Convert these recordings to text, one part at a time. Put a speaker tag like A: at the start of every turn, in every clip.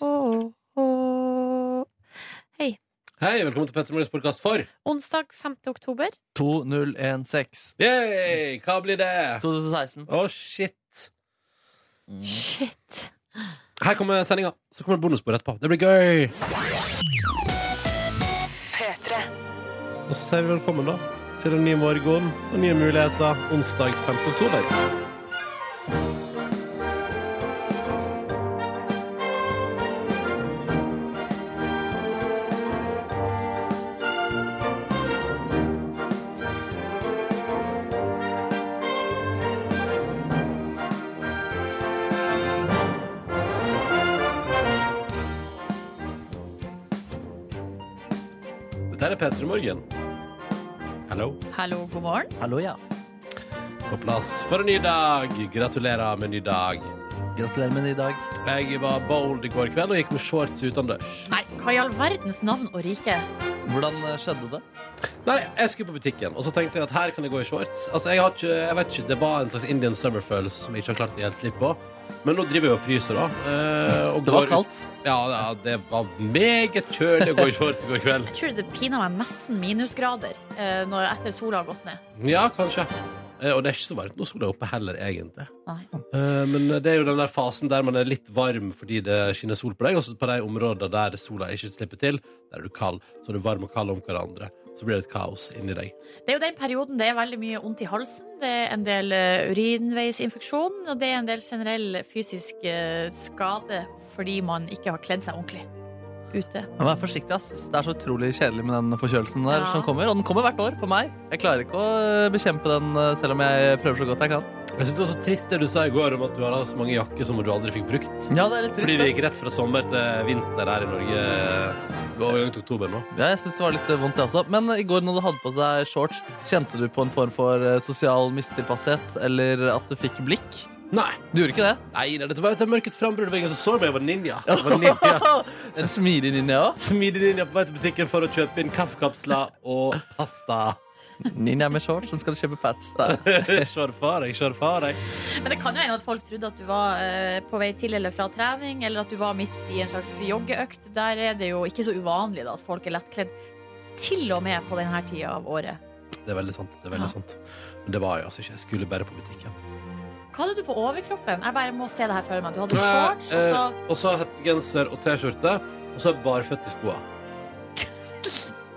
A: Åh, åh.
B: Hei, velkommen til Petter Morgens podkast for
A: Onsdag 5. oktober.
C: 2016.
B: Yay! Hva blir det? Å,
C: 2016.
B: shit.
A: Shit.
B: Her kommer sendinga. Så kommer det bonusbord etterpå. Det blir gøy! Og så sier vi velkommen, da, til en ny morgen og nye muligheter onsdag 5. oktober. Dette er Petter Morgen. Hallo.
A: Hallo, god morgen.
C: Hallo, ja.
B: På plass for en ny dag. Gratulerer med en ny dag.
C: Gratulerer med det i dag.
B: Jeg var bold i går kveld og gikk med shorts utendørs.
A: Nei, hva i all verdens navn og rike?
C: Hvordan eh, skjedde det?
B: Nei, jeg skulle på butikken, og så tenkte jeg at her kan jeg gå i shorts. Altså, jeg har ikke, jeg vet ikke, Det var en slags Indian summer-følelse som jeg ikke har klart å gi helt slipp på. Men nå driver jeg og fryser, da. eh, og
C: Det var
B: går-
C: kaldt.
B: Ja, ja, det var meget kjølig å gå i shorts i går kveld.
A: Jeg tror det pina meg nesten minusgrader eh, når, etter sola har gått ned.
B: Ja, kanskje. Eh, og det er ikke så varmt nå sola er oppe heller, egentlig.
A: Nei.
B: Eh, men det er jo den der fasen der man er litt varm fordi det skinner sol på deg, og så på de områdene der sola ikke slipper til, der er du kald. Så er du varm og kald om hverandre. Så blir det et kaos inni deg.
A: Det er jo den perioden det er veldig mye vondt i halsen. Det er en del eh, urinveisinfeksjon, og det er en del generell fysisk eh, skade fordi man ikke har kledd seg ordentlig ute.
C: Men Vær forsiktig, ass. Det er så utrolig kjedelig med den forkjølelsen der
A: Ja.
C: som kommer. Og den kommer hvert år på meg. Jeg klarer ikke å eh, bekjempe den eh, selv om jeg prøver så godt jeg kan.
B: Jeg synes det var så trist det du sa i går om at du har hatt så mange jakker som du aldri fikk brukt.
C: Ja, det er litt
B: Fordi
C: trist,
B: det gikk
C: ass.
B: rett fra sommer til vinter her i Norge. Det var overgang til oktober nå.
C: Ja, jeg syns det var litt eh, vondt, jeg også. Men i går når du hadde på deg shorts, kjente du på en form for eh, sosial mistilpasshet? Eller at du fikk blikk?
B: Nei,
C: Du gjorde ikke det?
B: nei, nei dette var jo til mørkets frambrudd. Det var ingen som så meg. Jeg var ninja. Jeg var ninja.
C: En smidig ninja òg.
B: Smidig ninja på vei til butikken for å kjøpe inn kaffekapsler og pasta.
C: Ninja med shorts som skal kjøpe pasta.
B: Kjør far, jeg kjør far, jeg.
A: Men det kan jo hende at folk trodde at du var eh, på vei til eller fra trening, eller at du var midt i en slags joggeøkt. Der er det jo ikke så uvanlig da, at folk er lettkledd, til og med på denne tida av året.
B: Det er veldig sant. det er veldig
A: Ja.
B: sant. Men det var jeg altså ikke. Jeg skulle bare på butikken.
A: Hva hadde du på overkroppen? Jeg bare må se det her for meg. Du hadde
B: Eh,
A: shorts, og så
B: eh, Og så hettegenser og T-skjorte. Og så barføtt i skoa.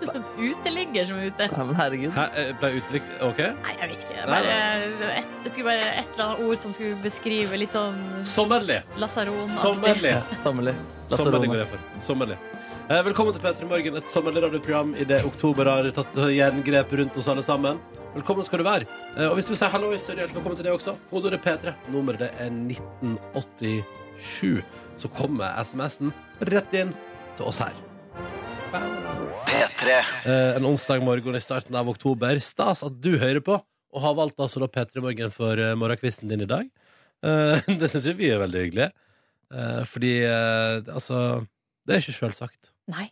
A: en
B: eh,
A: uteligger som er ute.
C: Nei, men herregud.
B: Hæ? Eh, Ble jeg uteligg? OK?
A: Nei, jeg vet ikke. Det er
B: Nei,
A: Bare, et, det skulle bare et eller annet ord som skulle beskrive litt sånn
B: Sommerlig!
A: lasaron-aktig.
B: Sommerlig!
C: Sommerlig.
B: Sommerlig går
C: Laserone.
B: jeg for. Sommerlig. Eh, Velkommen til P3 Morgen, et sommerlig radioprogram i det oktober har tatt jerngrep rundt oss alle sammen. Velkommen skal du være. Eh, Og hvis du vil si hallo, så er du hjertelig velkommen til det også. Kodeordet P3. Nummeret det er 1987. Så kommer SMS-en rett inn til oss her. Eh, En onsdag morgen i starten av oktober. Stas at du hører på, og har valgt altså da P3 Morgen for eh, morgenkvisten din i dag. Eh, Det syns jo vi er veldig hyggelig. Eh, fordi eh, det- Altså, det er ikke sjølsagt.
A: Nei.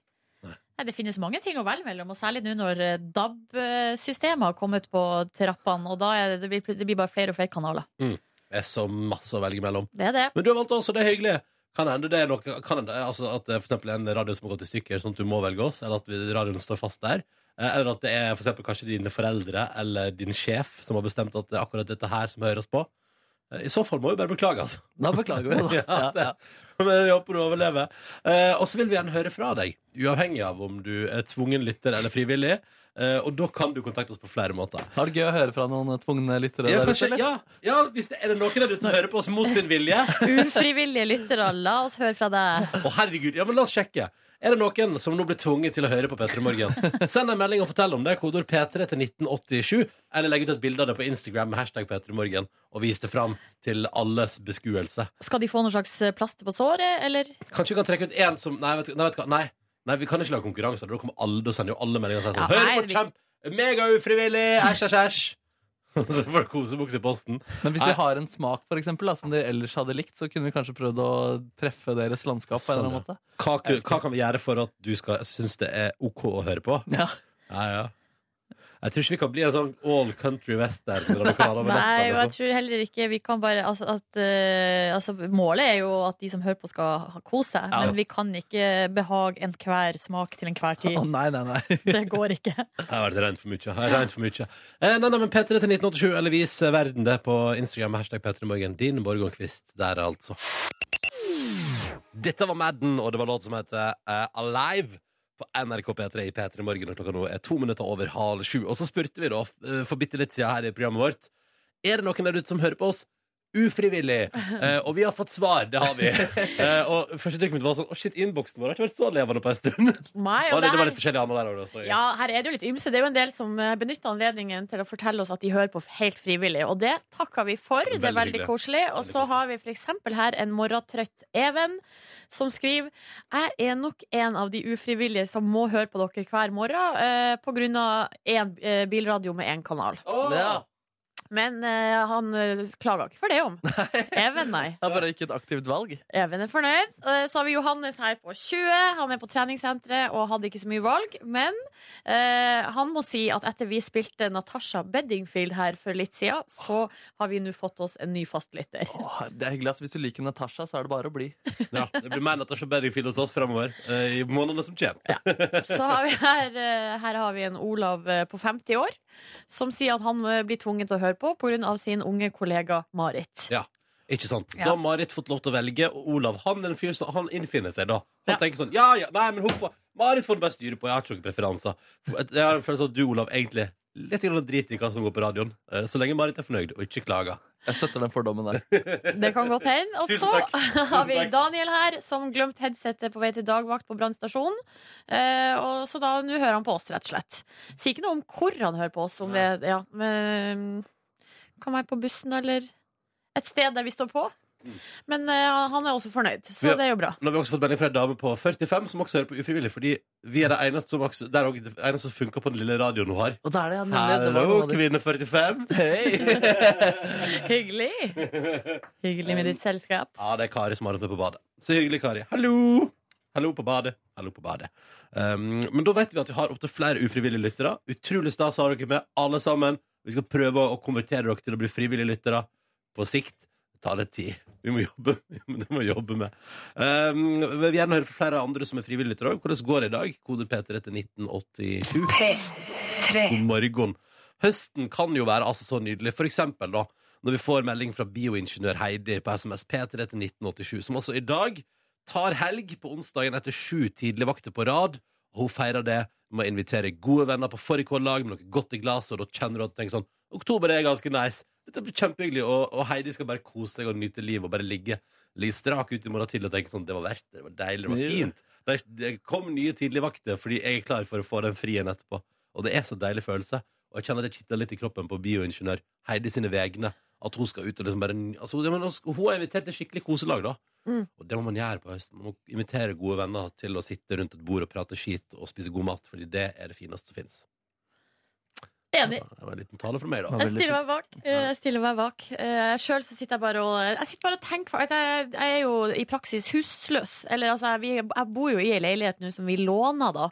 B: Nei.
A: Nei, det finnes mange ting å velge mellom, og særlig nå når eh, DAB-systemet har kommet på trappene. Og da er det, det blir det blir bare flere og flere kanaler.
B: Det er så masse å velge mellom.
A: Det er det.
B: Men du har valgt oss, og det er hyggelig. Kan hende det er noe Kan hende altså, at det er for eksempel en radio som har gått i stykker, sånn at du må velge oss, eller at vi- radioen står fast der. Eh, Eller at det er for eksempel kanskje dine foreldre eller din sjef som har bestemt at det er akkurat dette her som høres på. Eh, I så fall må vi bare beklage, altså.
C: Da beklager vi, da.
B: Ja, det- Men vi håper du overlever. Eh, og så vil vi gjerne høre fra deg, uavhengig av om du er tvungen lytter eller frivillig. Eh, og da kan du kontakte oss på flere måter.
C: Har det gøy å høre fra noen eh, tvungne lyttere
B: Ja,
C: der ute,
B: kanskje,
C: eller?
B: ja, ja hvis det er det noen der ute som hører på oss mot sin vilje
A: Ufrivillige lyttere, la oss høre fra deg.
B: Å herregud, ja, men la oss sjekke Er det noen som nå blir tvunget til å høre på P3 Morgen Send en melding og fortell om det Kodord P3 til 1987 Eller legg ut et bilde av det på Instagram med hashtag P3 Morgen Og vis det fram til alles beskuelse
A: Skal de få noe slags plaster på såret, eller?
B: Kanskje vi kan trekke ut en som Nei, vet du, nei, vet du hva, nei, nei vi kan ikke lage konkurranser Da kommer alle, da sender jo alle meldinger og sier
A: Ja,
B: sånn,
A: nei,
B: Hør
A: det
B: på
A: blir-
B: kjemp, mega ufrivillig, æsj, æsj, æsj Så får du kosebukse i posten
C: Men hvis vi har en smak for eksempel, da, som de ellers hadde likt, så kunne vi kanskje prøvd å treffe deres landskap på en eller annen måte.
B: hva, ku- hva kan vi gjøre for at du skal synes det er ok å høre på?
C: Ja.
B: Ja, ja. Jeg tror ikke vi kan bli en sånn all country western. eller hva vi kaller det,
A: Nei, og jeg
B: liksom.
A: tror heller ikke vi kan bare altså, at, eh, altså, Målet er jo at de som hører på, skal ha- kose seg,
C: Ja.
A: men vi kan ikke behage enhver smak til enhver tid.
C: Å, nei, nei, nei.
A: Det går ikke.
B: Jeg har vært rent for mye. Jeg har regnet for mye. Eh, nei, nei, men P3 til 1987, eller vis verden det på Instagram med hashtag P3morgen. Din Borgenquist der, altså. Dette var Madden, og det var låt som heter eh, Alive. På NRK P3 i P3 Morgen, og klokka nå er to minutter over halv sju. Og så spurte vi, da, eh, for bitte litt siden her i programmet vårt, er det noen der ute som hører på oss? Ufrivillig. Eh, og vi har fått svar. Det har vi. Eh, og første trykk mitt var sånn Å, shit, innboksen vår har ikke vært så levende på en stund.
A: Nei,
B: Og
A: og
B: det, det var
A: her,
B: litt forskjellige andre der også.
A: ja, her er det jo litt ymse. Det er jo en del som eh, benytter anledningen til å fortelle oss at de hører på helt frivillig, og det takker vi for. det er
B: Veldig
A: veldig
B: hyggelig.
A: koselig. Og
B: Veldig
A: så
B: koselig.
A: har vi for eksempel her en morgentrøtt Even som skriver Jeg er nok en av de ufrivillige som må høre på dere hver morgen eh, på grunn av én eh, bilradio med én kanal.
C: Ja.
A: Men eh, han eh, klager ikke for det om. Even, nei.
C: Det er bare ikke et aktivt valg.
A: Even er fornøyd. Eh, Så har vi Johannes her på 20. Han er på treningssenteret og hadde ikke så mye valg. Men eh, han må si at etter vi spilte Natasha Beddingfield her for litt siden, så har vi nå fått oss en ny fastlytter.
C: Åh, det er hyggelig, ass. Hvis du liker Natasha, så er det bare å bli.
B: Ja, det blir mer Natasha Bedingfield hos oss fremover eh, i månedene som kommer.
A: Så har vi her, eh, her har vi en Olav eh, på 50 år som sier at han eh, blir tvunget til å høre på pga. sin unge kollega Marit.
B: Ikke sant?
A: Ja.
B: Da har Marit fått lov til å velge, og Olav han er en fyr som han innfinner seg da. Han
A: Ja.
B: tenker sånn Ja, ja, nei, men hun får Marit får det bare styre på, jeg har ikke noen preferanser. For at- Jeg har en følelse av at du, Olav, egentlig litt grann driter i hva som går på radioen. eh, Så lenge Marit er fornøyd og ikke klager.
C: Jeg støtter den fordommen der.
A: Det kan godt hende. Og
B: Tusen
A: så
B: takk.
A: har vi
B: takk.
A: Daniel her, som glemte headsetet på vei til dagvakt på brannstasjonen. Eh, og så da, nå hører han på oss, rett og slett. Sier ikke noe om hvor han hører på oss, om det ja, men, mm, kan være på bussen eller et sted der vi står på. Men eh, han er også fornøyd, så
B: Ja.
A: det er jo bra.
B: Nå har vi også fått melding fra ei dame på 45 som også hører på ufrivillig, fordi vi er det eneste som, også- det er også det eneste som funker på den lille radioen hun har.
C: Og da er det, ja, nemlig, det var
B: Hallo,
C: noe av det.
B: kvinne 45.
A: Hyggelig. Hyggelig med ditt selskap.
B: Ja, det er Kari som har oss med på badet. Så hyggelig, Kari. Hallo! Hallo på badet. Hallo på badet. Um, men da vet vi at vi har opptil flere ufrivillige lyttere. Utrolig stas å ha dere med, alle sammen. Vi skal prøve å konvertere dere til å bli frivillige lyttere. På sikt tar det tid. Vi må jobbe, det må vi jobbe med. Um, vi vil gjerne høre fra flere andre som er frivillige lyttere òg. Hvordan går det i dag? Kode P3 til 1987. God morgen. Høsten kan jo være altså så nydelig. For eksempel da, når vi får melding fra bioingeniør Heidi på SMS P3 til 1987, som altså i dag tar helg på onsdagen etter sju tidligvakter på rad, og hun feirer det med å invitere gode venner på fårikållag med noe godt i glasset, og da kjenner du at du tenker sånn Oktober er ganske nice. Dette blir kjempehyggelig, og, og Heidi skal bare kose seg og nyte livet og bare ligge, ligge strak ut i morgen tidlig og tenke sånn Det var verdt det, det var deilig, det var fint. Det, det kom nye tidligvakter fordi jeg er klar for å få den frien etterpå. Og det er så deilig følelse. Og jeg kjenner at det kitler litt i kroppen på bioingeniør Heidi sine vegne. At hun skal ut og liksom bare altså, det- men hun skal- Hun er invitert til skikkelig koselag, da.
A: Mm.
B: Og det må man gjøre på høsten. Man må invitere gode venner til å sitte rundt et bord og prate skit og spise god mat, fordi det er det fineste som fins.
A: Enig.
B: Det var en liten tale fra meg, da.
C: Ja.
A: Jeg stiller meg bak. Eh, Jeg stiller meg bak. Eh, Sjøl så sitter jeg bare og Jeg sitter bare og tenker at jeg, jeg er jo i praksis husløs. Eller altså, jeg, vi- jeg bor jo i ei leilighet nå som vi låner, da.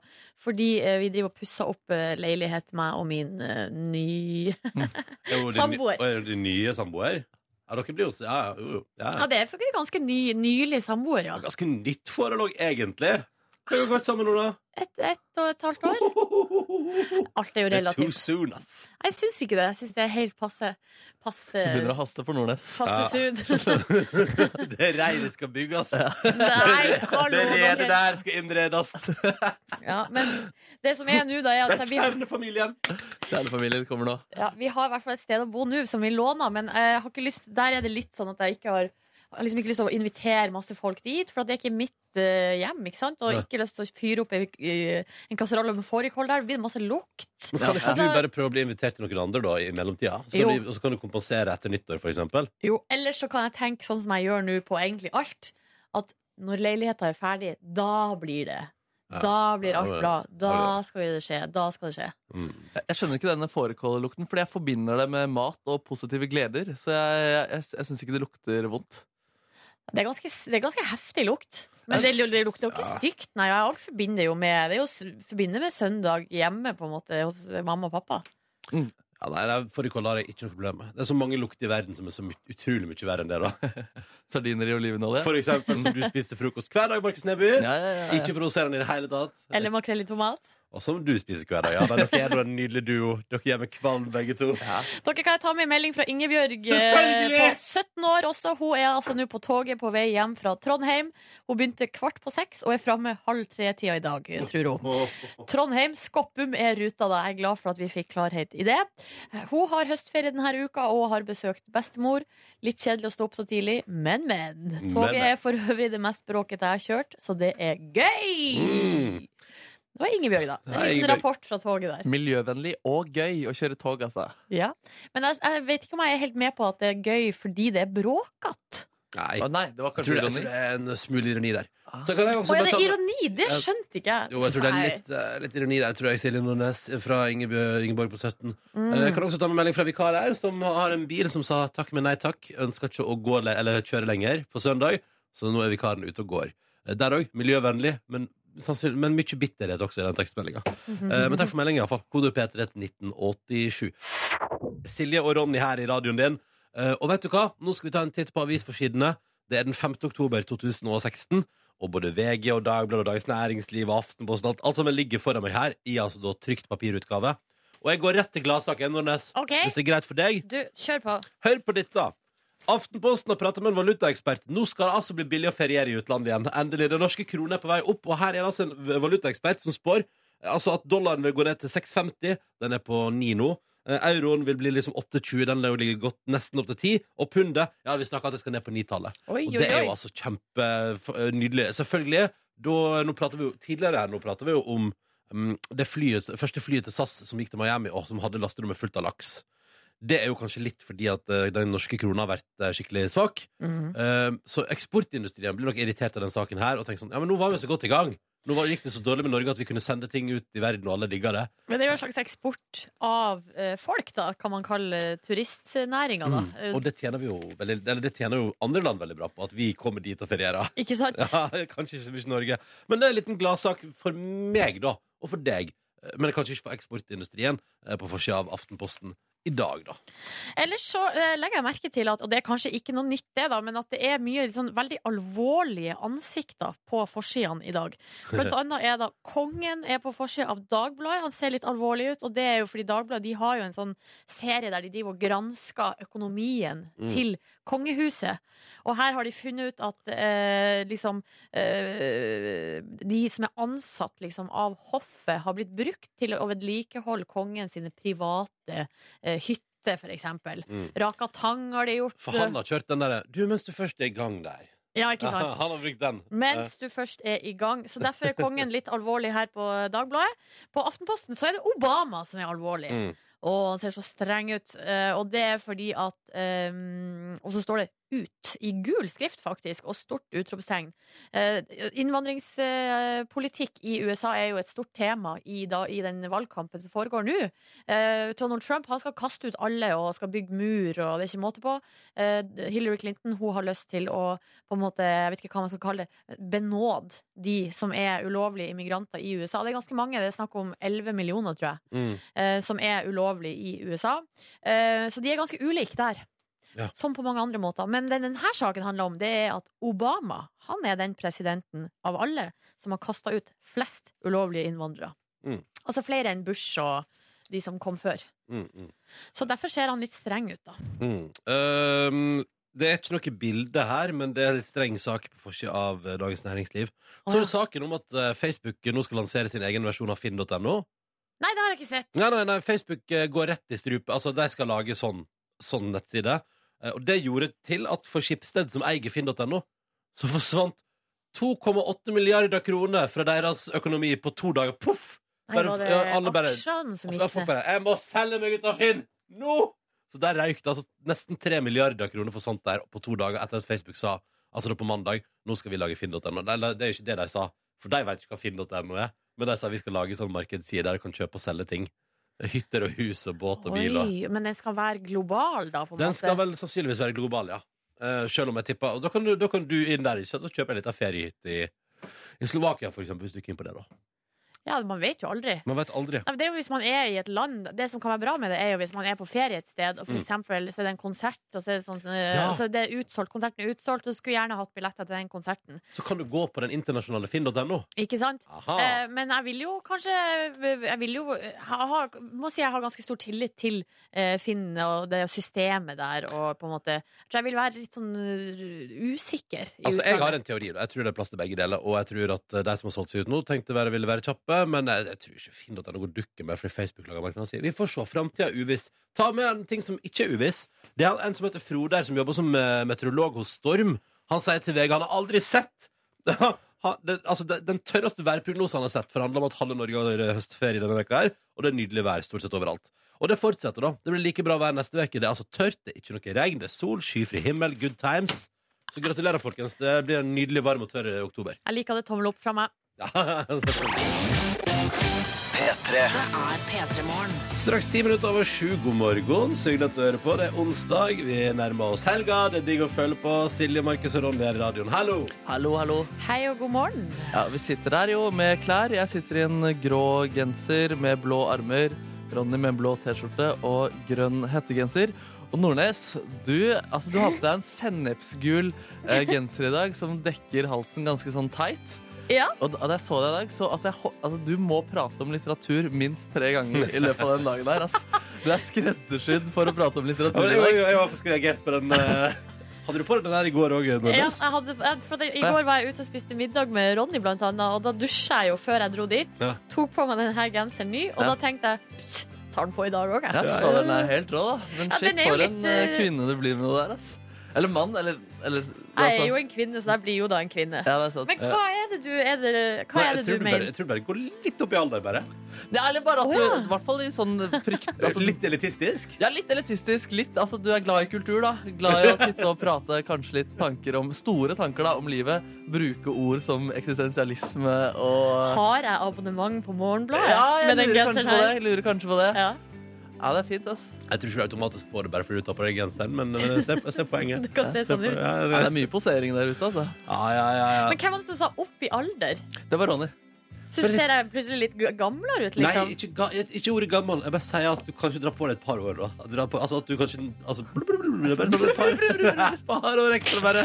A: Fordi eh, vi driver og pusser opp eh, leilighet, meg og min eh, ny
B: Er hun din-
A: Samboer.
B: Å, Er hun din nye samboer? Ja, dere blir jo så- ja, jo, jo. ja.
A: Ja, det er faktisk ganske ny, nylig samboer, ja.
B: Ja, Ganske nytt forhold òg, egentlig. Hvor lenge har dere vært sammen nå, da?
A: Ett et og et halvt år. Alt er jo
B: Det er too
A: relativt.
B: soon, ass.
A: Jeg syns ikke det. Jeg syns det er helt passe.
C: Det begynner
A: Passe
C: å haste for Nordnes.
A: Passe sud.
B: Det reiret skal bygges.
A: Nei, hallo,
B: det
A: dere.
B: redet der skal innredes.
A: Ja, men det som er nå, da, er at Altså, vi har
B: Kjernefamilien.
C: Kjernefamilien kommer nå.
A: Ja, vi har i hvert fall et sted å bo nå som vi låner, men eh, jeg har ikke lyst, der er det litt sånn at jeg ikke har jeg har liksom ikke lyst til å invitere masse folk dit, for at det er ikke mitt eh, hjem. ikke sant? Og
B: Nei.
A: ikke lyst til å fyre opp en, en kasserolle med fårikål der. Det blir masse lukt.
B: Men kan ikke
A: Altså-
B: du bare prøve å bli invitert til noen andre da, i mellomtida? Så kan,
A: Jo.
B: du, og så kan du kompensere etter nyttår, for eksempel.
A: Jo, Ellers så kan jeg tenke sånn som jeg gjør nå på egentlig alt, at når leiligheten er ferdig, da blir det.
B: Ja.
A: Da blir alt
B: Ja,
A: bra. Da
B: Ja,
A: skal det skje. Da skal det skje.
C: Jeg- Jeg skjønner ikke denne fårikållukten, fordi jeg forbinder det med mat og positive gleder. Så jeg, jeg, jeg, jeg syns ikke det lukter vondt.
A: Det er ganske, det er ganske heftig lukt. Men det, det lukter jo ikke stygt. Nei, og alt forbinder jo med Det er jo s- forbinder med søndag hjemme på en måte hos mamma og pappa.
B: Ja, nei, nei, Fårikål har jeg ikke noe problem med. Det er så mange lukter i verden som er så my utrolig mye verre enn det. da
C: Sardiner i olivenolje.
B: For eksempel som du spiste frokost hver dag, Markus Neby.
C: ja, ja, ja, ja.
B: Ikke provoserende i det hele tatt.
A: Eller makrell i tomat.
B: Og som du spiser hver dag. Ja, nei, dere er da en nydelig duo. Dere gjør meg kvalm, begge to.
A: Dere kan jeg ta med en melding fra Ingebjørg eh,
B: Selvfølgelig!
A: på 17 år også. Hun er altså nå på toget på vei hjem fra Trondheim. Hun begynte kvart på seks og er framme halv tre-tida i dag, tror hun. Trondheim, Skoppum er ruta da. Jeg er glad for at vi fikk klarhet i det. Hun har høstferie denne uka og har besøkt bestemor. Litt kjedelig å stå opp så tidlig, men, men.
B: Men,
A: Toget
B: men.
A: er for øvrig det mest bråkete jeg har kjørt, så det er gøy!
B: Mm.
A: Det var Ingebjørg, da.
B: Hei,
A: En liten
B: Ingebjørg.
A: rapport fra toget der.
C: Miljøvennlig og gøy å kjøre tog, altså.
A: Ja. Men jeg, jeg vet ikke om jeg er helt med på at det er gøy fordi det er bråkete.
B: Nei,
C: Å, nei, det var
B: jeg tror, det, jeg
C: kanskje ironi.
B: tror det er en smule ironi der.
C: Ah.
B: Så kan jeg også
A: Å, er det
B: bare Altså, ta med-
A: ironi? Det skjønte ikke jeg.
B: Jo, jeg tror det er
A: Nei.
B: litt, eh, litt ironi der, tror jeg, Silje Nordnes fra Ingebjørg, Ingeborg på 17.
A: Mm.
B: Eh, Jeg kan også ta med melding fra vikar her, som har en bil som sa takk, men nei takk. Ønsker ikke å gå le- eller kjøre lenger på søndag, så nå er vikaren ute og går. Eh, Der òg, miljøvennlig, men, sannsynlig- men mye bitterhet også i den tekstmeldinga. Eh, Men takk for meldinga, iallfall. Kode P3 til 1987. Silje og Ronny her i radioen din. Eh, Og vet du hva? Nå skal vi ta en titt på avisforsidene. Det er den 5. oktober 2016. Og både VG og Dagbladet og Dagens Næringsliv og Aftenposten alt, alt sammen ligger foran meg her i altså da trykt papirutgave. Og jeg går rett til gladsaken, Nordnes.
A: OK,
B: Hvis det er greit for deg,
A: du, kjør på.
B: hør på dette. Aftenposten har pratet med en valutaekspert. Nå skal det altså bli billig å feriere i utlandet igjen. Endelig. Den norske kronen er på vei opp, og her er det altså en valutaekspert som spår eh, altså at dollaren vil gå ned til 6,50. Den er på 9 nå. Eh, Euroen vil bli liksom 8,20. Den ligger godt nesten opp til 10. Og pundet ja, vi snakker at det skal ned på 9-tallet.
A: Oi,
B: Og
A: oi,
B: det er jo
A: oi.
B: altså kjempenydelig. Selvfølgelig. Da, nå prater vi jo, tidligere her nå prater vi jo om mm, det flyet, første flyet til SAS som gikk til Miami, og som hadde lasterommet fullt av laks. Det er jo kanskje litt fordi at eh, den norske krona har vært eh, skikkelig svak.
A: Mhm.
B: Eh, så eksportindustrien blir nok irritert av den saken her og tenker sånn Ja, men nå var vi så godt i gang. Nå var- gikk det så dårlig med Norge at vi kunne sende ting ut i verden, og alle digga det.
A: Men det er jo en slags eksport av eh, folk, da, kan man kalle turistnæringa, da. Eh,
B: Mm, Og det tjener, vi jo veldig, eller det tjener jo andre land veldig bra på, at vi kommer dit og ferierer.
A: Ikke sant?
B: Ja, kanskje ikke så mye Norge. Men det er en liten gladsak for meg, da. Og for deg. Eh, Men kanskje ikke for eksportindustrien eh, på forsida av Aftenposten i dag, da.
A: Ellers så eh, legger jeg merke til at, og det er kanskje ikke noe nytt det da, men at det er mye sånn, veldig alvorlige ansikter på forsidene i dag. Blant annet er da kongen er på forsida av Dagbladet, han ser litt alvorlig ut, og det er jo fordi Dagbladet de har jo en sånn serie der de driver og gransker økonomien
B: Mm.
A: til kongehuset. Og her har de funnet ut at eh, liksom eh, de som er ansatt liksom av hoffet har blitt brukt til å vedlikeholde kongen sine private eh, hytter, for eksempel.
B: Mm.
A: Rakatang har de gjort.
B: For han har kjørt den derre 'Du, mens du først er i gang der'.
A: Ja, ikke sant?
B: Han har brukt den.
A: Mens du først er i gang. Så derfor er kongen litt alvorlig her på Dagbladet. På Aftenposten så er det Obama som er alvorlig.
B: Eh, mm.
A: Og han ser så streng ut. Eh, Og det er fordi at eh, Og så står det 'ut' i gul skrift, faktisk, og stort utropstegn. Eh, Innvandringspolitikk i USA er jo et stort tema i, da, i den valgkampen som foregår nå. Eh, Donald Trump han skal kaste ut alle og skal bygge mur, og det er ikke måte på. Eh, Hillary Clinton hun har lyst til å på en måte, jeg vet ikke hva man skal kalle det, benåde de som er ulovlige immigranter i USA. Det er ganske mange, det er snakk om 11 millioner, tror jeg
B: Mm.
A: eh, som er ulovlig i USA. Eh, så de er ganske ulike der.
B: Ja.
A: Som på mange andre måter. Men den denne saken handler om, det er at Obama han er den presidenten av alle som har kasta ut flest ulovlige innvandrere.
B: Mm.
A: Altså flere enn Bush og de som kom før.
B: Mm. Mm.
A: Så derfor ser han litt streng ut, da.
B: Mm. Ehm, det er ikke noe bilde her, men det er en litt streng sak på forsida av eh, Dagens Næringsliv.
A: Å, ja.
B: Så er det saken om at eh, Facebook nå skal lansere sin egen versjon av finn.no.
A: Nei, det har jeg ikke sett!
B: Nei, nei, nei, Facebook eh, går rett i strupe. Altså, de skal lage sånn, sånn nettside. Eh, Og det gjorde til at for Schibsted, som eier finn.no, så forsvant 2,8 milliarder kroner fra deres økonomi på to dager. Poff!
A: Nei,
B: Bare-
A: var det
B: ja, alle bare-
A: aksjene som
B: Altså, da
A: gikk ned?
B: folk bare 'Jeg må selge meg ut av Finn! Nå!' Så der røyk det. Altså, nesten 3 milliarder kroner forsvant der på to dager etter at Facebook sa Altså da på mandag 'Nå skal vi lage finn.no'. Nei, nei, det er jo ikke det de sa, for de vet ikke hva finn.no er. Men de sa vi skal lage sånn markedsside der du kan kjøpe og selge ting. Hytter og hus og båt og bil. Og.
A: Oi, men den skal være global, da? på en
B: Den
A: måte
B: skal vel sannsynligvis være global, ja. Eh, selv om jeg tipper Og da kan du, da kan du inn der, ikke sant? Og kjøpe en liten feriehytte i, i Slovakia, for eksempel, hvis du er keen på det, da.
A: Ja, man vet jo aldri.
B: Man vet aldri.
A: Nei, men Det er jo hvis man er i et land Det som kan være bra med det, er jo hvis man er på ferie et sted, og for
B: Mm.
A: eksempel så er det en konsert, og så er det, sånn, eh,
B: Ja.
A: så er det utsolgt, konserten er utsolgt, og du skulle gjerne hatt billetter til den konserten.
B: Så kan du gå på den internasjonale finn.no.
A: Ikke sant?
B: Aha.
A: Eh, men jeg vil jo kanskje Jeg vil jo ha, ha, må si jeg har ganske stor tillit til eh, Finn og det systemet der, og på en måte Jeg tror jeg vil være litt sånn eh, usikker. i
B: Altså, jeg
A: utlandet.
B: har en teori. da. Jeg tror det er plass til begge deler. Og jeg tror at eh, de som har solgt seg ut nå, tenkte være, ville være kjappe. Men eh, jeg, jeg tror ikke Finn.no går dukken med, fordi Facebook lager markedet sier vi får se. Framtida er uviss. Ta med en ting som ikke er uviss. Det er en som heter Frode her, som jobber som eh, meteorolog hos Storm. Han sier til VG han har aldri sett han, det, altså, det, Den tørreste værprognosen han har sett, for det handler om at halve Norge har høstferie denne veka her, og det er nydelig vær stort sett overalt. Og det fortsetter, da. Det blir like bra vær neste uke. Det er altså tørt, det er ikke noe regn, det er sol, skyfri himmel, good times. Så gratulerer, folkens. Det blir en nydelig varm og tørr oktober.
A: Jeg liker det tommel opp fra meg.
B: Straks ti minutter over sju. God morgen. Så hyggelig at du hører på. Det er onsdag. Vi nærmer oss helga. Det er digg å følge på. Silje, Markus og Ronny er i radioen. Hallo!
C: Hallo, hallo.
A: Hei og god morgen.
C: Ja, vi sitter her jo med klær. Jeg sitter i en grå genser med blå armer. Ronny med en blå T-skjorte og grønn hettegenser. Og Nordnes, du, altså, du har på deg en sennepsgul eh, genser i dag som dekker halsen ganske sånn tight.
A: Ja.
C: Og da da jeg så deg i dag, så altså, jeg, hå- altså, du må prate om litteratur minst tre ganger i løpet av den dagen der. ass. Du er skreddersydd for å prate om
B: Ja,
C: litteratur
B: men
C: i dag.
B: Jeg jeg har faktisk reagert på den eh, Hadde du på deg den der i går òg?
A: Ja, ah, jeg hadde, jeg, for det, I går var jeg ute og spiste middag med Ronny, blant annet, og da dusja jeg jo før jeg dro dit.
B: Ja.
A: Tok på meg denne genseren ny, og
C: Ja.
A: da tenkte jeg "Pst, tar den på i dag òg,
C: Ja,
A: jeg.
C: fy fader, den er helt rå, da. Men
A: Ja,
C: shit,
A: den er jo
C: for
A: litt,
C: en eh,
A: eh,
C: kvinne du blir med det der, ass. Eller mann, eller, eller
A: Jeg er jo en kvinne, så jeg blir jo da en kvinne.
C: Ja, det er sant.
A: Men hva er det du, er det, hva er det
B: jeg, tror
A: du
B: du bare,
A: mener?
B: jeg tror du bare går litt opp i alder, bare.
C: Det er litt bare at
A: Å,
C: du,
A: ja.
C: i hvert fall i sånn frykt... Altså, litt,
B: litt elitistisk.
C: ja, litt elitistisk, litt, altså du er glad i kultur, da. Glad i å sitte og prate kanskje litt tanker om, store tanker da, om livet. Bruke ord som eksistensialisme og...
A: Har jeg abonnement på Morgenbladet
C: Ja, jeg
A: med den
C: lurer kanskje
A: genseren
C: på det.
A: her?
C: jeg Lurer kanskje på det.
A: Ja.
C: Ja, det er fint, ass.
B: Jeg tror ikke du automatisk får det bare fordi du tar på deg genseren, men, eh, men jeg ser, jeg ser poenget.
A: Det kan se sånn ut.
B: Ja,
C: Ja, det
B: ja,
C: er mye posering der ute, altså.
B: ja, ja, ja.
A: Men hvem var det som sa opp i alder?
C: Det var Ronny.
A: Syns du ser jeg plutselig litt g- gamlere ut,
B: Nei,
A: liksom?
B: ikke, ga, ikke ordet gammel. Jeg bare sier at du kanskje drar på deg et par år. da At du drar på, altså at du kanskje altså, blub, blub, blub, blub, Bare sånn et par, et par år ekstra, bare.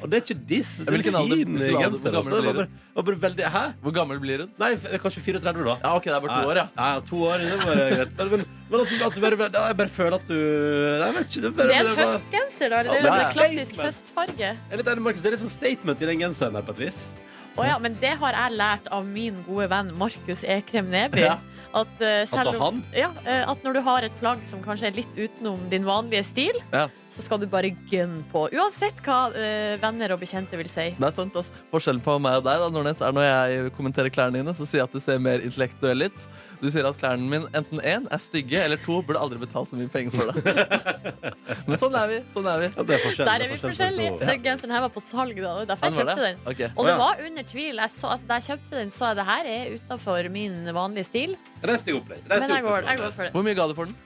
B: Og det er ikke diss. Det er
C: Hvilken alder-
B: fin
C: hvilken alder- hvor
B: genser.
C: gammel
B: Altså. Det
C: blir
B: var bare, var bare veldig Hæ?
C: Hvor gammel blir hun?
B: Nei, f- kanskje 34, da.
C: Ja, ok, det er bare to år, ja.
B: ja to år, det var greit. Men, men, men at du, at du bare, ja, Jeg bare føler at du Nei, jeg vet ikke. Det, er bare,
A: Det er en
B: det er bare-
A: høstgenser, da. eller? Det
B: Ja,
A: er
B: det
A: en
B: er
A: klassisk
B: statement.
A: høstfarge.
B: Jeg er litt enig, Markus, det er litt sånn statement i den genseren her, på et vis.
A: Å ja, men det har jeg lært av min gode venn Markus Ekrem Neby.
C: Ja.
A: At, eh, selv
B: Altså
A: om,
B: han.
A: ja, eh, at når du har et plagg som kanskje er litt utenom din vanlige stil,
C: Ja.
A: så skal du bare gønne på. Uansett hva eh, venner og bekjente vil si.
C: Det er sant, ass. Forskjellen på meg og deg da, Nordnes, er når jeg kommenterer klærne dine, så sier jeg at du ser mer intellektuell ut. Du sier at klærne mine enten én er stygge, eller to burde aldri betalt så mye penger for det. Men sånn er vi. sånn er vi.
B: Ja, det er forskjell,
A: Der
B: det
A: er vi
B: forskjell på
A: forskjellige.
B: to.
A: Den genseren her var på salg, da. og Derfor
C: Han
A: jeg
C: Sånn var
A: kjøpte
C: det?
A: den.
C: Ok.
A: Og
B: Å, ja.
A: det var under tvil. Jeg så, altså, da jeg kjøpte den, så jeg det her er utenfor min vanlige stil.
B: Rest i opplegg. Rest i
A: Men jeg
B: opplegg,
A: går, jeg går
B: Jonas.
A: for det.
C: Hvor mye ga du for den?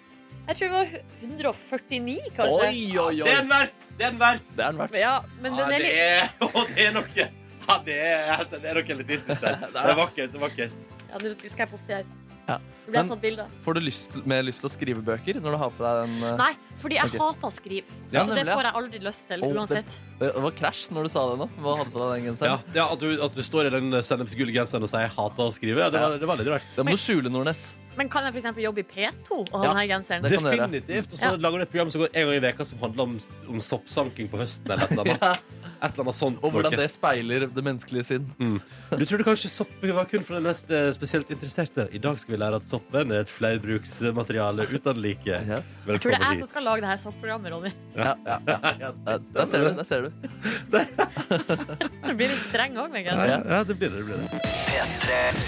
A: Jeg tror det var 149, kanskje.
C: Oi,
B: Det
C: oi, oi.
B: er den verdt! Det er den verdt!
C: Det er den verdt.
A: Ja, men den
B: ja,
A: er litt
B: det er, og det er noe ja, det er, helt- det er noe elitistisk der. Det er vakkert. det er vakkert
A: Ja, nå skal jeg postere.
C: Ja.
A: Det ble
C: Men-
A: tatt bilde av.
C: Får du lyst, mer lyst til å skrive bøker når du har på deg den? eh,
A: Nei, fordi jeg
C: Ok.
A: hater å skrive.
C: Ja,
A: så
C: nemlig,
A: det
C: ja.
A: får jeg aldri lyst til.
C: Å, det-
A: uansett.
C: Det var krasj når du sa det nå. Hva hadde du på deg den
B: ja,
C: genseren?
B: ja, at, du, at du står i den sennepsgule genseren og sier 'jeg hater å skrive', ja, det, var, det var litt rart.
C: Det må du skjule, Nordnes.
A: Men kan jeg f.eks. jobbe i P2 og ha
C: Ja,
A: denne genseren?
C: det kan du gjøre.
B: Definitivt. Og så
A: Ja.
B: lager du et program som går en gang i veka som handler om, om soppsanking på høsten. Eller et eller annet, et eller annet sånt.
C: Og hvordan
B: noe.
C: det speiler det menneskelige sinn.
B: Du trodde kanskje sopp var kun for den mest eh, spesielt interesserte. I dag skal vi lære at soppen er et flerbruksmateriale uten like.
C: Ja.
B: Velkommen
A: Tror det er jeg
B: hit.
A: som skal lage det her soppprogrammet, Ronny.
C: Ja, ja, ja.
B: Ja,
C: Der, der ser du. Der ser du.
A: Du blir litt streng òg med
B: Ja,
A: genseren.
B: ja, ja, det blir det. det, blir det.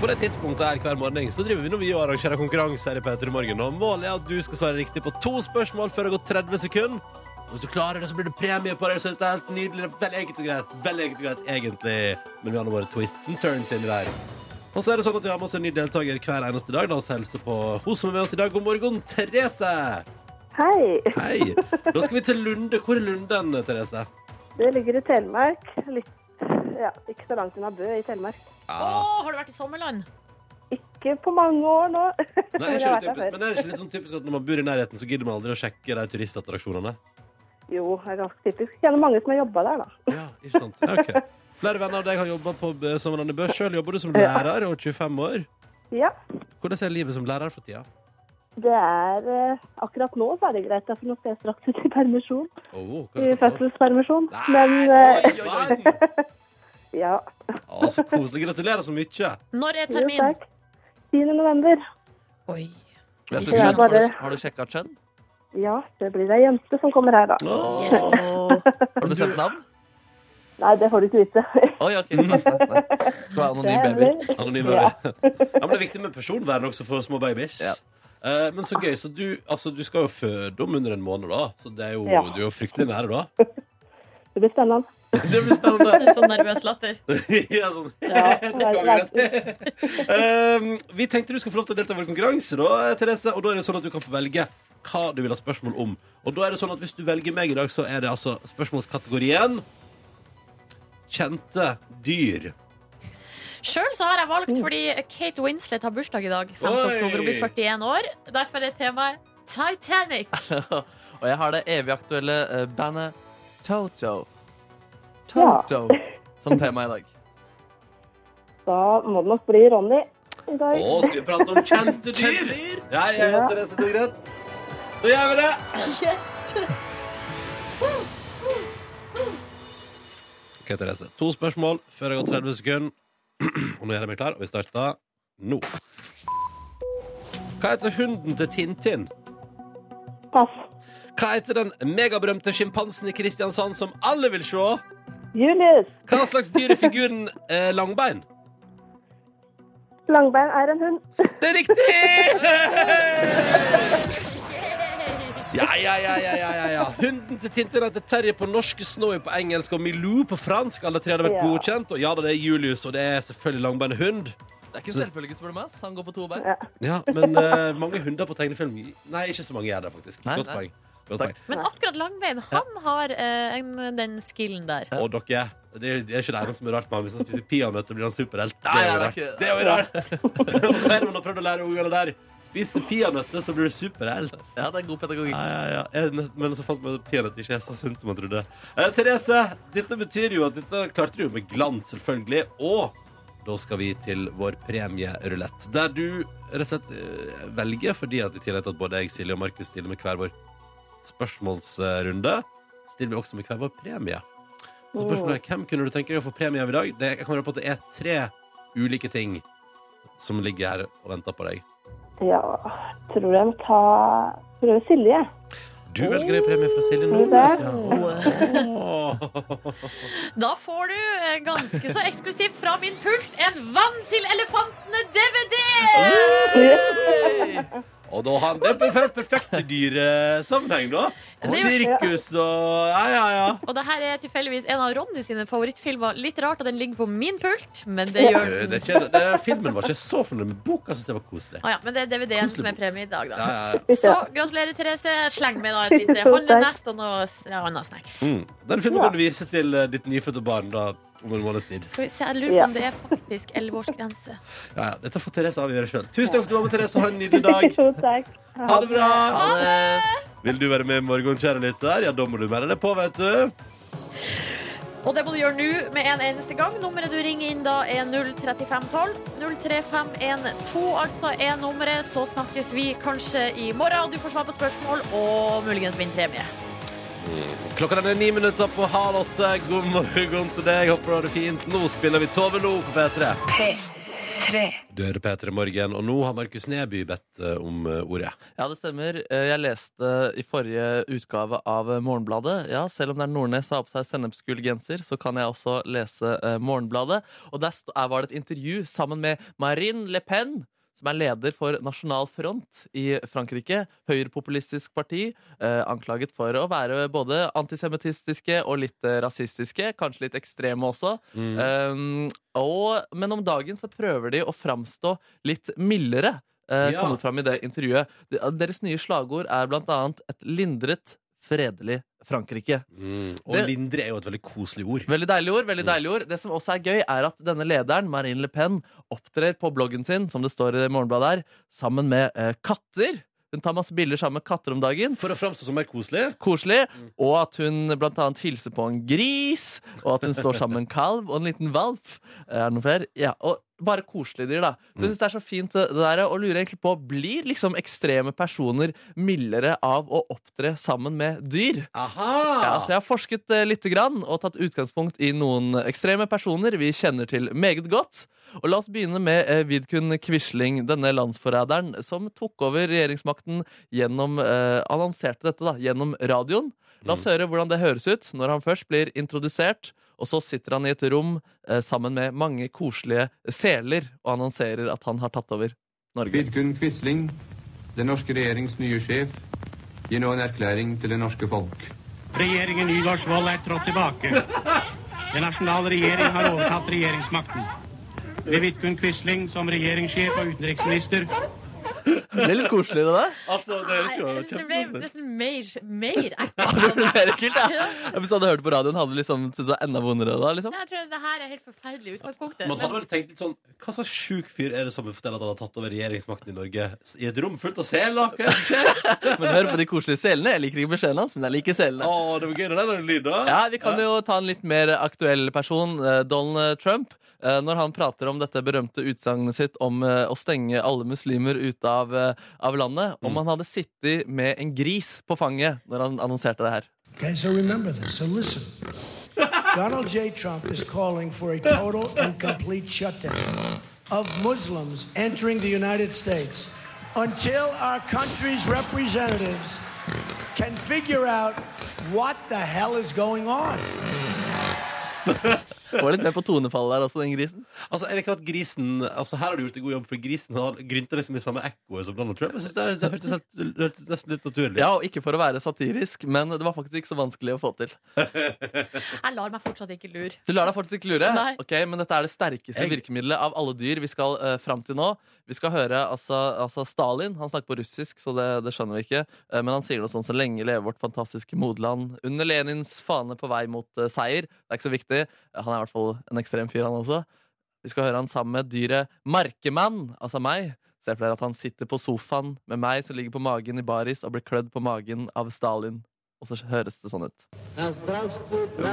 B: På det tidspunktet her hver morgen så driver vi nå vi og arrangerer konkurranse her i Peter i morgen. Og målet er at du skal svare riktig på to spørsmål før det går 30 sekunder. Og Hvis du klarer det, så blir det premie på deg. Så dette er helt nydelig. Det er Veldig enkelt og greit. Veldig enkelt og greit, egentlig. Men vi har nå våre twists and turns inni der. Og så er det sånn at vi har med oss en ny deltaker hver eneste dag. La oss hilse på hun som er med oss i dag. God morgen, Therese!
D: Hei,
B: Hei. Da skal vi til Lunde. Hvor er Lunden, Therese?
D: det ligger i Telemark. Litt, ja, ikke så langt unna Bø i Telemark.
A: Å, har du vært i sommerland?
D: Ikke på mange år nå.
B: Nei,
D: Men
B: er
D: jeg
B: ikke
D: har vært
B: det typisk,
D: her
B: men er det ikke litt sånn typisk at når man bor i nærheten, så gidder man aldri å sjekke de turistattraksjonene?
D: Jo, det er ganske typisk. Kjenner mange som har jobba der, da.
B: Ja, ikke sant? Ja, ok. Flere venner av deg har jobba på B- Sommerlandet Børs. Sjøl jobber du som lærer og er 25 år.
D: Ja,
B: Hvordan er livet som lærer for tida?
D: det er eh, Akkurat nå så er det greit, da, for nå skal jeg straks ut i permisjon.
B: Oh,
D: I
B: hva er det for noe?
D: fødselspermisjon. Men eh,
B: Nei, så, oi, oi, oi.
D: ja,
B: Å, så koselig. Gratulerer så mye.
A: Når er
D: jo
A: termin?
D: takk. 10. november.
A: Oi.
C: Vet
A: Det
C: du
D: er
C: kjønn?
D: bare-
C: Har du- Har du sjekka kjønn?
D: Ja, det blir ei jente som kommer her, da.
B: Å.
A: Yes.
C: Har du bestemt navn?
D: Nei, det får du ikke vite.
C: Oi, ok. Skal være anonym baby.
B: Anonym
D: Ja.
B: baby. Ja, men det er viktig med personvern også for små babyer.
C: Ja.
B: Eh, men så gøy. Så du, altså, du skal jo føde om under en måned, da. Så det er jo,
D: Ja.
B: du er jo fryktelig nære, da.
D: Det blir spennende.
B: Det blir spennende.
A: Sånn nervøs latter.
B: ja, sånn.
D: Ja,
B: det skal gå greit. Eh, vi tenkte du skal få lov til å delta i vår konkurranse, da, Therese. Og da er det sånn at du kan få velge hva du vil ha spørsmål om. Og da er det sånn at hvis du velger meg i dag, så er det altså spørsmålskategorien kjente dyr.
A: Sjøl har jeg valgt
D: Mm.
A: fordi Kate Winslet har bursdag i dag. 5.
B: Oi.
A: oktober og blir 41 år. Derfor er temaet Titanic.
C: Og jeg har det evig aktuelle eh, bandet Toto. Toto som tema i dag.
D: Da må det nok bli Ronny i dag.
B: Å, skal vi prate om kjente dyr? Ja, jeg heter
D: Ja.
B: Therese, det er greit. Da gjør vi det.
A: Yes!
B: Ok, Therese. To spørsmål før det går 30 sekunder. Og nå gjør jeg meg klar, og vi starter nå. Hva heter hunden til Tintin?
D: Pass.
B: Hva heter den megaberømte sjimpansen i Kristiansand som alle vil se?
D: Julius.
B: Hva slags dyr er figuren eh, Langbein?
D: Langbein er en hund.
B: Det er riktig! Ja, ja, ja, ja, ja, ja, ja. Hunden til Tintin heter Terje på norsk, Snowy på engelsk og Milou på fransk. Alle tre hadde vært
D: Ja.
B: godkjent. Og ja da, det er Julius, og det er selvfølgelig langbein hund.
C: Det er ikke selvfølgelig, spør du meg. ass. Han går på to bein.
D: Ja.
B: Ja, men eh, mange hunder på tegnefilm Nei, ikke så mange gjør det, faktisk.
C: Nei,
B: Godt
C: nei.
B: poeng. Godt
C: Takk.
B: poeng.
A: Men akkurat Langbein, han har eh, en, den skillen der.
B: Og dere, det er, det er ikke det eneste som er rart med han. Hvis han spiser peanøtter, blir han superhelt. Det
C: Nei,
B: er jo
C: nei,
B: rart.
C: det er ikke-
B: Det er jo rart. Hva er det man har prøvd å lære ungene der? Spiser peanøtter, så blir du superhelt.
C: Ja, det er god pedagogikk.
B: Ja, ja, ja. Jeg nø- Men så fant man ut at peanøtter ikke er så sunt som man trodde. Eh, Therese, dette betyr jo at dette klarte du jo med glans, selvfølgelig. Og da skal vi til vår premierulett, der du rett og slett eh, velger, fordi at i tillegg til at både jeg, Silje og Markus stiller med hver vår spørsmålsrunde, stiller vi også med hver vår premie. Så spørsmålet er, hvem kunne du tenke deg å få premie av i dag? Det, jeg kan røpe at det er tre ulike ting som ligger her og venter på deg.
D: Ja, tror jeg må ta prøve Silje.
B: Du velger en premie fra Silje
D: Tror du det?
B: Nordnes. Ja. Åh.
A: Da får du eh, ganske så eksklusivt fra min pult en Vann til elefantene-DVD!
B: Og da har han det er per- perfekte dyresammenheng, da. Og sirkus og Ja, ja, ja.
A: Og det her er tilfeldigvis en av Ronny sine favorittfilmer. Litt rart at den ligger på min pult, men det gjør
B: Det,
A: den.
B: det, er ikke- det, filmen var ikke så fornøyd med boka, syns jeg var koselig.
A: Ah, ja, men det er DVD-en som er premie i dag,
B: Ja,
A: da.
B: ja, ja.
A: Så gratulerer, Therese. Sleng med da et lite handlenett og noe s- ja, annet snacks.
B: Mm. Den filmen kan du vise til eh, ditt nyfødte barn da, om en måneds tid.
A: Skal vi se, jeg lurer på om det er faktisk 11-årsgrense.
B: Ja, ja. Dette får Therese avgjøre sjøl. Tusen takk for at du var med, Therese. Ha en nydelig dag.
D: Jo, takk.
B: Ha det bra.
C: Ha det.
B: Vil du være med i morgen, kjære lytter? Ja, da må du melde deg på, vet du.
A: Og det må du gjøre nå med en eneste gang. Nummeret du ringer inn da er 03512. 03512 altså er nummeret. Så snakkes vi kanskje i morgen, og du får svar på spørsmål og muligens vinne premie.
B: Eh, Klokka den er ni minutter på halv åtte. God morgen til deg. Håper du har det fint. Nå spiller vi Tove Lo på P3.
E: P3.
B: Du hører P3 Morgen, og nå har Markus Neby bedt eh, om eh, ordet.
C: Ja, det stemmer. Eh, Jeg leste i forrige utgave av eh, Morgenbladet. Ja, selv om det er Nordnes som har på seg sennepsgul genser, så kan jeg også lese eh, Morgenbladet. Og der st- er- var det et intervju sammen med Marine Le Pen. som er leder for Nasjonal Front i Frankrike, høyrepopulistisk parti, eh, anklaget for å være både antisemittistiske og litt eh, rasistiske, kanskje litt ekstreme også.
B: Mm.
C: Um, og, men om dagen så prøver de å framstå litt mildere. Uh,
B: Ja.
C: Kommet fram i det intervjuet. De- eh, Deres nye slagord er blant annet et lindret, fredelig Frankrike.
B: Mm. Og
C: Det-
B: lindre er jo et veldig koselig ord.
C: Veldig deilig ord. veldig
B: Mm.
C: deilig ord Det som også er gøy, er at denne lederen, Marine Le Pen, opptrer på bloggen sin, som det står i Morgenbladet her, sammen med eh, katter. Hun tar masse bilder sammen med katter om dagen.
B: For å framstå som mer koselig.
C: Koselig. Og at hun blant annet hilser på en gris, og at hun står sammen med en kalv og en liten valp. Eh, Er det noe flere? Ja, og bare koselige dyr, da. Så Jeg synes det er så fint eh, det der, og lurer egentlig på Blir liksom ekstreme personer mildere av å opptre sammen med dyr?
B: Aha!
C: Ja, så jeg har forsket eh, lite grann og tatt utgangspunkt i noen ekstreme personer vi kjenner til meget godt. Og la oss begynne med eh, Vidkun Quisling, denne landsforræderen som tok over regjeringsmakten gjennom eh, Annonserte dette da, gjennom radioen. La oss høre hvordan det høres ut når han først blir introdusert, og så sitter han i et rom eh, sammen med mange koselige seler og annonserer at han har tatt over Norge.
E: Vidkun Quisling, den norske regjerings nye sjef, gir nå en erklæring til det norske folk.
F: Regjeringen Nygaardsvold er trådt tilbake. Den nasjonale regjering har overtatt regjeringsmakten. Med Vidkun Quisling som regjeringssjef og utenriksminister
C: Det er litt koselig, det der.
B: Altså, det er jo
A: Jeg synes det ble
B: kjempekoselig.
A: nesten mer, mer ekkelt.
C: Det blir mer ekkelt, ja. Hvis du hadde hørt på radioen, hadde du liksom syntes det var enda vondere da? liksom
A: Jeg tror det her er helt forferdelig i utgangspunktet.
B: Man hadde
A: Men
B: vel tenkt litt sånn Hva slags sjuk fyr er det som vil fortelle at han har tatt over regjeringsmakten i Norge? I et rom fullt av seler? Hva er det som skjer?
C: Men hør på de koselige selene. Jeg liker ikke beskjeden hans, men jeg liker selene.
B: Å, det var gøy når den lyden da.
C: Ja, Vi kan jo ta en litt mer aktuell person, eh, Donald Trump. Eh, Når han prater om dette berømte utsagnet sitt om eh, å stenge alle muslimer ute av, eh, av landet. Om han hadde sittet med en gris på fanget når han annonserte det her.
G: Okay, so remember this. So listen. Donald J. Trump is calling for a total and complete shutdown of Muslims entering the United States until our country's representatives can figure out what the hell is going on.
C: Var litt mer på tonefallet der også, den grisen.
B: Altså, er det ikke at grisen Altså, her har du gjort en god jobb, for grisen har grynta liksom i samme ekkoet som Donald Trump. Jeg synes det, er- det hørtes helt- det hørtes nesten litt naturlig ut.
C: Ja, og ikke for å være satirisk, men det var faktisk ikke så vanskelig å få til.
A: jeg lar meg fortsatt ikke lure.
C: Du lar deg fortsatt ikke lure?
A: Nei.
C: Ok, Men dette er det sterkeste
B: Jeg-
C: virkemidlet av alle dyr vi skal uh, fram til nå. Vi skal høre altså, altså Stalin. Han snakker på russisk, så det, det skjønner vi ikke. Eh, men han sier noe sånn så lenge leve vårt fantastiske moderland. Under Lenins fane på vei mot eh, seier. Det er ikke så viktig. Eh, Han er i hvert fall en ekstrem fyr, han også. Vi skal høre han sammen med dyret Markemann, altså meg. Så jeg pleier at han sitter på sofaen med meg som ligger på magen i baris og blir klødd på magen av Stalin. Og så høres det sånn ut.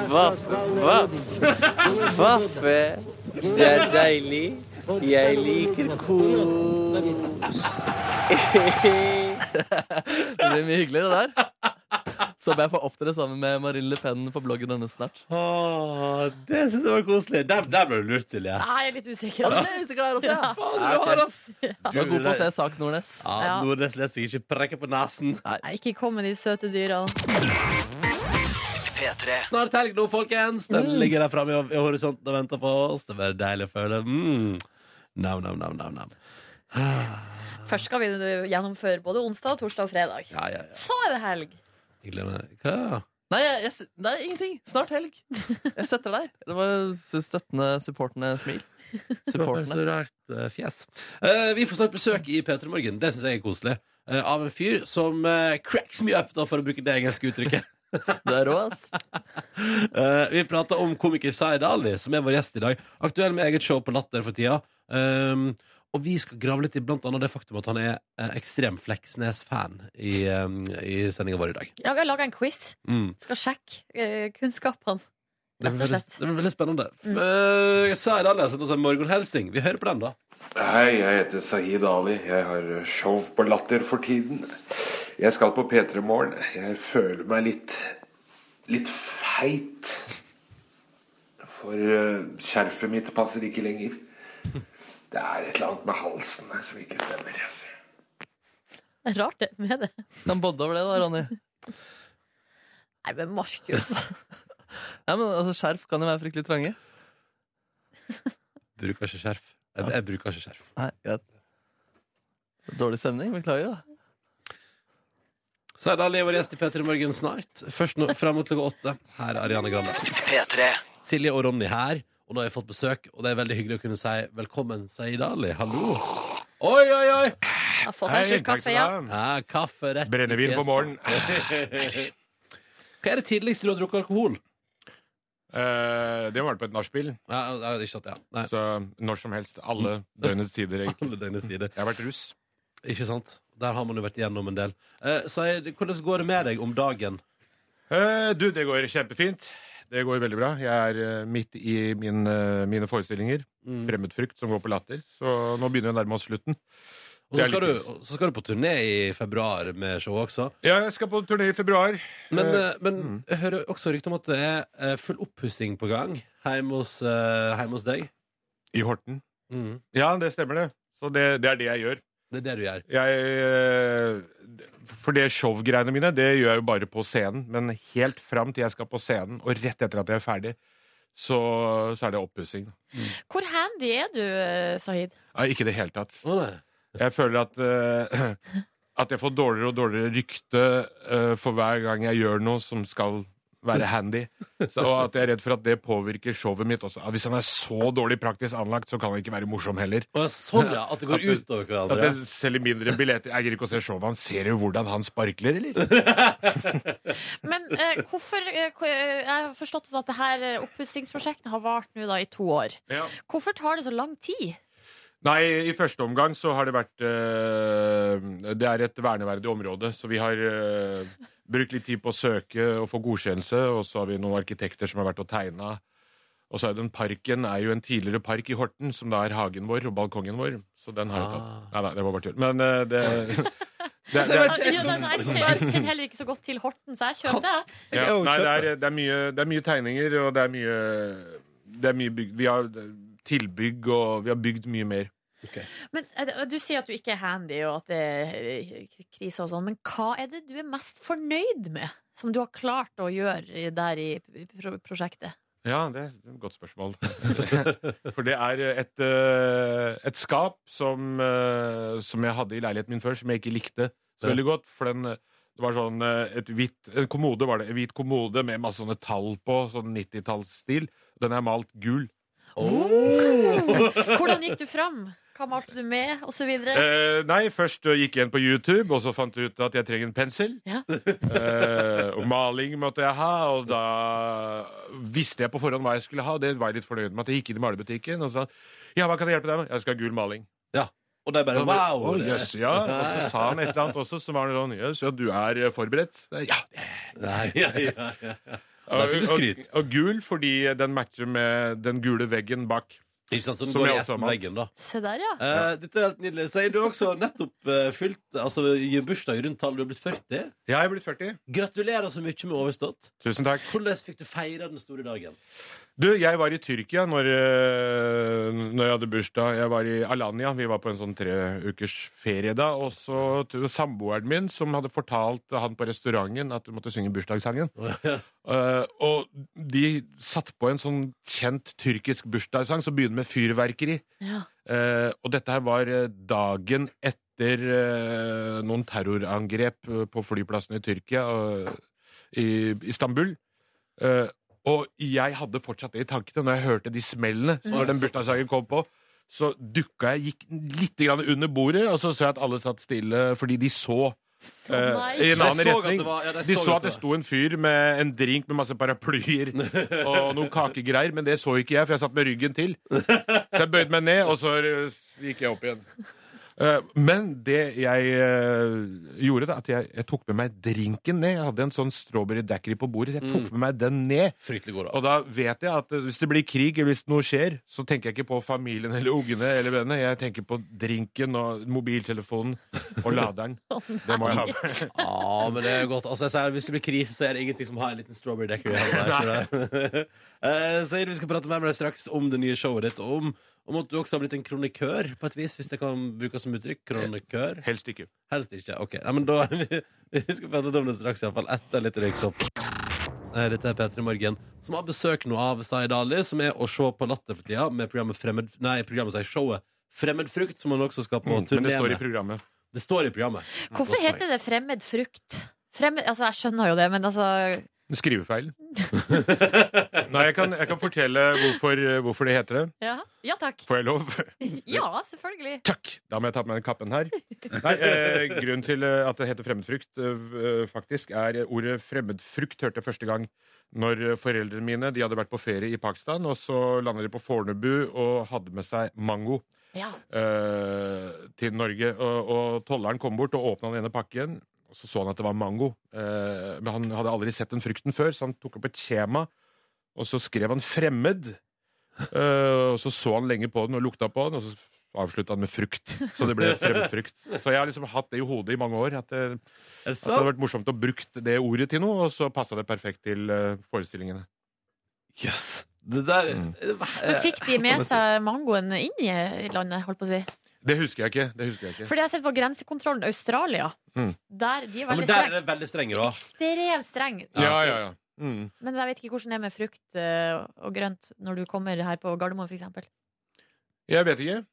H: Vaff, vaff. Vaffe. Det er deilig. Jeg liker kos.
C: Det blir mye hyggelig, det der. Så håper jeg får opptre sammen med Marine Le Pen på bloggen hennes snart.
B: Å, det syns jeg var koselig. Der, der ble du lurt, Silje.
A: Nei, jeg er litt usikker. Altså.
C: Ja.
B: Faen, du har, ass!
C: Du er god på å se sak, Nordnes.
B: Ja,
A: Ja.
B: Nordnes lar seg ikke prekke på nesen.
A: Nei, ikke kom med de søte dyra.
B: Snart helg nå, folkens. Den ligger der framme i horisonten og venter på oss. Det blir deilig å føle. Mm. Nam, nam, nam, nam, nam.
A: Først skal vi gjennomføre både onsdag, torsdag og fredag.
B: Ja, ja, ja.
A: Så er det helg.
B: Jeg gleder meg. Hva?
C: Nei, jeg, jeg, s- nei, ingenting. Snart helg. Jeg støtter deg. Det var s- støttende, supportende smil. Supportende.
B: Så rart eh, fjes. Eh, vi får snart besøk i P3 Morgen. Det syns jeg er koselig. Eh, av en fyr som eh, cracks me up, da, for å bruke det engelske uttrykket.
C: Du er rå, ass.
B: Eh, vi prater om komiker Zaid Ali, som er vår gjest i dag. Aktuell med eget show på Latter for tida. Um, og vi skal grave litt i blant annet det faktum at han er eh, ekstrem Fleksnes-fan i, um, i sendinga vår i dag.
A: Ja, vi har laga en quiz.
B: Mm.
A: Skal sjekke eh, kunnskapene.
B: Det
A: Rett
B: blir
A: og
B: veldig,
A: slett.
B: det blir veldig spennende. Mm. Zaid Ali har sendt oss en morgenhelsing. Vi hører på den, da.
I: Hei, jeg heter Sahid Ali. Jeg har show på Latter for tiden. Jeg skal på P3 Morgen. Jeg føler meg litt litt feit. For eh, skjerfet mitt passer ikke lenger. Det er et eller annet med halsen her som ikke stemmer. altså.
A: Det er Rart det med det.
C: Kan bodde over det, da, Ronny.
A: Nei, men Markus.
C: Nei, men altså, Skjerf kan jo være fryktelig trange.
B: Bruker ikke skjerf. Jeg, jeg bruker ikke skjerf.
C: Nei, greit. Dårlig stemning, beklager. da
B: Så er det Ali, vår gjest i P3 Morgen snart. Først nå, frem mot klokka åtte. Her er Ariane Grande. Silje og Ronny her, og nå har jeg fått besøk, og det er veldig hyggelig å kunne si velkommen, Saeed Ali. Hallo. Oi, oi, oi!
A: Ja, Få seg en slurk kaffe, ja.
B: Ja, kaffe rett i
J: Brennevin på
B: fjeset.
J: morgenen.
B: Hva er det tidligste du har drukket alkohol?
J: Eh, det var det på et nachspiel.
B: Ja, ja, ikke sant, ja. Nei,
J: Så når som helst. Alle døgnets tider. egentlig.
B: alle døgnets tider.
J: Jeg har vært russ.
B: Ikke sant? Der har man jo vært igjennom en del. Eh, Saeed, hvordan går det med deg om dagen?
J: Eh, du, det går kjempefint. Det går veldig bra. Jeg er eh, midt i min, eh, mine forestillinger. Fremmedfrykt som går på latter. Så nå begynner vi å nærme oss slutten.
B: Og
J: Det
B: så
J: er
B: skal,
J: litt
B: du, så skal du på turné i februar med show også.
J: Ja, jeg skal på turné i februar.
B: Men,
J: Eh,
B: eh, men jeg hører også rykte om at det er eh, full oppussing på gang hjemme hos, eh, hjemme hos deg.
J: I Horten. Ja, det stemmer, det. Så det, det er det jeg gjør.
B: Det er det du gjør.
J: Jeg, eh, for det showgreiene mine, det gjør jeg jo bare på scenen. Men helt fram til jeg skal på scenen, og rett etter at jeg er ferdig, så, så er det oppussing.
A: Hvor handy er du, eh, Sahid?
J: Nei, Ikke i det hele tatt.
B: Å, nei.
J: Jeg føler at eh, At jeg får dårligere og dårligere rykte eh, for hver gang jeg gjør noe som skal være handy. Så, og at jeg er redd for at det påvirker showet mitt også. At hvis han er så dårlig praktisk anlagt, så kan han ikke være morsom heller.
B: Å, sånn, ja. At det
J: At
B: går
J: det-
B: utover
J: At
B: hverandre.
J: jeg selger mindre billetter. Jeg gidder ikke å se showet. Han ser jo hvordan han sparkler, eller?
A: Men eh, hvorfor eh, hvor- eh, Jeg har forstått at det her eh, oppussingsprosjektet har vart nå da i to år.
J: Ja.
A: Hvorfor tar det så lang tid?
J: Nei, i første omgang så har det vært eh, Det er et verneverdig område, så vi har eh, brukt litt tid på å søke og få godkjennelse, og så har vi noen arkitekter som har vært og tegna. Og så er den parken er jo en tidligere park i Horten, som da er hagen vår og balkongen vår. Så den har jeg tatt. Nei, nei, det var bare tull. Men eh, det, det, det,
A: Ja, jo, altså, jeg kjenner- jeg kjenner heller ikke så godt til Horten, så jeg kjøper det. jeg.
J: ja.
B: Jeg er jo
J: Nei, det
B: kjøpt,
J: er, det, er mye, det er mye tegninger, og det er mye, det er mye bygg. Vi har tilbygg, og vi har bygd mye mer.
A: Men eh, Du sier at du ikke er handy, og at det er eh, krise og sånn, men hva er det du er mest fornøyd med? Som du har klart å gjøre i- der i pro prosjektet?
J: Ja, det er et godt spørsmål. For det er et, eh, et skap som, eh, som jeg hadde i leiligheten min før, som jeg ikke likte så veldig godt. For den, eh, det var sånn eh, et hvitt en kommode, var det. En hvit kommode med masse sånne tall på, sånn 90-tallsstil. Den er malt gul.
A: Hvordan gikk du fram? Hva malte du med, og så videre?
J: Eh, nei, først eh, gikk jeg inn på YouTube, og så fant jeg ut at jeg trenger en pensel.
A: Ja.
J: Eh, og maling måtte jeg ha, og da visste jeg på forhånd hva jeg skulle ha, og det var jeg litt fornøyd med. At jeg gikk inn i malebutikken og sa ja, hva kan jeg hjelpe deg med? Jeg skal ha gul maling.
B: Og det er bare
J: Og da
B: wow!
J: bare, «Å,
B: det-
J: jøss, ja. Og så sa han et eller annet også som var sånn Jøss, ja, du er eh, forberedt? Ja.
B: Nei, ja, ja, ja. Ja, der fikk du
J: Og-
B: skryt.
J: Og, og gul fordi den matcher med den gule veggen bak.
B: Ikke sant, så den
J: Som
B: går i
J: jeg
B: ett
J: også har
B: med
J: malt.
B: veggen, da.
A: Se der, ja.
B: Eh, dette er helt nydelig. Sier du også nettopp eh, fylt altså, i bursdag rundt tallet du har blitt 40?
J: Ja, jeg er blitt 40.
B: Gratulerer så mye med overstått.
J: Tusen takk.
B: Hvordan fikk du feire den store dagen?
J: Du, jeg var i Tyrkia når, eh, når jeg hadde bursdag. Jeg var i Alanya. Vi var på en sånn tre ukers ferie da. Og så t- samboeren min som hadde fortalt han på restauranten at du måtte synge bursdagssangen. Eh, og de satte på en sånn kjent tyrkisk bursdagssang som begynner med fyrverkeri.
A: ja.
J: Eh, og dette her var eh, dagen etter eh, noen terrorangrep eh, på flyplassen i Tyrkia, og- i Istanbul. Eh, og jeg hadde fortsatt det i tankene når jeg hørte de smellene. Så når den bursdagsdagen kom på, så dukka jeg, gikk litt grann under bordet, og så så jeg at alle satt stille fordi de så eh,
A: nei.
J: i en
B: De
J: annen
B: så at
J: retning.
B: det var- ja, de
J: de
B: så
J: så
B: at
J: at
B: det
J: det sto en fyr med en drink med masse paraplyer og noen kakegreier, men det så ikke jeg, for jeg satt med ryggen til. Så jeg bøyde meg ned, og så eh, gikk jeg opp igjen. Eh, Men det jeg eh, gjorde, da, at jeg, jeg tok med meg drinken ned. Jeg hadde en sånn strawberry daiquiri på bordet. så Jeg tok med meg den ned.
B: Mm. Fryktelig god dag.
J: Og da vet jeg at eh, hvis det blir krig, eller hvis noe skjer, så tenker jeg ikke på familien eller ungene eller vennene. Jeg tenker på drinken og mobiltelefonen og laderen. Det må jeg ha med.
B: Ja, men det er godt. Altså, jeg sier, hvis det blir krise, så er det ingenting som har en liten strawberry decker i hånda. uh, Seid, vi skal prate mer med deg straks om det nye showet ditt, og om, om at du også har blitt en kronikør, på et vis, hvis det kan brukes som uttrykk. Kronikør.
J: Helst ikke.
B: Helst ikke. Ok, Nei, men da Vi skal prate om det straks, iallfall etter litt røyksopp. Eh, Dette er P3 Morgen, som har besøk nå av Zaid Ali, som er å se på Latter for tida med programmet Fremmed... Nei, programmet sier showet Fremmedfrukt, som han også skal på
J: Mm, Men
B: turné
J: det står i
B: med.
J: programmet.
B: Det står i programmet.
A: Hvorfor heter det fremmed frukt? Fremmed, altså, jeg skjønner jo det, men altså
J: Skrivefeil. Nei, jeg kan, jeg kan fortelle hvorfor, eh, hvorfor det heter det.
A: Ja, ja takk.
J: Får jeg lov?
A: Ja, selvfølgelig.
J: Takk! Da må jeg ta på meg den kappen her. Nei, eh, Grunnen til eh, at det heter fremmedfrukt, eh, faktisk, er ordet fremmedfrukt hørte jeg første gang når eh, foreldrene mine de hadde vært på ferie i Pakistan, og så landet de på Fornebu og hadde med seg mango
A: Ja.
J: eh, til Norge. Og, og tolleren kom bort og åpna den ene pakken. Og så så han at det var mango. Eh, men han hadde aldri sett den frukten før, så han tok opp et skjema, og så skrev han 'fremmed'. Eh, og så så han lenge på den og lukta på den, og så avslutta han med frukt. Så det ble fremmedfrukt. Så jeg har liksom hatt det i hodet i mange år. At det, at det hadde vært morsomt å brukt det ordet til noe, og så passa det perfekt til eh, forestillingene.
B: Jøss! Det der
C: Mm. Eh,
A: Men fikk de med seg mangoen inn i landet, holdt på å si?
J: Det husker jeg ikke. Det husker jeg ikke.
A: Fordi jeg har sett på grensekontrollen Australia.
J: Mm.
A: Der, de er
B: Ja, men
A: veldig
B: der er
A: streng.
B: det veldig strenge, da.
A: Ekstremt streng.
J: Ja, ja, ja. Mm.
A: Men jeg vet ikke hvordan det er med frukt eh, og grønt når du kommer her på Gardermoen, f.eks.
J: Jeg vet ikke.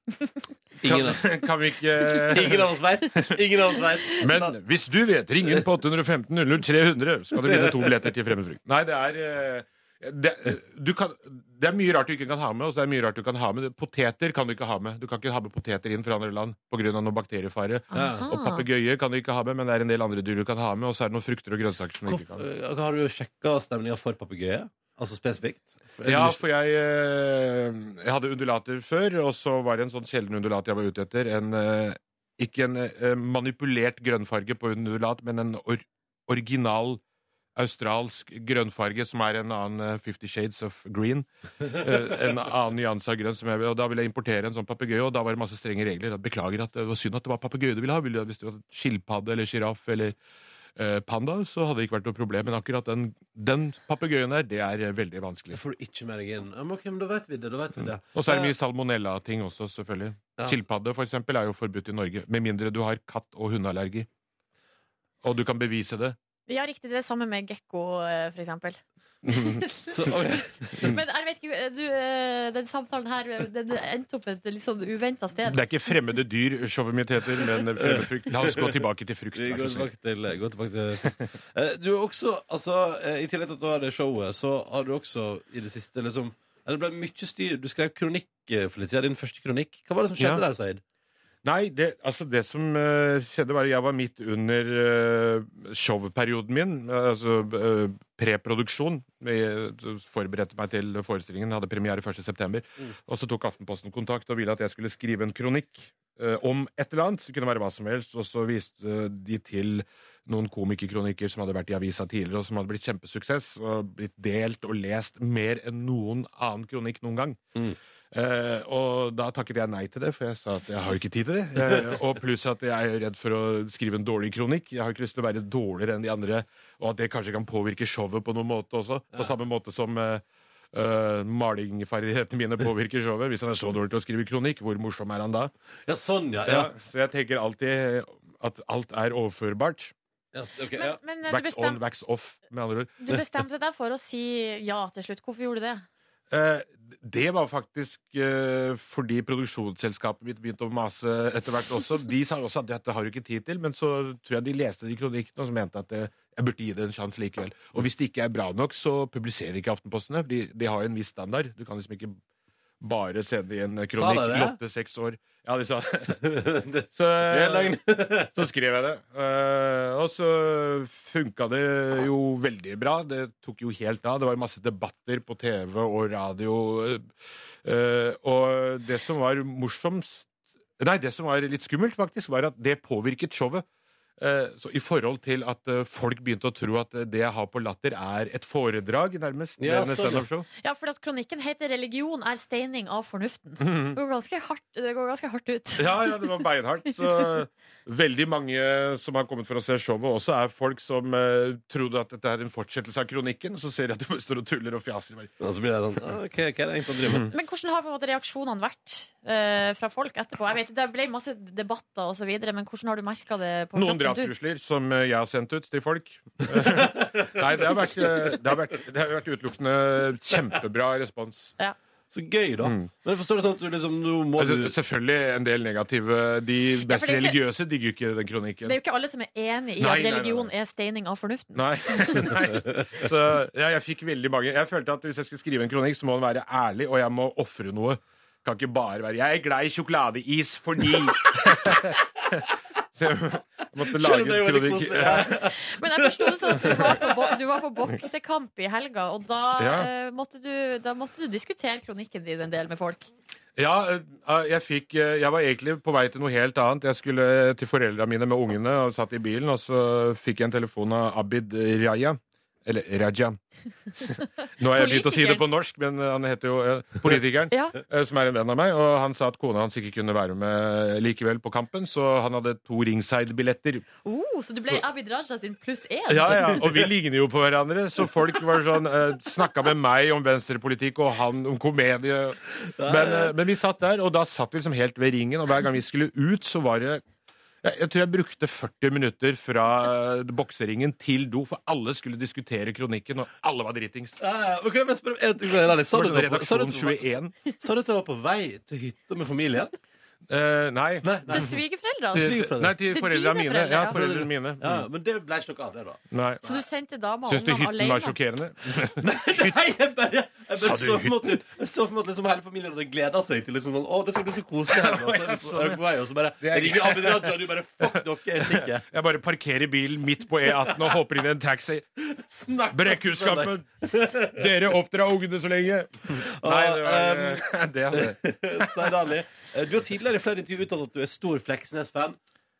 B: Ingen
J: kan, kan vi ikke
B: Ingen av oss veit. Ingen av oss vet.
J: Men hvis du vet, ring inn på 815 00 300, skal du vinne to billetter til Fremmedfrukt. Nei, det er eh, det, du kan, det er mye rart du ikke kan ha med. Og så er det mye rart du kan ha med Poteter kan du ikke ha med. Du kan ikke ha med poteter inn fra andre land pga. noe bakteriefare.
A: Aha.
J: Og papegøyer kan du ikke ha med, men det er en del andre dyr du kan ha med. Og så er det noen frukter og grønnsaker som du ikke
B: Hvorf-
J: kan.
B: eh, Har du sjekka stemninga for papegøye? Altså spesifikt? Er
J: Ja,
B: du-
J: for jeg, eh, jeg hadde undulater før, og så var det en sånn sjelden undulat jeg var ute etter. En, eh, ikke en eh, manipulert grønnfarge på undulat, men en or original australsk grønnfarge, som er en annen eh, Fifty Shades of Green. Eh, en annen nyanse av grønn. Som jeg, og da ville jeg importere en sånn papegøye, og da var det masse strenge regler. Jeg Beklager at det var synd at det var papegøye du ville ha. Ville du, hvis du hadde skilpadde eller sjiraff eller eh, panda, så hadde det ikke vært noe problem. Men akkurat den, den papegøyen der, det er eh, veldig vanskelig.
B: Det får du ikke med deg inn. Ja, men ok, men da vet vi det. Da vet vi det.
J: Og så er det mye salmonella-ting også, selvfølgelig.
B: Ja.
J: Skilpadde for eksempel, er jo forbudt i Norge, med mindre du har katt- og hundeallergi. Og du kan bevise det.
A: Ja, riktig. Det er det samme med gekko, eh, for eksempel.
B: Så, ok.
J: Mm.
A: Men jeg vet ikke, eh, du, eh, den samtalen her eh, den endte opp et litt sånn uventa sted.
J: Det er ikke fremmede dyr, sjovemiteter, men fremmedfrukt. La oss gå tilbake til frukt.
B: Vi
J: Vær
B: går
J: så snill.
B: tilbake til, går tilbake til. Eh, Du har også, altså eh, I tillegg til at du har det showet, så har du også i det siste liksom eh, Det ble mye styr. Du skrev kronikk eh, for litt siden. Din første kronikk. Hva var det som skjedde
J: Ja.
B: der, Seid?
J: Nei, det, altså det som eh, skjedde var at jeg var midt under eh, showperioden min, eh, altså eh, preproduksjon. Jeg forberedte meg til forestillingen, hadde premiere 1. september. Og så tok Aftenposten kontakt og ville at jeg skulle skrive en kronikk eh, om et eller annet. Det kunne være hva som helst. Og så viste de til noen komikerkronikker som hadde vært i avisa tidligere, og som hadde blitt kjempesuksess og blitt delt og lest mer enn noen annen kronikk noen gang. Eh, og da takket jeg nei til det, for jeg sa at jeg har jo ikke tid til det. Eh, og pluss at jeg er redd for å skrive en dårlig kronikk. Jeg har ikke lyst til å være dårligere enn de andre, og at det kanskje kan påvirke showet på noen måte også. På samme måte som eh, eh, malingferdighetene mine påvirker showet. Hvis han er så dårlig til å skrive kronikk, hvor morsom er han da?
B: Ja, sånn, ja.
J: Ja,
B: ja.
J: så jeg tenker alltid at alt er overførbart.
B: ja. s- ok,
A: Men,
B: ja.
A: men eh, du,
J: Wax on,
A: bestem,
J: wax off, med andre ord.
A: du bestemte deg for å si ja til slutt. Hvorfor gjorde du det?
J: Eh, det var faktisk eh, fordi produksjonsselskapet mitt begynte å mase etter hvert også. De sa også at dette har du ikke tid til, men så tror jeg de leste de kronikkene og så mente at eh, jeg burde gi det en sjanse likevel. Og hvis det ikke er bra nok, så publiserer ikke Aftenposten det. De, de har jo en viss standard. Du kan liksom ikke bare sende i en kronikk.
B: de det?
J: Lotte, seks år. Ja, de sa det.
B: Det-
J: Så,
B: er løgn.
J: eh, så skrev jeg det. Eh, og så funka det jo veldig bra. Det tok jo helt av. Det var jo masse debatter på TV og radio. eh, og det som var morsomst Nei, det som var litt skummelt, faktisk, var at det påvirket showet. Eh, Så I forhold til at eh, folk begynte å tro at eh, det jeg har på Latter, er et foredrag, nærmest.
B: Ja,
J: med
B: sånn, ja.
J: stand-up-show.
A: Ja, for at Kronikken heter 'Religion er steining av fornuften'. Det går ganske hardt, det går ganske hardt ut.
J: Mm. Ja, ja, det var beinhardt. Så veldig mange som har kommet for å se showet, også er folk som eh, trodde at dette er en fortsettelse av kronikken. Så ser de at de står og tuller og fjaser. Bare,
B: Og så blir det sånn ah, OK, hva er det egentlig å drive
J: Mm.
B: med?
A: Men hvordan har på en måte reaksjonene vært eh, fra folk etterpå? Jeg vet, jo, Det ble masse debatter osv., men hvordan har du merka det? på
J: Noen
A: kroppen? Du-
J: drapstrusler som eh, jeg har sendt ut til folk. Nei, det har vært, eh, det har vært, det har vært utelukkende kjempebra respons.
A: Ja.
B: Så gøy, da. Men jeg forstår det sånn at du liksom nå må
J: Mm. Altså,
B: du
J: Selvfølgelig en del negative. De
A: det
J: best
A: er ikke-
J: religiøse digger jo ikke den kronikken.
A: Det er jo ikke alle som er enig i at
J: Nei, nei, nei,
A: religion er steining av fornuften.
J: Nei. nei. Så ja, jeg fikk veldig mange Jeg følte at hvis jeg skulle skrive en kronikk, så må den være ærlig, og jeg må ofre noe. Kan ikke bare være 'Jeg er glad i sjokoladeis fordi' Så jeg måtte lage
B: Skjønner, det er
J: en
B: jo veldig
J: kronikk.
B: koselig.
J: Ja.
A: Men jeg forsto det sånn at du var på, bo- du var på boksekamp i helga, og da,
J: Ja.
A: eh, måtte du, da måtte du diskutere kronikken din en del med folk.
J: Ja, eh, jeg fikk eh, Jeg var egentlig på vei til noe helt annet. Jeg skulle eh, til foreldra mine med ungene og satt i bilen, og så fikk jeg en telefon av Abid Raja. Eller Raja. Nå har jeg begynt å si det på norsk, men eh, han heter jo eh, politikeren,
A: Ja.
J: eh, som er en venn av meg. Og han sa at kona hans ikke kunne være med likevel på kampen, så han hadde to ringside-billetter.
A: Oh, så du ble Abid Raja sin pluss én?
J: Ja, ja, og vi ligner jo på hverandre, så folk var sånn eh, snakka med meg om venstrepolitikk og han om komedie. Men, eh, men vi satt der, og da satt vi liksom helt ved ringen, og hver gang vi skulle ut, så var det jeg, jeg tror jeg brukte 40 minutter fra eh, bokseringen til do, for alle skulle diskutere kronikken, og alle var dritings.
B: Ja, ja, men kan jeg bare spørre om en ting som er ærlig? Sa du
J: Var
B: at
J: det
B: du var på- sa du at du var-
J: redaksjon
B: Sa du at du var på vei til hytta med familien?
J: Eh, nei.
A: Til svigerforeldra?
J: Til-
A: altså.
J: Nei, til
A: Til
J: foreldra
A: dine
J: mine.
A: foreldre,
J: ja,
A: ja.
J: foreldrene mine.
B: Ja, men det ble ikke noe av det, da.
J: Nei.
A: Så du sendte dama og
J: Syns du
A: ungene
J: hytten var
A: alene?
J: sjokkerende?
B: Nei, jeg bare, jeg bare
J: Sa du
B: så for meg at du- jeg så for meg at liksom hele familien hadde gleda seg til liksom, sånn, Å, det skal bli så koselig her. Og så, er det så, er det på vei, og så bare
J: sånn, Det er-
B: ringer Abid Raja, og du bare Fuck dere, jeg stikker.
J: Jeg bare parkerer bilen midt på E18 og hopper inn i en taxi.
B: Snakk om
J: Brekkhuskampen! Dere oppdrar ungene så lenge! Nei, det var det. hadde-
B: søndag. Stein Ali, eh, du har tidligere i flere intervju uttalt at du er stor Fleksnes-fan.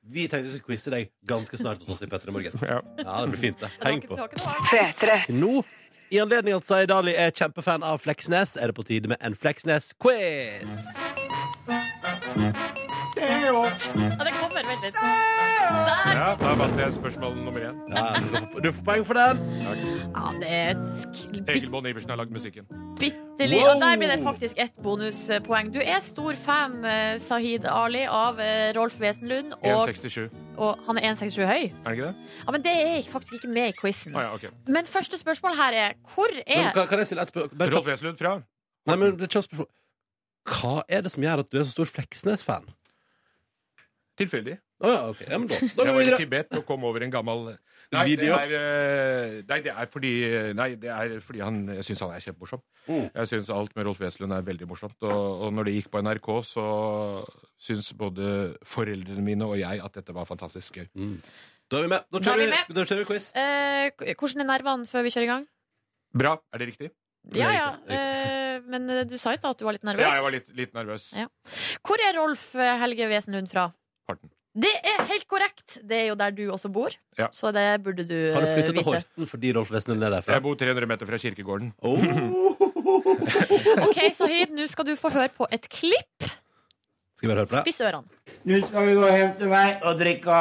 B: Vi tenkte vi skulle quize deg ganske snart hos oss i Petter i morgen.
J: Ja.
B: Ja, det blir fint, det.
A: Det var
B: Heng
A: ikke-
B: på.
A: det var ikke noe annet.
B: Nå, i anledning at Zaid Ali er kjempefan av Fleksnes, er det på tide med en Fleksnes-quiz.
A: Ja, det kommer, vent litt.
J: ja, da vant jeg spørsmål nummer én.
B: Ja, du, skal få- du får poeng for den.
A: Ja, det er et sk-
J: Egil Bonn Iversen har lagd musikken.
A: Bitte litt.
B: Wow!
A: Og der blir det faktisk ett bonuspoeng. Du er stor fan, eh, Sahid Ali, av eh, Rolf Wesenlund. Og,
J: 1,67.
A: og han er 1,67 høy.
J: Er det ikke det?
A: Ja, Men det er faktisk ikke med i quizen.
J: Å ja, ok.
A: Men første spørsmål her er hvor
B: Men,
A: er
B: kan, kan jeg stille et spørsmål? Bare
J: Rolf
B: kjapt-
J: Wesenlund fra
B: Nei, men det er kjapt spørsmål. Hva er det som gjør at du er så stor Fleksnes-fan?
J: Tilfeldig.
B: Å ja, ok. Ja, men da, da
J: Jeg
B: går
J: var
B: vi
J: i
B: videre.
J: Tibet og kom over en gammel Nei, det
B: Video.
J: er, eh, nei, det er fordi Nei, det er fordi han Jeg syns han er kjempemorsom.
B: Mm.
J: Jeg syns alt med Rolf Wesenlund er veldig morsomt. Og, og når det gikk på NRK, så syns både foreldrene mine og jeg at dette var fantastisk gøy.
B: Da er vi med.
A: Da
B: Da
A: er
B: kjører
A: vi
B: vi,
A: med.
B: da kjører vi quiz.
A: eh, k- Hvordan er nervene før vi kjører i gang?
J: Bra. Er det riktig?
A: Ja ja,
B: riktig,
A: eh, men eh, du sa i stad at du var litt nervøs.
J: Ja, jeg var litt, litt nervøs.
A: Ja. Hvor er Rolf eh, Helge Wesenlund fra?
J: Horten.
A: Det er helt korrekt! Det er jo der du også bor,
J: Ja.
A: så det burde du eh,
B: Har du flyttet
A: vite.
B: til Horten fordi Rolf Wesenlund er derfra? Oh!
J: Jeg bor 300 meter fra kirkegården.
A: Ok, Sahid, nå skal du få høre på et klipp.
B: Skal vi bare høre på det?
A: Spiss ørene.
K: Nå skal vi gå hjem til meg og drikke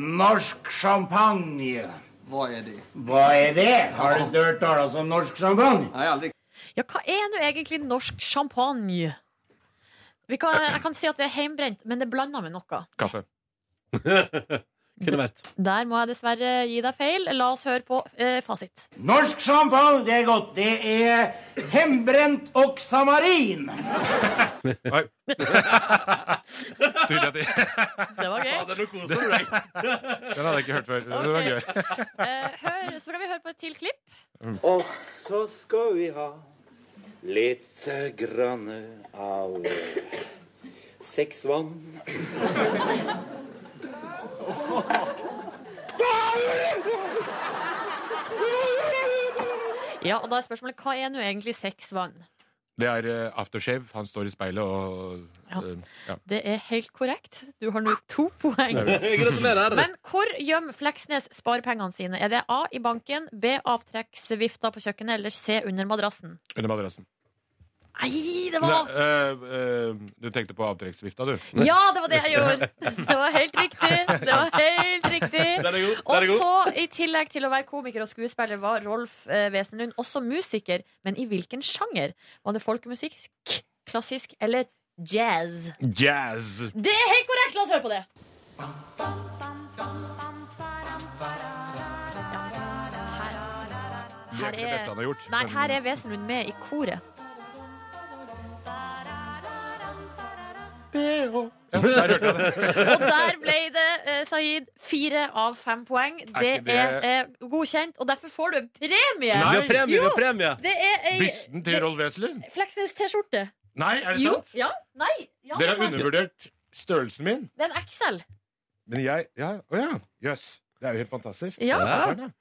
K: norsk champagne.
H: Hva er det?
K: Hva er det? Har du hørt tales om norsk champagne?
H: Nei, aldri.
A: Ja, hva er nå egentlig norsk champagne? Vi kan, jeg kan si at det er heimbrent, men det er blanda med noe.
J: Kaffe.
B: Kunne vært.
A: Der må jeg dessverre gi deg feil. La oss høre på eh, fasit.
K: Norsk champagne, det er godt. Det er hembrent og samarin.
J: Oi. Tydelig at jeg-
A: Det var gøy.
B: nå koser du deg.
J: Den hadde jeg ikke hørt før. Det var
A: Ok.
J: gøy.
A: Eh, hør, så skal vi høre på et til klipp.
L: Og så skal vi ha litt eh, grann av eh, seks vann.
A: Ja, og da er spørsmålet hva er nå egentlig seks vann?
J: Det er eh, aftershave. Han står i speilet og
A: Ja.
J: eh, ja.
A: Det er helt korrekt. Du har nå to poeng.
B: Gratulerer.
A: Men hvor gjemmer Fleksnes sparepengene sine? Er det A i banken, B avtrekksvifta på kjøkkenet eller C under madrassen?
J: Under madrassen.
A: Nei, det
J: Ne-
A: var
J: eh, eh, du tenkte på avtrekksvifta, du?
A: Ja, det var det jeg gjorde! Det var helt riktig. Det var helt riktig.
B: Den er god.
A: Og
B: Den er god.
A: så, i tillegg til å være komiker og skuespiller, var Rolf eh, Wesenlund også musiker. Men i hvilken sjanger? Var det folkemusikk, k- klassisk eller jazz?
J: Jazz!
A: Det er helt korrekt! La oss høre på det.
J: Det er ikke det beste han har gjort.
A: Nei,
J: men-
A: her er Wesenlund med i koret.
J: Matteo. Ja, der hørte jeg det.
A: Og der ble det, eh, Saeed, fire av fem poeng. Det
J: ikke det-
A: er eh, godkjent, og derfor får du en premie!
J: Nei. Vi har premie, vi
A: Jo,
J: har premie.
A: Det er ei
J: Bysten til Rolf Wesenlund?
A: Fleksnes T-skjorte.
J: Nei, er det
A: Jo,
J: sant?
A: Ja. Nei. Ja, det
J: Dere
A: er
J: har
A: sant.
J: undervurdert størrelsen min.
A: Det er en XL.
J: Men jeg Ja, å ja. Jøss. Det er jo helt fantastisk.
A: Ja.
J: Sånn, ja.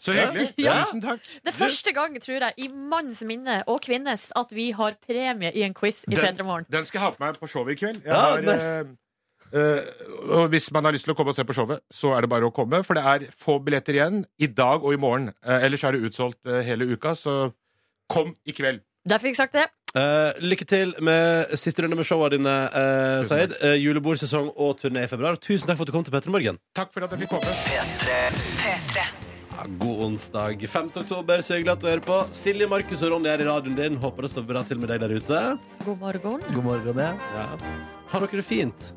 J: Så hyggelig.
A: Ja.
J: Tusen takk.
A: Det er første gang, tror jeg, i manns minne og kvinnes at vi har premie i en quiz i P3 Morgen.
J: den skal jeg ha på meg på showet i kveld. Jeg
A: Ja,
J: har, eh, eh, og hvis man har lyst til å komme og se på showet, så er det bare å komme. For det er få billetter igjen i dag og i morgen. Eh, ellers er det utsolgt eh, hele uka, så kom i kveld.
A: Der fikk jeg sagt det.
B: Eh, lykke til med siste runde med showa dine, uh, Saeed. Eh, julebordsesong og turné i februar. Tusen takk for at du kom til Petter Morgen.
J: Takk for at jeg fikk komme.
B: Ja, god onsdag. 5. oktober, så hyggelig at du hører på. Silje, Markus og Ronny er i radioen din. Håper det står bra til med deg der ute.
A: God morgen.
B: God morgen, ja. Har dere det fint?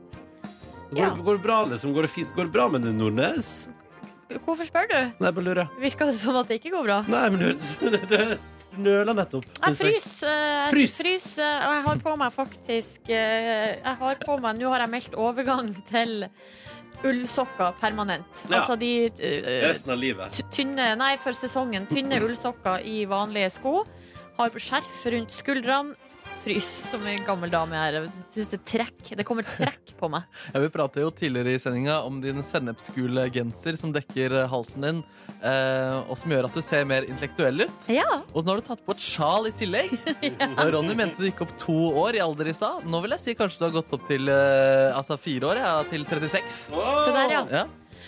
B: Går,
A: Ja.
B: går det bra, liksom? Går det, fint? Går det bra med det, Nordnes?
A: Hvorfor spør du?
B: Nei, bare lurer.
A: Virka det som at det ikke går bra?
B: Nei, men du hørtes Du nøla nettopp.
A: Jeg
B: synes
A: fryser.
B: jeg.
A: eh, Jeg
B: Frys.
A: frys, eh, og jeg har på meg faktisk eh, Jeg har på meg, Nå har jeg meldt overgang til ullsokker permanent.
B: Ja.
A: Altså de eh,
B: Resten av livet.
A: t- tynne Nei, for sesongen. Tynne ullsokker i vanlige sko. Har skjerf rundt skuldrene. Frys, som en gammel dame jeg er. Syns det trekk. Det kommer trekk på meg.
C: Ja, vi pratet jo tidligere i sendinga om din sennepsgule genser som dekker eh, halsen din, eh, og som gjør at du ser mer intellektuell ut. Og så nå har du tatt på et sjal i tillegg. Og Ronny mente du gikk opp to år i alder i stad. Nå vil jeg si kanskje du har gått opp til eh, altså fire år, ja, til 36.
A: Se der, ja.
C: ja.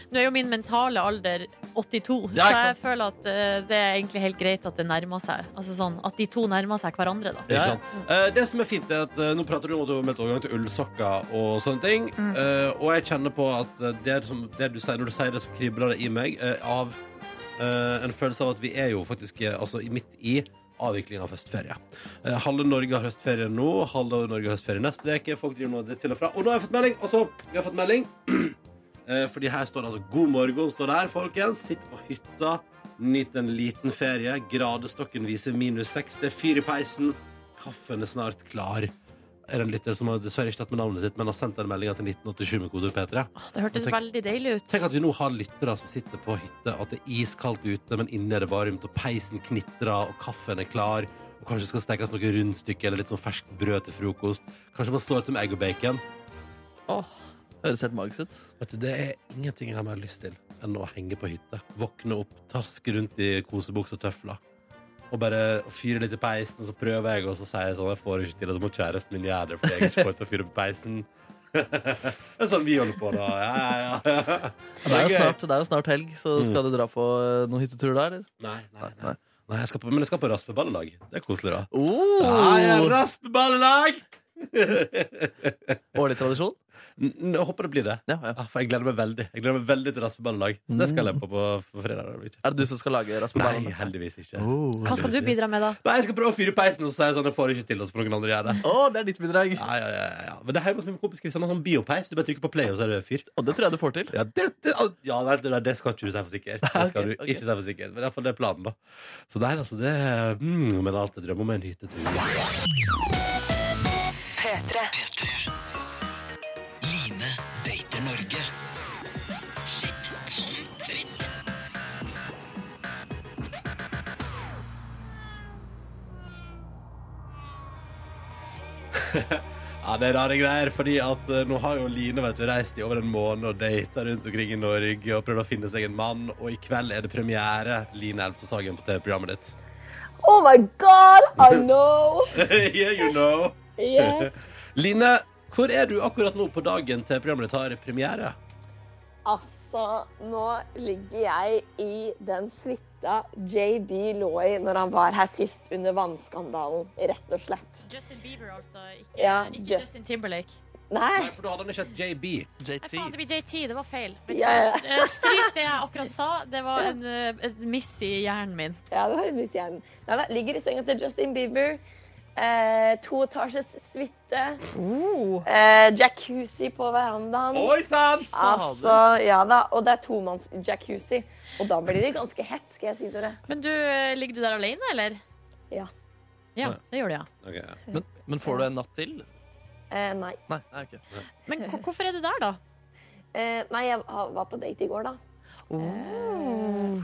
A: Nå er jo min mentale alder 82,
C: Ja,
A: så
C: ikke
A: jeg
C: sant.
A: føler at eh, det er egentlig helt greit at det nærmer seg. Altså sånn, At de to nærmer seg hverandre, da.
B: Ikke sant? Eh, det som er fint, er at eh, nå prater du om at du har meldt overgang til ullsokker og sånne ting. Eh, og jeg kjenner på at eh, det, som, det du sier, når du sier det, så kribler det i meg eh, av eh, en følelse av at vi er jo faktisk eh, altså, i- midt i avvikling av høstferie. Eh, halve Norge har høstferie nå, halve Norge har høstferie neste uke. Folk driver nå det til og fra. Og nå har jeg fått melding! Altså, vi har fått melding. Eh, Fordi her står det altså 'God morgen' står der, folkens. Sitt på hytta, nyt en liten ferie. Gradestokken viser minus seks. Det er fyr i peisen. Kaffen er snart klar. Er det en lytter som har dessverre ikke tatt med navnet sitt, men har sendt den meldinga til 1987 med kode P3?
A: Det hørtes
B: Og tenk-
A: veldig deilig ut.
B: Tenk at vi nå har lyttere som sitter på hytte, at det er iskaldt ute, men inne er det varmt, og peisen knitrer, og kaffen er klar, og kanskje skal stekes noen rundstykker eller litt sånn ferskt brød til frokost. Kanskje man slår til med egg og bacon.
C: Åh, Høres helt magisk ut.
B: Vet du, det er ingenting jeg har mer lyst til enn å henge på hytte. Våkne opp, taske rundt i kosebukse og tøfler. Og bare fyre litt i peisen, og så prøver jeg, og så sier jeg sånn Jeg får ikke til, og så må kjæresten min gjøre det fordi jeg ikke får til å fyre på peisen. det er sånn vi holder på, da. Ja, ja, ja.
C: Det er, jo
B: gøy. Mm.
C: snart, det er jo snart helg, så skal du dra på eh, noen hyttetur da, eller?
B: Nei, nei, nei. nei jeg skal på, men jeg skal på raspeballelag. Det er koselig, da.
C: Oh.
B: Ja, ja, raspeballelag!
C: Årlig tradisjon?
B: Jeg håper det blir det. Ja, Ah, For jeg gleder meg veldig Jeg gleder meg veldig til raspeballelag. Så det skal jeg på på, på fredag.
C: Er det du som skal lage
B: raspeballelag? Nei, heldigvis ikke.
A: Hva skal du bidra med, da?
B: Nei, jeg skal prøve å fyre peisen, og så sier jeg sånn Jeg får det ikke til, og så får noen andre gjøre det.
C: det er ditt bidrag.
B: Ja, ja, ja, ja. Men det er hjemme hos min kompis Kristian, han har sånn biopeis. Du bare trykker på play, og så er det fyr.
C: Og det tror jeg du får til.
B: Ja, det, det, ja, nei, det, det skal ikke du si for sikkert. Det skal du ikke si for sikkert. Men iallfall det er planen, da. Så nei, altså, det mm, Men alt jeg drømmer om, er en hyttetur.
M: P3. Line dater Norge. Shit, sånn svinn.
B: Ja, det er rare greier, fordi at eh, nå har jo Line vet du, reist i over en måned og data rundt omkring i Norge og prøvd å finne seg en mann, og i kveld er det premiere, Line Elfsåshagen, på TV-programmet ditt.
N: Oh my god, I know!
B: yeah, you know.
N: Yes.
B: Line, hvor er du akkurat nå på dagen til programmet ditt har premiere?
N: Altså, nå ligger jeg i den suita JB lå i når han var her sist under vannskandalen, rett og slett.
A: Justin Bieber, altså. Ikke,
N: Ja,
A: ikke
N: just-
A: Justin Timberlake.
N: Nei.
B: For da hadde han ikke hett JB.
A: Nei, faen, det blir JT. Det var feil. Vet du
N: Ja, ja.
A: hva? Eh, Stryk det jeg akkurat sa. Det var en, eh, et miss i hjernen min.
N: Ja, det var en viss hjernen. Nei, da, ligger i senga til Justin Bieber. Eh, to etasjes suite. Eh, jacuzzi på verandaen.
M: Oi, sann!
N: Altså, ja da. Og det er tomanns jacuzzi. Og da blir det ganske hett, skal jeg si dere.
A: Men du, eh, ligger du der alene, eller?
N: Ja.
A: Ja, det gjør du, ja.
B: Okay, ja.
C: Men, men får du en natt til?
N: Eh, nei.
C: Nei, nei, ok.
A: Men hvor- hvorfor er du der, da?
N: Eh, nei, jeg ha- var på date i går, da. Eh,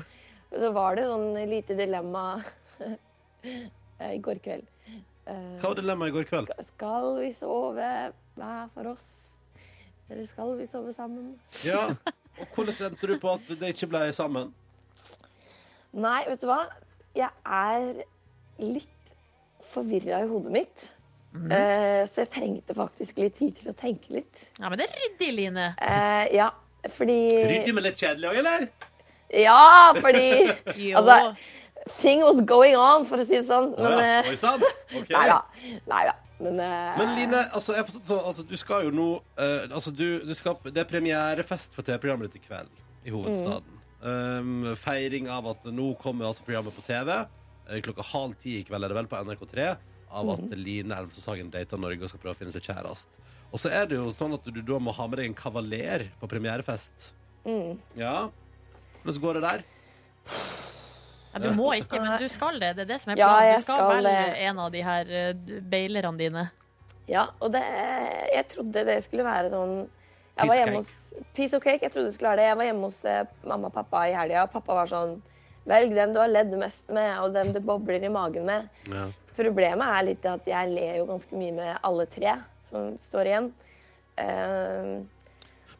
N: så var det sånn lite dilemma eh, i går kveld. Eh,
B: Hva var dilemmaet i går kveld?
N: Skal vi sove hver for oss? Eller skal vi sove sammen?
B: Ja, og Hvordan endte du på at det ikke ble sammen?
N: Nei, vet du hva? Jeg er litt forvirra i hodet mitt. Eh, så jeg trengte faktisk litt tid til å tenke litt.
A: Ja, men det er ryddig, Line.
N: Eh, ja, fordi
B: Ryddig, men litt kjedelig òg, eller?
N: Ja, fordi
A: Jo.
N: Altså, thing was going on, for å si det sånn.
B: Å ja.
N: Men,
B: Oi sann! Ok.
N: Nei da. Nei da. Men, eh,
B: Men Line, altså, jeg har forstått sånn, altså, du skal jo nå eh, altså, du, du skal, Det er premierefest for TV-programmet ditt i kveld i hovedstaden.
N: Mm.
B: Um, feiring av at nå kommer altså programmet på TV eh, klokka halv ti i kveld, er det vel, på NRK3. Av at
N: Mm.
O: Mhm.
B: Line Elvsås Hagen dater Norge og skal prøve å finne seg kjæreste. Og så er det jo sånn at du da må ha med deg en kavaler på premierefest.
N: mm.
B: Ja. Hvordan går det der?
A: Ja, du må ikke, men du skal det. Det er det som er
N: Ja,
A: planen.
N: jeg
A: Du skal,
N: skal
A: velge
N: det.
A: en av de her eh, bailerne dine.
N: Ja, og det, jeg trodde det skulle være sånn jeg var
A: Piece of
N: hjemme hos, Piece of cake. Jeg trodde det skulle være det. Jeg var hjemme hos eh, mamma og pappa i helga, og pappa var sånn Velg den du har ledd mest med, og den du bobler i magen med.
B: Ja.
N: Problemet er litt at jeg ler jo ganske mye med alle tre som står igjen. Eh,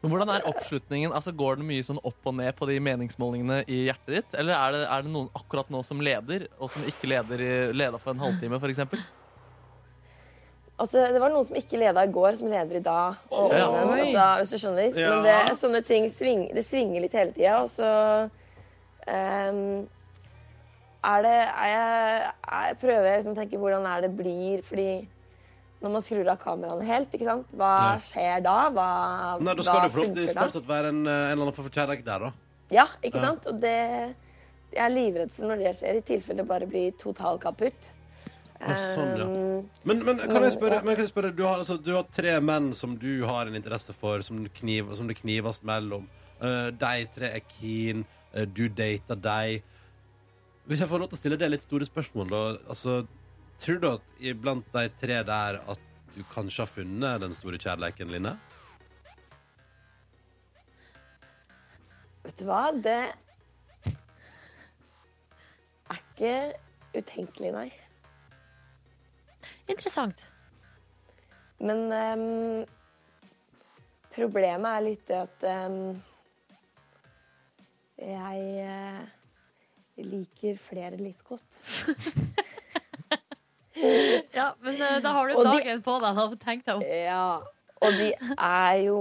C: Men hvordan er oppslutningen? Altså, Går den mye sånn opp og ned på de meningsmålingene i hjertet ditt? Eller er det, er det noen akkurat nå som leder, og som ikke leder i, leda for en halvtime, f.eks.?
N: altså, det var noen som ikke leda i går, som leder i dag. Og,
C: Ja.
N: og-
C: Oi.
N: altså, hvis du skjønner.
C: Ja.
N: Men det, sånne ting sving, det svinger litt hele tida, og så ehm, er det er jeg, jeg prøver jeg liksom å tenke hvordan er det blir, fordi når man skrur av kameraene helt, ikke sant? hva
B: Ja.
N: skjer da? Hva,
B: Nei, Da
N: hva
B: skal det
N: funker
B: forhåpentligvis
N: da?
B: fortsatt være en, eh, en eller annen form for kjærlighet der, da.
N: Ja, ikke
B: Ja.
N: sant? Og det Jeg er livredd for når det skjer, i tilfelle det bare blir total kaputt.
B: Å, sånn, ja.
N: Ehm,
B: Men, men kan jeg spørre,
N: ja.
B: men kan jeg spørre du, har, altså, du har tre menn som du har en interesse for, som, du kniv, som det knives mellom. Eh, de tre er keen, eh, du dater deg. Hvis jeg får lov til å stille det litt store spørsmål, da. Altså, tror du at iblant de tre der at du kanskje har funnet den store kjærleiken, Line?
N: Vet du hva? Det er ikke utenkelig, nei.
A: Interessant.
N: Men ehm, problemet er litt det at ehm, jeg eh, liker flere litt godt.
A: Ja, men eh, da har du
N: Og de-
A: dagen på deg, da. Tenk deg om.
N: Ja, og de er jo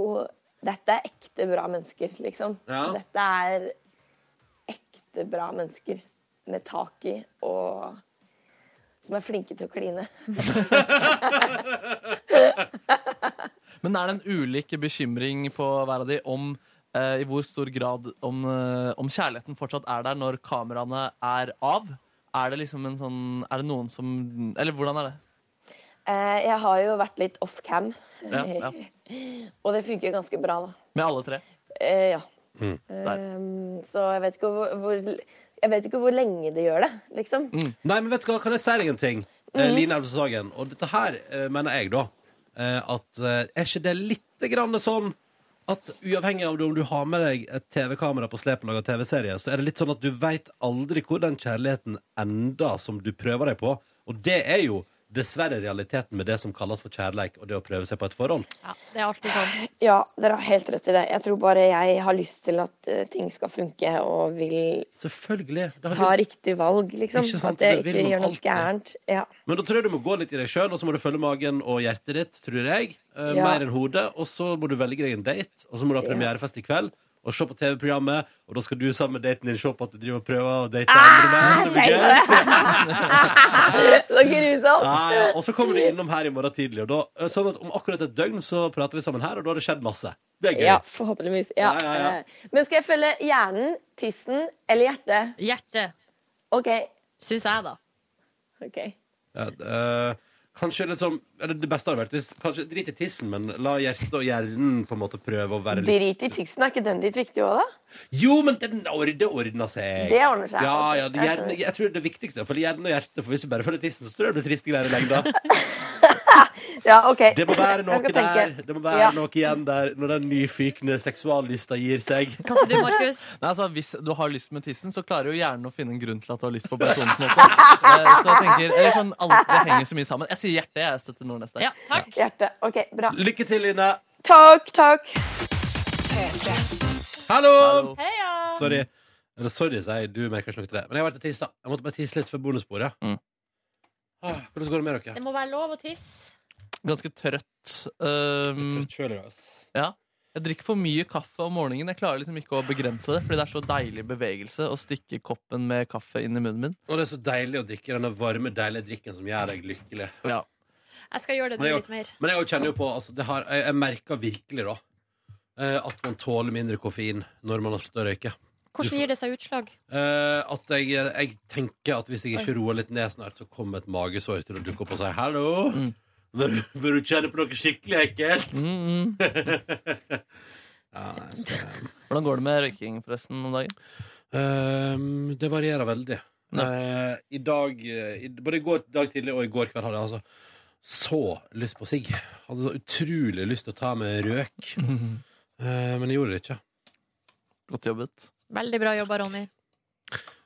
N: Dette er ekte bra mennesker, liksom.
A: Ja.
N: Dette er ekte bra mennesker med tak i og som er flinke til å kline.
C: Men er det en ulik bekymring på hver av de om eh, i hvor stor grad om, eh, om kjærligheten fortsatt er der når kameraene er av? Er det liksom en sånn Er det noen som Eller hvordan er det?
N: Eh, jeg har jo vært litt off cam,
C: Ja, ja.
N: og det funker jo ganske bra, da.
C: Med alle tre?
N: Eh, ja.
C: Mm.
N: Eh, så jeg vet, ikke hvor, hvor, jeg vet ikke hvor lenge det gjør det, liksom.
B: Nei, men vet du hva, kan jeg si deg en ting? Eh, Line Elvsås Hagen. Og dette her eh, mener jeg, da. eh, At eh, er ikke det litt grann sånn at uavhengig av det, om du har med deg et TV-kamera på slep og lager TV-serie, så er det litt sånn at du veit aldri hvor den kjærligheten ender som du prøver deg på. Og det er jo dessverre realiteten med det som kalles for kjærleik og det å prøve seg på et forhold.
A: Det er alltid sånn.
N: Ja, dere har helt rett i det. Jeg tror bare jeg har lyst til at eh, ting skal funke, og vil
B: Selvfølgelig. Det har
N: ta
B: du-
N: riktig valg, liksom.
B: Ikke sant,
N: At jeg
B: det vil
N: ikke
B: man
N: gjør noe
B: alltid.
N: gærent. Ja.
B: Men da tror jeg du må gå litt i deg sjøl, og så må du følge magen og hjertet ditt, tror jeg. eh,
N: Ja.
B: Mer enn hodet. Og så må du velge deg en date, og så må du ha premierefest i kveld. Og se på TV-programmet, og da skal du sammen med daten din se på at du driver og prøver å date
N: Ah!
B: andre menn. Det blir gøy.
N: Så grusomt!
B: Ja, ja. Og så kommer du innom her i morgen tidlig, og da, eh, sånn at om akkurat et døgn så prater vi sammen her, og da har det skjedd masse. Det er gøy.
N: Ja, forhåpentligvis. Ja.
B: Ja, ja, ja.
N: Eh, Men skal jeg følge hjernen, tissen eller hjertet?
A: Hjertet.
N: OK.
A: Syns jeg, da.
N: OK.
B: Ja, eh, kanskje litt sånn Eller det beste hadde vært hvis Kanskje drit i tissen, men la hjertet og hjernen på en måte prøve å være litt
N: Drit i tissen. Er ikke den litt viktig òg, da?
B: Jo, men den ord- det ordner seg.
N: Det ordner seg.
B: Ja, ja, det,
N: Jeg
B: hjernen,
N: skjønner.
B: jeg tror det viktigste er å følge hjernen og hjertet, for hvis du bare følger tissen, så tror jeg det blir triste greier i lengda.
N: Ja, OK.
B: Det må være noe
N: Jeg skal tenke.
B: der, det må være
N: Ja.
B: noe igjen der når den nyfikne seksuallysta gir seg.
A: Hva sier du, Markus?
C: Nei, altså, hvis du har lyst med tissen, så klarer jo hjernen å finne en grunn til at du har lyst på personens måte. Eh, Så jeg tenker, eller sånn, alt, det henger så mye sammen. Jeg sier hjerte, jeg støtter Nordnes der.
N: Hjerte. OK, bra.
B: Lykke til, Line.
N: Takk, takk.
B: Hallo!
A: Heia!
B: Sorry. Eller sorry, sier jeg. Du merker ikke noe til det. Men jeg har vært og tissa. Jeg måtte bare tisse litt før bonusbordet. Ah, hvordan går det med dere?
A: Det må være lov å tisse.
C: Ganske trøtt. Um, ja. Jeg drikker for mye kaffe om morgenen. Jeg klarer liksom ikke å begrense det, fordi det er så deilig bevegelse å stikke koppen med kaffe inn i munnen min.
B: Og det er så deilig å drikke denne varme, deilige drikken som gjør deg lykkelig.
A: Jeg skal gjøre det
B: Men
A: du
B: jeg,
A: litt mer.
B: men jeg kjenner jo på altså, det har, Jeg, jeg merker virkelig da eh, at man tåler mindre koffein når man har sluttet å røyke.
A: Hvordan gir det seg utslag?
B: Eh, at jeg, jeg tenker at hvis jeg ikke
A: Oi.
B: roer litt ned snart, så kommer et magesår til å dukke opp og si hallo.
A: Mm.
B: Vil, du- vil du kjenne på noe skikkelig ekkelt? ja, nei, så,
C: Hvordan går det med røyking forresten om dagen?
B: Ehm, det varierer veldig. Eh, I dag eh, i, Både i går dag tidlig og i går kveld hadde jeg altså så lyst på sigg. Hadde så utrolig lyst til å ta med røk. Eh, men jeg gjorde det ikke.
C: Godt jobbet.
A: Veldig bra jobba, Ronny.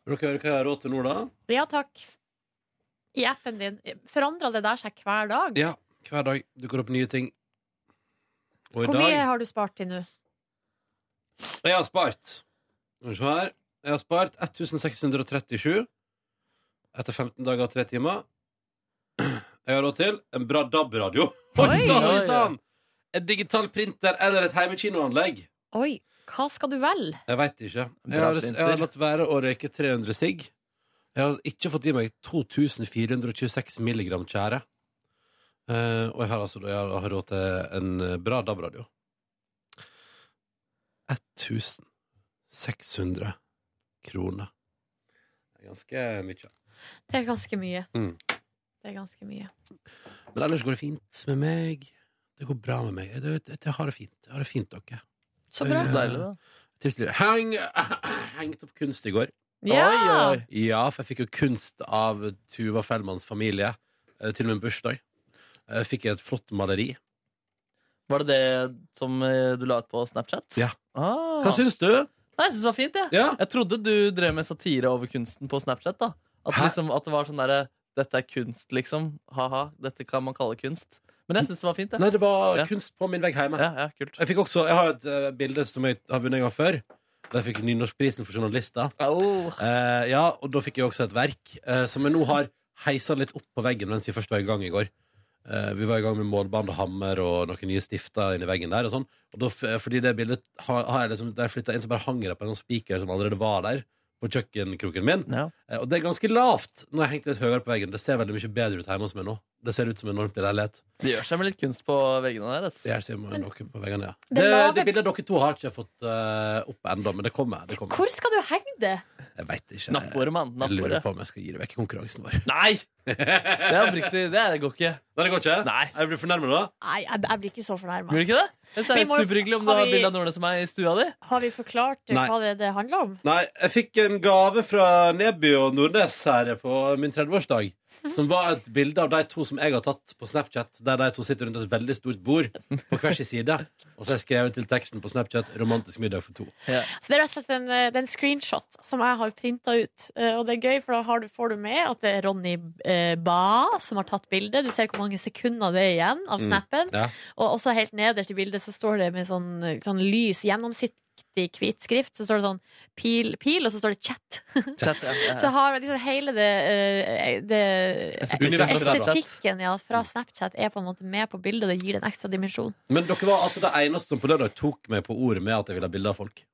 B: Vil dere høre hva jeg har råd til nå, da?
A: Ja, takk. I appen din. Forandrer det der seg hver dag?
B: Ja, hver dag dukker opp nye ting. Og i
A: Hvor mye
B: dag
A: har du spart til nå?
B: Jeg har spart. Skal vi se her. Jeg har spart 1637 etter 15 dager og 3 timer. Jeg har råd til en bra DAB-radio. Oi sann! oi sann! En digital printer eller et heimekinoanlegg.
A: Oi, hva skal du velge?
B: Jeg veit ikke. Jeg
C: Bra
B: har,
C: printer.
B: jeg har latt være å røyke 300 sigg. Jeg har ikke fått i meg 2426 milligram tjære. Eh, og jeg har altså jeg har, jeg har råd til en eh, bra DAB-radio. 1600 kroner. Det er ganske mye.
A: Det er ganske mye.
B: Mm.
A: Det er ganske mye.
B: Men ellers går det fint med meg. Det går bra med meg. Jeg, jeg, jeg har det fint. Jeg har det fint, dere.
A: Så bra.
B: Eh,
A: Så deilig, da.
B: tilsnitt. Heng, hengte opp kunst i går.
A: Ja! Oi, oi.
B: ja, for jeg fikk jo kunst av Tuva Fellmanns familie eh, til min bursdag. Eh, Fikk jeg et flott maleri.
C: Var det det som eh, du la ut på Snapchat?
B: Ja.
C: Ah.
B: Hva syns du?
C: Nei, jeg syns det var fint, jeg. Jeg trodde du drev med satire over kunsten på Snapchat. da At, liksom, at det var sånn derre Dette er kunst, liksom. Ha-ha. Dette kan man kalle kunst. Men jeg syns det var fint, jeg.
B: Nei, det var
C: Ja.
B: kunst på min vegg hjemme.
C: Ja, ja, kult.
B: Jeg fikk også, jeg har et eh, bilde som jeg har vunnet en gang før. Da jeg fikk Nynorskprisen for journalister. Eh, ja, og da fikk jeg også et verk eh, som jeg nå har heisa litt opp på veggen mens jeg først var i gang i går. Eh, vi var i gang med målband og hammer og noen nye stifter inni veggen der. Og sånn Og da, f- fordi det bildet har, har jeg liksom, der jeg flytta inn, så bare hang det på en sånn spiker som allerede var der. På kjøkkenkroken min. Eh, og det er ganske lavt når jeg hengte litt høyere på veggen. Det ser veldig mye bedre ut hjemme hos meg nå. Det ser ut som en ordentlig leilighet.
C: Det gjør seg med litt kunst på veggene deres.
B: Det, er, noe på veggene, ja.
A: Det
B: det,
A: lave-
B: det bildet dere to har ikke jeg fått eh, opp ennå, men det kommer. Det kommer.
A: Hvor skal du henge det?
B: Jeg veit ikke.
C: Nattbordet, mann.
B: Jeg
C: Nattbordet.
B: lurer på om jeg skal gi det vekk i konkurransen vår.
C: Nei! Det er oppriktig. Det er- det går ikke.
B: Nei, det går ikke? Nei. Jeg blir fornærmet da?
A: Nei, jeg, jeg blir ikke så fornærma.
C: Blir det ikke det? Jeg synes
A: Vi
C: det
A: må
C: er
A: jo-
C: Superhyggelig om du
A: har
C: har
A: vi-
C: bilde av Nordnes og meg i stua di.
A: Har vi forklart eh,
B: Nei.
A: hva det, det handler om?
B: Nei, jeg fikk en gave fra Neby og Nordnes her på min 30-årsdag. Som var et bilde av de to som jeg har tatt på Snapchat. Der de to sitter rundt et veldig stort bord på hver sin side. Og så har jeg skrevet til teksten på Snapchat 'Romantisk middag for to'.
A: Så Det er rett og slett en, eh, det er en screenshot som jeg har printa ut. Eh, Og det er gøy, for da har du, får du med at det er Ronny eh, Ba som har tatt bildet. Du ser hvor mange sekunder det er igjen av
M: Mm,
A: snappen.
M: ja.
A: Og også helt nederst i bildet så står det med sånn, sånn lys, gjennomsiktig hvit skrift. Så står det sånn pil, pil og så står det chat.
C: Chat, ja, ja.
A: Så har liksom hele det, eh, det
B: Estetikken fra Snapchat.
A: Estetikken ja, fra
B: Mm.
A: Snapchat er på en måte med på bildet, og det gir det en ekstra dimensjon.
B: Men dere var altså det eneste som på lørdag tok meg på ordet med at jeg ville ha bilde av folk.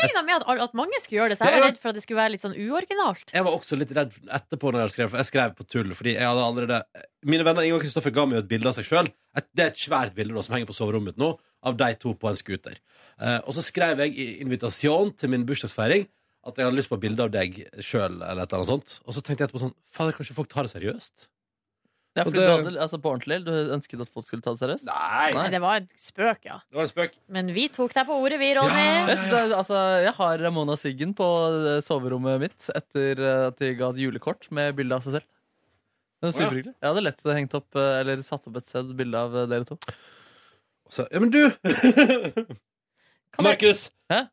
A: Jeg regna med at, at mange skulle gjøre det, så
B: Det
A: jeg
B: er
A: var
B: jo-
A: redd for at det skulle være litt sånn uoriginalt.
B: Jeg var også litt redd etterpå når jeg skrev, for jeg skrev på tull. Fordi jeg hadde allerede Mine venner Inge og Kristoffer ga meg jo et bilde av seg sjøl. Det er et svært bilde da, som henger på soverommet mitt nå, av de to på en scooter. Eh, og så skrev jeg i invitasjon til min bursdagsfeiring at jeg hadde lyst på et bilde av deg sjøl, eller et eller annet sånt. Og så tenkte jeg etterpå sånn Fader, kanskje folk tar det seriøst?
C: Ja,
B: Og
C: fordi
B: det-
C: du hadde, altså, på ordentlig, du ønsket at folk skulle ta det seriøst?
B: Nei.
A: Nei, det var en spøk, ja.
B: Det var en spøk.
A: Men vi tok deg på ordet, vi, Ronny.
C: Jeg, synes det er, altså, jeg har Ramona Siggen på eh, soverommet mitt etter eh, at de ga et julekort med bilde av seg selv. Den er superhyggelig. Jeg hadde lett hengt opp, eh, eller satt opp et sted bilde av eh, dere to.
B: ja, men du! Markus,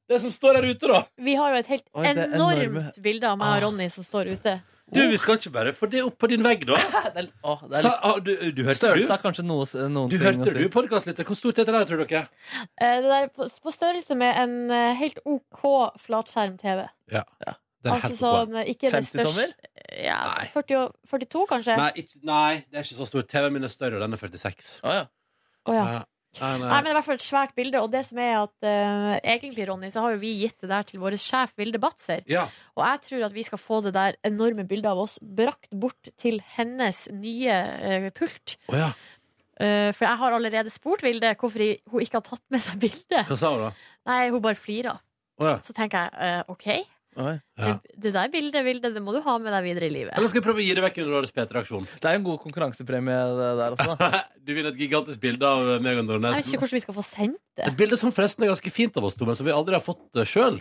B: det som står her ute, da?
A: Vi har jo et helt
B: Oi, det er
A: enormt
B: enorme. Ah.
A: bilde av meg og Ronny som står ute.
B: Du, Vi skal ikke bare få det opp på din vegg, da.
C: det er
B: Sa,
C: litt-
B: ah, du, du hørte
C: Størrelse er
B: du?
C: kanskje noe, s- noen
B: Du
C: ting
B: hørte
C: å si.
B: du, podkastlytter? Hvor stort er det der, tror dere?
A: Eh, Det der er på, på størrelse med en eh, helt OK flatskjerm-TV.
B: Ja. Det er
A: Altså
B: helt ok.
A: sånn, eh, ikke det største ja, 40 og, 42, kanskje?
B: Nei, ikke, nei, det er ikke så stor. TV-en min er større, og den er 46.
A: Å, ja.
B: Ja. Nei, nei.
A: Nei, men det er i hvert fall et svært bilde. Og det som er at eh, egentlig, Ronny, så har jo vi gitt det der til vår sjef Vilde Batzer.
B: Ja.
A: Og jeg tror at vi skal få det der enorme bildet av oss brakt bort til hennes nye eh, pult.
B: Å ja.
A: Eh, for jeg har allerede spurt Vilde hvorfor i- hun ikke har tatt med seg bildet.
B: Hva sa hun, da?
A: Nei, hun bare flirer.
B: Å ja.
A: Så tenker jeg eh, OK,
B: ja.
A: det der bildet, Vilde, det må du ha med deg videre i livet.
B: Eller skal jeg prøve å gi det vekk under årets P3-aksjon?
C: Det er en god konkurransepremie det der også.
B: da. Du vinner et gigantisk bilde av eh, meg og
A: Jeg
B: Nordnes.
A: vet ikke hvordan vi skal få sendt det.
B: Et bilde som forresten er ganske fint av oss to, men som vi aldri har fått uh, sjøl.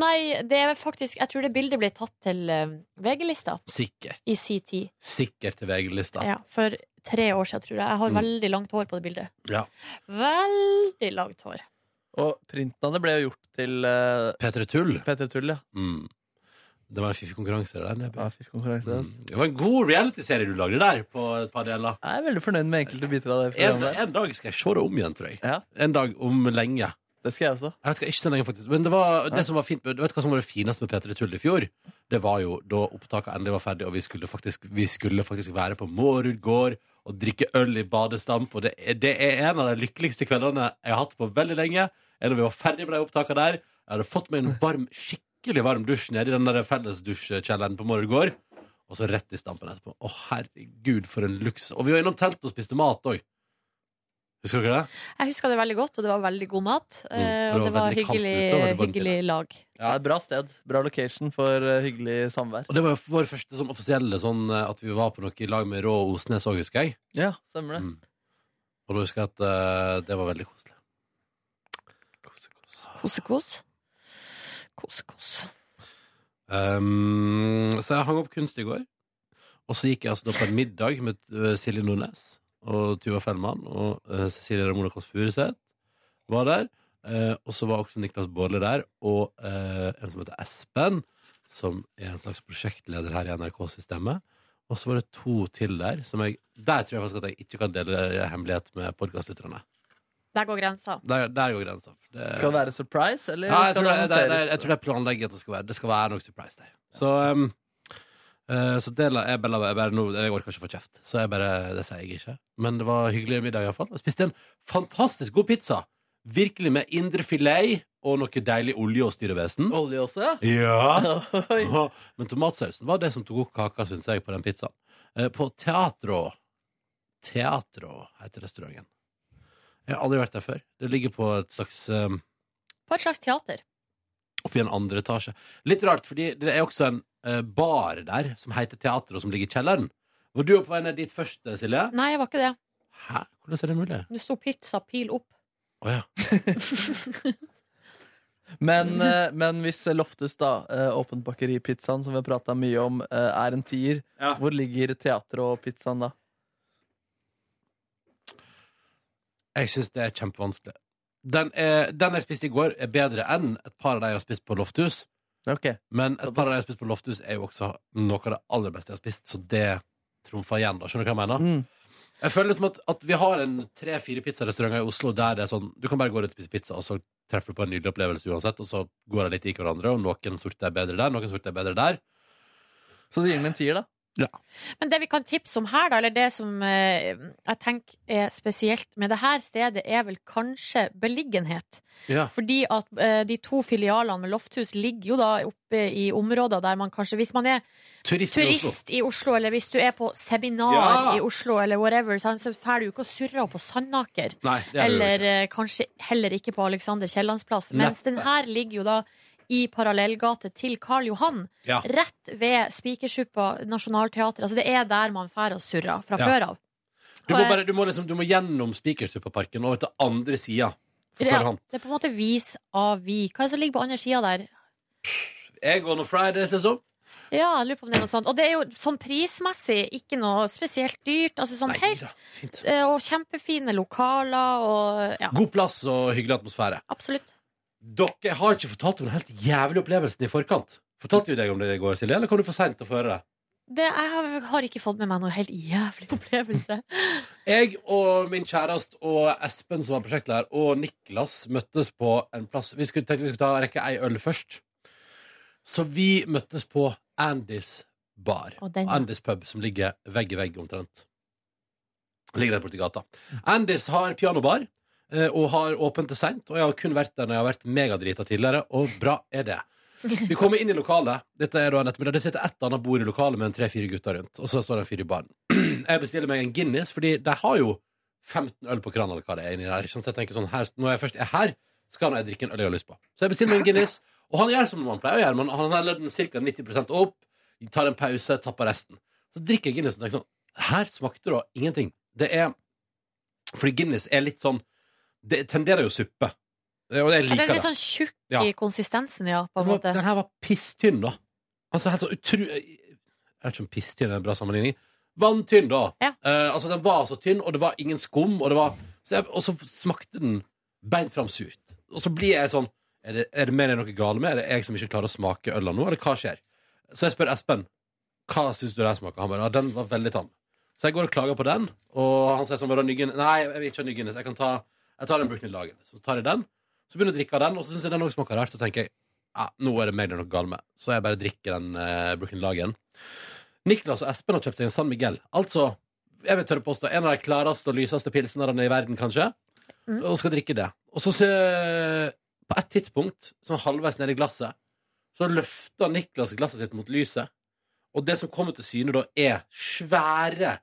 A: Nei, det er faktisk Jeg tror det bildet ble tatt til eh, VG-lista
B: Sikkert.
A: i sin tid.
B: Sikkert til VG-lista.
A: Ja, for tre år siden, tror jeg. Jeg har
B: Mm.
A: veldig langt hår på det bildet.
B: Ja.
A: Veldig langt hår.
C: Og printen av det ble jo gjort til uh,
B: P3 Tull.
C: P3 Tull, ja.
B: Mm. Det var en fiffig konkurranse. Det, der, Nebby.
C: Konkurranse.
B: Mm. det var en god reality-serie du lagde der, på et par deler.
C: Jeg er veldig fornøyd med enkelte biter av det
B: En,
C: programmet.
B: en dag skal jeg se det om igjen, tror jeg.
C: Ja.
B: En dag om lenge.
C: Det skal jeg også.
B: Jeg vet ikke, ikke så lenge, faktisk. Men det var,
C: Nei.
B: det som var fint, med- vet du hva som var det fineste med P3 Tull i fjor? Det var jo da opptaket endelig var ferdig, og vi skulle faktisk, vi skulle faktisk være på Mårud gård og drikke øl i badestamp. Og det er, det er en av de lykkeligste kveldene jeg har hatt på veldig lenge. Er Når vi var ferdig med de opptakene der. Jeg hadde fått meg en varm, skikkelig varm dusj nede i den der fellesdusjkjelleren på Mårud gård. Og så rett i stampen etterpå. Å, herregud, for en luks. Og vi var innom teltet og spiste mat òg. Husker dere det?
A: Jeg husker det veldig godt, og det var veldig god mat. eh,
B: og
A: og
B: Mm, det
A: det
B: var
A: var
B: veldig kaldt
A: hyggelig,
B: ute, og det var varmt
A: hyggelig lag.
C: Det er et bra sted. Bra location for eh, hyggelig samvær.
B: Og det var jo vår første sånn offisielle sånn eh, at vi var på noe i lag med Rå og Osnes òg, husker jeg.
C: Ja, stemmer
B: Mm.
C: det.
B: Og da husker jeg at eh, det var veldig koselig.
A: Kosekos. Kosekos.
B: Um, så jeg hang opp kunst i går. Og så gikk jeg altså da på en middag med eh, Silje Nordnes og Tuva Fellmann og eh, Cecilie Ramona Kåss Furuseth var der. Eh, og så var også Niklas Baarli der, og eh, en som heter Espen, som er en slags prosjektleder her i NRK-systemet. Og så var det to til der. Som jeg, der tror jeg faktisk at jeg ikke kan dele hemmelighet med podkastlytterne.
A: Der går grensa.
B: Der, der går grensa. for det-
C: Skal det være surprise, eller
B: Nei, jeg
C: Eh, skal
B: tror,
C: det
B: det, det, det,
C: annonseres?
B: jeg tror det er planlegget at det skal være Det skal være noe surprise der. Så, um, eh, så det la jeg bare, jeg bare nå- Jeg orker ikke å få kjeft, så jeg bare, det sier jeg ikke. Men det var hyggelig middag, iallfall. Og spiste en fantastisk god pizza. Virkelig med indrefilet og noe deilig olje og styrevesen.
C: Olje også, ja?
B: Ja. Men tomatsausen var det som tok opp kaka, syns jeg, på den pizzaen. Eh, På Teatro. Teatro heter restauranten. Jeg har aldri vært der før. Det ligger på et slags um,
A: På et slags teater.
B: oppe i en andre etasje. Litt rart, fordi det er også en eh, bar der som heter Teater, og som ligger i kjelleren. Var du på vei ned dit først, eh, Silje?
A: Nei, jeg var ikke det.
B: Hæ? Hvordan er det mulig?
A: Det sto pizza pil opp.
C: Men, eh, men hvis Loftus, da, eh, åpent bakeri-pizzaen som vi har prata mye om, eh, er en tier, hvor ligger teater og pizzaen da?
B: Jeg syns det er kjempevanskelig. Den, er, den jeg spiste i går, er bedre enn et par av de jeg har spist på Lofthus. Men et par av de jeg har spist på Lofthus, er jo også noe av det aller beste jeg har spist, så det trumfer igjen, da. Skjønner du hva jeg mener?
C: Mm.
B: Jeg føler liksom at, at vi har en tre-fire pizzarestauranter i Oslo der det er sånn Du kan bare gå ut og spise pizza, og så treffer du på en nydelig opplevelse uansett, og så går de litt i hverandre, og noen sorter er bedre der, noen sorter er bedre der.
C: Så gir den en tier, da.
A: Men det vi kan tipse om her, da, eller det som eh, jeg tenker er spesielt med det her stedet, er vel kanskje beliggenhet.
B: Ja.
A: Fordi at eh, de to filialene med Lofthus ligger jo da oppe i områder der man kanskje Hvis man er
B: Turist i
A: turist i Oslo, eller hvis du er på seminar
B: Ja.
A: i Oslo, eller whatever, sant, så drar du jo ikke og surrer opp på Sandaker.
B: Nei, det er det jo
A: Eller eh, kanskje heller ikke på Alexander Kiellands plass.
B: Nei.
A: Mens den her ligger jo da i parallellgate til Karl Johan.
B: Ja.
A: Rett ved Spikersuppa Nationaltheatret. Altså det er der man drar og surrer fra
B: Ja.
A: før av.
B: Du må, bare, du må liksom du må gjennom Spikersuppaparken og over til andre sida. For
A: Ja,
B: Karl Johan.
A: det er på en måte vis av vi. Hva er det som ligger på andre sida der?
B: Jeg går når Fridays er sånn.
A: Ja, jeg lurer på om det er noe sånt. Og det er jo sånn prismessig ikke noe spesielt dyrt. Altså sånn helt eh, Og kjempefine lokaler og ja,
B: God plass og hyggelig atmosfære.
A: absolutt.
B: Dere har ikke fortalt om den helt jævlige opplevelsen i forkant. Fortalte vi deg om det i går, Silje, eller kom du for seint til å få høre det?
A: Det, jeg har, har ikke fått med meg noe helt jævlig opplevelse.
B: Jeg og min kjæreste og Espen, som var prosjektleder, og Niklas møttes på en plass. Vi skulle, tenkte vi skulle ta rekke ei øl først. Så vi møttes på Andys bar.
A: Og den-
B: Andys pub, som ligger vegg i vegg omtrent. Ligger der borte i gata. Andys har pianobar, eh, og har åpent til seint. Og jeg har kun vært der når jeg har vært megadrita tidligere, og bra er det. Vi kommer inn i lokalet. Dette er da en ettermiddag Det sitter et eller annet bord i lokalet med en tre-fire gutter rundt. Og så står det en fyr i baren. Jeg bestiller meg en Guinness, fordi de har jo 15 øl på kranen, eller hva det er inni der. Ikke sant? Så jeg tenker sånn, her, når jeg først er her, skal jeg drikke en øl jeg har lyst på. Så jeg bestiller meg en Guinness, og han gjør som man pleier å gjøre. Man, han heller den ca. 90 opp, tar en pause, tapper resten. Så drikker jeg Guinness og tenker sånn Her smakte det da ingenting. Det er Fordi Guinness er litt sånn Det tenderer jo suppe. Og jeg
A: Ja,
B: liker
A: den er
B: det.
A: litt sånn tjukk
B: Ja.
A: i konsistensen, ja, på en
B: Den var-
A: måte.
B: Den her var pisstynn, da. Altså helt så utru... Jeg vet ikke om pisstynn er en bra sammenligning. Vanntynn, da. Eh, altså, den var så tynn, og det var ingen skum, og det var så jeg, Og så smakte den beint fram surt. Og så blir jeg sånn Er det, er det mer enn noe gale med? Er det jeg som ikke klarer å smake øla nå, eller hva skjer? Så jeg spør Espen hva syns du det her smaker. Han bare ja, den var veldig tam. Så jeg går og klager på den, og han sier sånn «Vil du ha ny Guinness?» Nei, jeg vil ikke ha ny Guinness. Jeg, kan ta, jeg tar en Brookney Lager. Så tar jeg den, så begynner jeg å drikke av den, og så syns jeg den også smaker rart. Så tenker jeg ja, nå er det mer enn noe galt med. Så jeg bare drikker den eh, Brooklyn Lagen. Niklas og Espen har kjøpt seg en San Miguel. Altså, jeg vil tørre påstå, en av de klareste og lyseste pilsnerne i verden, kanskje. Og skal drikke det. Og så, ser- på et tidspunkt, sånn halvveis nedi glasset, så løfter Niklas glasset sitt mot lyset. Og det som kommer til syne da, er svære,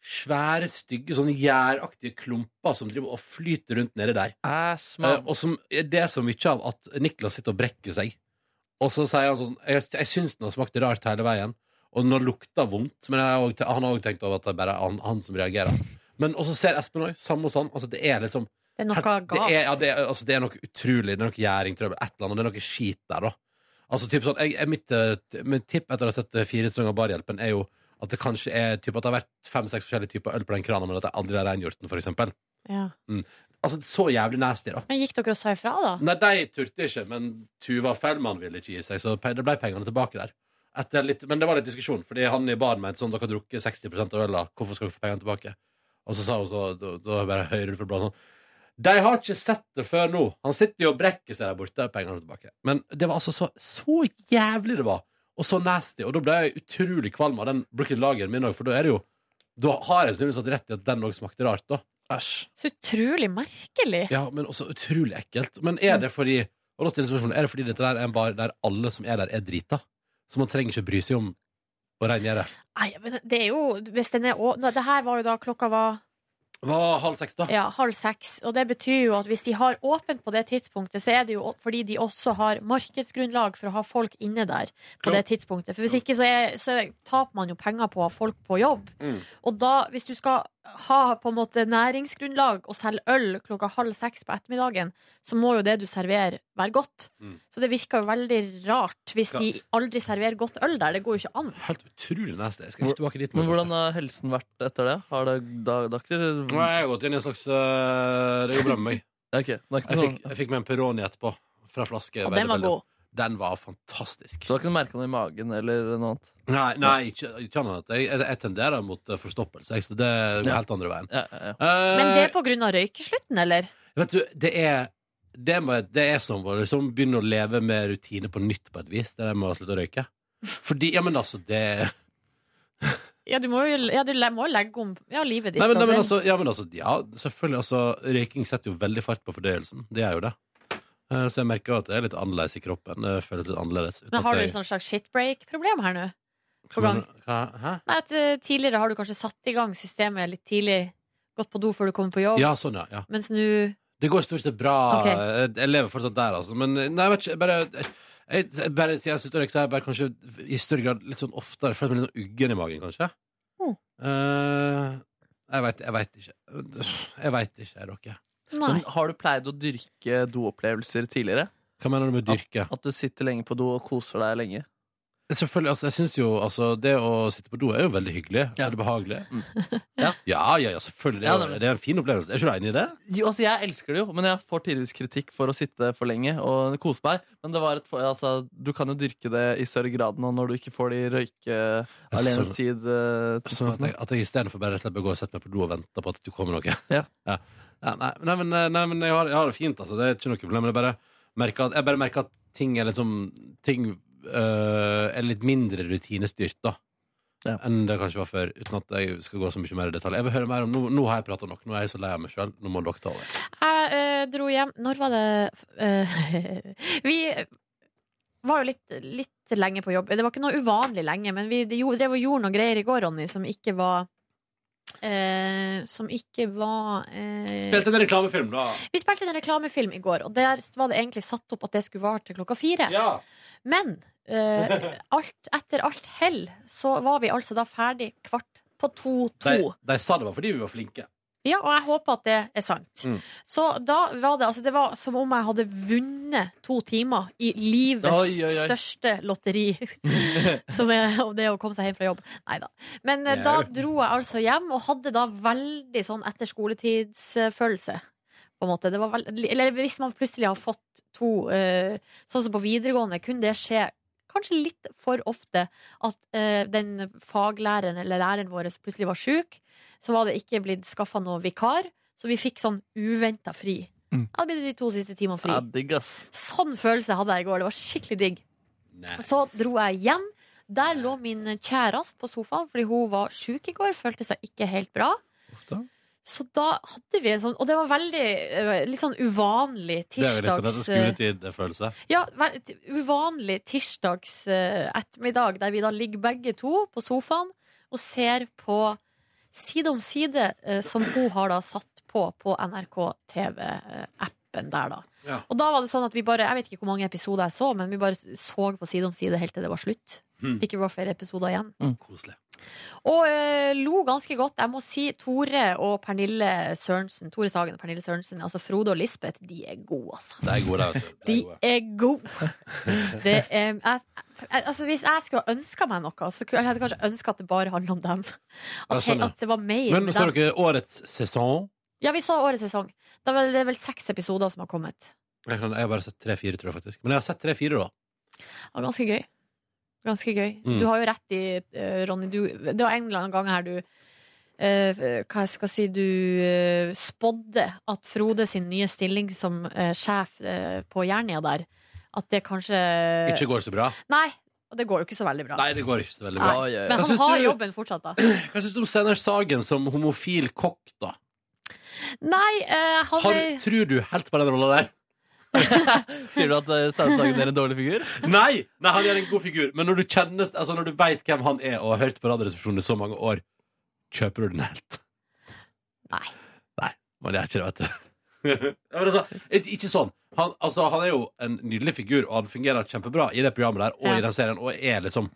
B: svære, stygge, sånn gjæraktige klumper som driver og flyter rundt nedi der.
C: mann.
B: Eh, og som, det er så mye av at Niklas sitter og brekker seg. Og så sier han sånn Jeg, jeg syns den har smakt rart hele veien. Og den har lukta vondt. Men jeg har også, han har også tenkt over at det er bare han, han som reagerer. Men også ser Espen òg. Samme hos han. Altså, det er liksom
A: Det er noe
B: det
A: galt.
B: er, ja, det, er, altså, det er noe utrolig. Det er noe gjæringtrøbbel. Et eller annet. Det er noe skit der, da. Altså, typ sånn, jeg, jeg- mitt, eh, t- mitt tipp etter å ha sett eh, fire sesonger av Barhjelpen, er jo at det kanskje er typ, at det har vært fem-seks forskjellige typer øl på den krana, men at jeg aldri har rengjort den, for eksempel.
A: Ja.
B: Mm. Altså, så jævlig nasty, da.
A: Men gikk dere og sa ifra, da?
B: Nei, de turte ikke, men Tuva Fellmann ville ikke gi seg, så pe- det ble pengene tilbake der. Etter litt, men det var litt diskusjon, fordi han i baren mente sånn, dere har drukket 60 av øla, hvorfor skal dere få pengene tilbake? Og så sa hun så, da, da bare hører du fra bladet sånn, de har ikke sett det før nå. Han sitter jo og brekker seg der borte, pengene tilbake. Men det var altså så, så jævlig det var, og så nasty, og da ble jeg utrolig kvalm av den Brooklyn Lageren min også, for da er det jo, da har jeg snurlig satt rett i at den også smakte rart da. Æsj.
A: Så utrolig merkelig.
B: Ja, men også utrolig ekkelt. Men
C: Mm.
B: er det fordi og da stiller jeg spørsmålet, er det fordi dette der er en bar der alle som er der, er drita? Så man trenger ikke bry seg om å rengjøre?
A: Nei, men det er jo Hvis den er å... Nå, Det her var jo da klokka var
B: Hva halv seks, da?
A: Ja, halv seks. Og det betyr jo at hvis de har åpent på det tidspunktet, så er det jo fordi de også har markedsgrunnlag for å ha folk inne der på det tidspunktet. For hvis ikke så, er, så taper man jo penger på å ha folk på jobb.
B: Mm.
A: Og da, hvis du skal ha på en måte næringsgrunnlag og selge øl klokka halv seks på ettermiddagen, så må jo det du serverer, være godt.
B: Mm.
A: Så det virker jo veldig rart hvis de aldri serverer godt øl der. Det går jo ikke an.
B: Helt utrolig nasty. Jeg skal ikke tilbake dit.
C: Men hvordan har helsen vært etter det? Har det da, da,
B: Nå har jeg gått inn i en slags øh, Det går bra med meg. jeg, fikk, jeg fikk meg en Peroni etterpå. Fra flaske.
C: Og Sånn. den
B: veldig,
C: var
B: veldig.
C: god.
B: Den var fantastisk.
C: Så du har ikke merka noe i magen eller noe annet?
B: Nei, nei ikke, ikke annet. Jeg, jeg, jeg tenderer mot øh, forstoppelse, jeg, så det går
C: Ja.
B: helt andre veien. Eh,
A: Men det er på grunn av røykeslutten, eller?
B: Vet du, det er det, må, det er som å liksom begynne å leve med rutine på nytt på et vis. Det der med å slutte å røyke. Fordi, ja, men altså, det
A: Ja, du må jo ja, du le- må jo legge om ja, livet ditt.
B: Nei, men,
A: da.
B: nei, men
A: Det-
B: altså, ja, men altså, ja, selvfølgelig. Altså, røyking setter jo veldig fart på fordøyelsen. Det gjør jo det. Eh, Så jeg merker jo at det er litt annerledes i kroppen. Det føles litt annerledes. uten
A: Men har
B: at
A: du
B: jeg-
A: et sånt slags shitbreak-problem her nå? På
B: Hva
A: gang?
B: mener du? Hva- Hæ?
A: Nei, at eh, Tidligere har du kanskje satt i gang systemet litt tidlig, gått på do før du kommer på jobb,
B: Ja, sånn, ja. ja.
A: mens nå
B: Det går stort sett bra.
A: Ok.
B: Jeg- Jeg lever fortsatt der, altså. Men nei, jeg vet ikke, jeg bare jeg, jeg bare sier jeg slutter å røyke, så har jeg bare kanskje i større grad litt sånn oftere følt meg litt sånn uggen i magen, kanskje.
A: Mm.
B: Eh, jeg veit jeg vet ikke. Jeg veit ikke, dere.
A: Nei.
C: Men har du pleid å dyrke doopplevelser tidligere?
B: Hva mener du med dyrke?
C: At, at du sitter lenge på do og koser deg lenge.
B: Selvfølgelig, altså, jeg synes jo altså, Det å sitte på do er jo veldig hyggelig. Er det behagelig? Mm. Ja. ja, ja, selvfølgelig. Det
C: Ja,
B: er,
C: nemlig.
B: jo- det er en fin opplevelse. Er ikke du enig i det?
C: Jo, altså Jeg elsker det jo, men jeg får tidligvis kritikk for å sitte for lenge og kose meg. Men det var et, altså, du kan jo dyrke det i større grad nå når du ikke får de røyke alenetid. eh,
B: Sånn at jeg, at jeg istedenfor bare rett og slett bør gå og sette meg på do og vente på at du kommer noe. Ja. Ja, nei, nei, men, eh, nei, men jeg, har, jeg har det fint, altså. Det er ikke noe problem. Jeg bare merker at, jeg bare merker at ting er liksom Ting øh, er litt mindre rutinestyrt, da. Enn det kanskje var før. Uten at jeg skal gå så mye mer i detalj. Jeg vil høre mer om, Nå, nå har jeg prata nok. Nå er jeg så lei av meg sjøl. Nå må dere ta over.
A: Jeg eh, dro hjem Når var det eh, Vi var jo litt, litt lenge på jobb. Det var ikke noe uvanlig lenge, men vi jo- drev og gjorde noe greier i går, Ronny, som ikke var eh, Som ikke var eh,
B: Spilte en reklamefilm, da.
A: Vi spilte en reklamefilm i går, og der var det egentlig satt opp at det skulle vare til klokka fire. Men eh, alt, etter alt hell så var vi altså da ferdig kvart på to-to.
B: De, de sa det var fordi vi var flinke.
A: Ja, og jeg håper at det er sant.
B: Mm.
A: Så da var det altså Det var som om jeg hadde vunnet to timer i livets
M: Oi, oi, oi.
A: største lotteri. som er og det å komme seg hjem fra jobb. Nei da. Men eh, da
M: Jau.
A: dro jeg altså hjem, og hadde da veldig sånn etter skoletidsfølelse. På en måte. Det var veld... Eller hvis man plutselig har fått to eh, Sånn som på videregående, kunne det skje kanskje litt for ofte at eh, den faglæreren eller læreren vår plutselig var sjuk. Så var det ikke blitt skaffa noen vikar, så vi fikk sånn uventa fri.
C: Mm.
A: Da ble det de to siste timene fri.
C: Ja, digg, ass.
A: Sånn følelse hadde jeg i går. Det var skikkelig digg. Så dro jeg hjem. Der lå min kjæreste på sofaen fordi hun var sjuk i går. Følte seg ikke helt bra. Så da hadde vi en sånn Og det var veldig eh, litt sånn uvanlig
B: Det er jo liksom dette
A: tirsdags... eh,
B: skoletid-følelse.
A: Ja, vel, t- uvanlig tirsdags eh, ettermiddag, der vi da ligger begge to på sofaen og ser på Side om side, eh, som hun har da satt på på NRK TV-appen der, da.
B: Ja.
A: Og da var det sånn at vi bare, jeg vet ikke hvor mange episoder jeg så, men vi bare så på Side om side helt til det var slutt.
B: Hmm.
A: Ikke var flere episoder igjen.
B: Koselig.
A: Og eh, lo ganske godt. Jeg må si Tore og Pernille Sørensen, Tore Sagen og Pernille Sørensen, altså Frode og Lisbeth, de er gode, altså.
B: De er gode, de. vet du.
A: De er gode. Det er, jeg, jeg, altså, hvis jeg skulle ha ønska meg noe, så kunne jeg hadde kanskje ønska at det bare handla om dem. At,
B: Ja, sånn,
A: he-
B: ja.
A: at det var mer
B: Men
A: med
B: så
A: dem.
B: dere årets sesong?
A: Ja, vi så årets sesong. Da var det vel seks episoder som har kommet.
B: Jeg kan- jeg har bare sett tre-fire, tror jeg faktisk. Men jeg har sett tre-fire, da.
A: Det var ganske gøy. Ganske gøy.
B: Mm.
A: Du har jo rett i, eh, Ronny, du, det var en eller annen gang her du eh, hva jeg skal si Du eh, spådde at Frode sin nye stilling som eh, sjef eh, på Jernia der, at det kanskje
B: Ikke går så bra.
A: Nei, og det går jo ikke så veldig bra.
B: Nei, det går ikke så veldig
A: Nei.
B: bra.
A: Men
B: Hva
A: han
B: syns
A: har
B: du-
A: jobben fortsatt, da.
B: Hva syns du om Steinar Sagen som homofil kokk, da?
A: Nei, eh, han
B: Har,
A: er-
B: tror du helt på den rolla der?
C: Sier du at eh, Steinar Sagen er en dårlig figur?
B: Nei! Nei, han er en god figur. Men når du kjenner Altså når du veit hvem han er, og har hørt på Radioresepsjonen i så mange år, kjøper du den helt?
A: Nei.
B: Nei, Man gjør ikke det, vet du. Ja, men altså, ikke ikke sånn. Han, altså, han er jo en nydelig figur, og han fungerer kjempebra i det programmet der og i den serien, og er liksom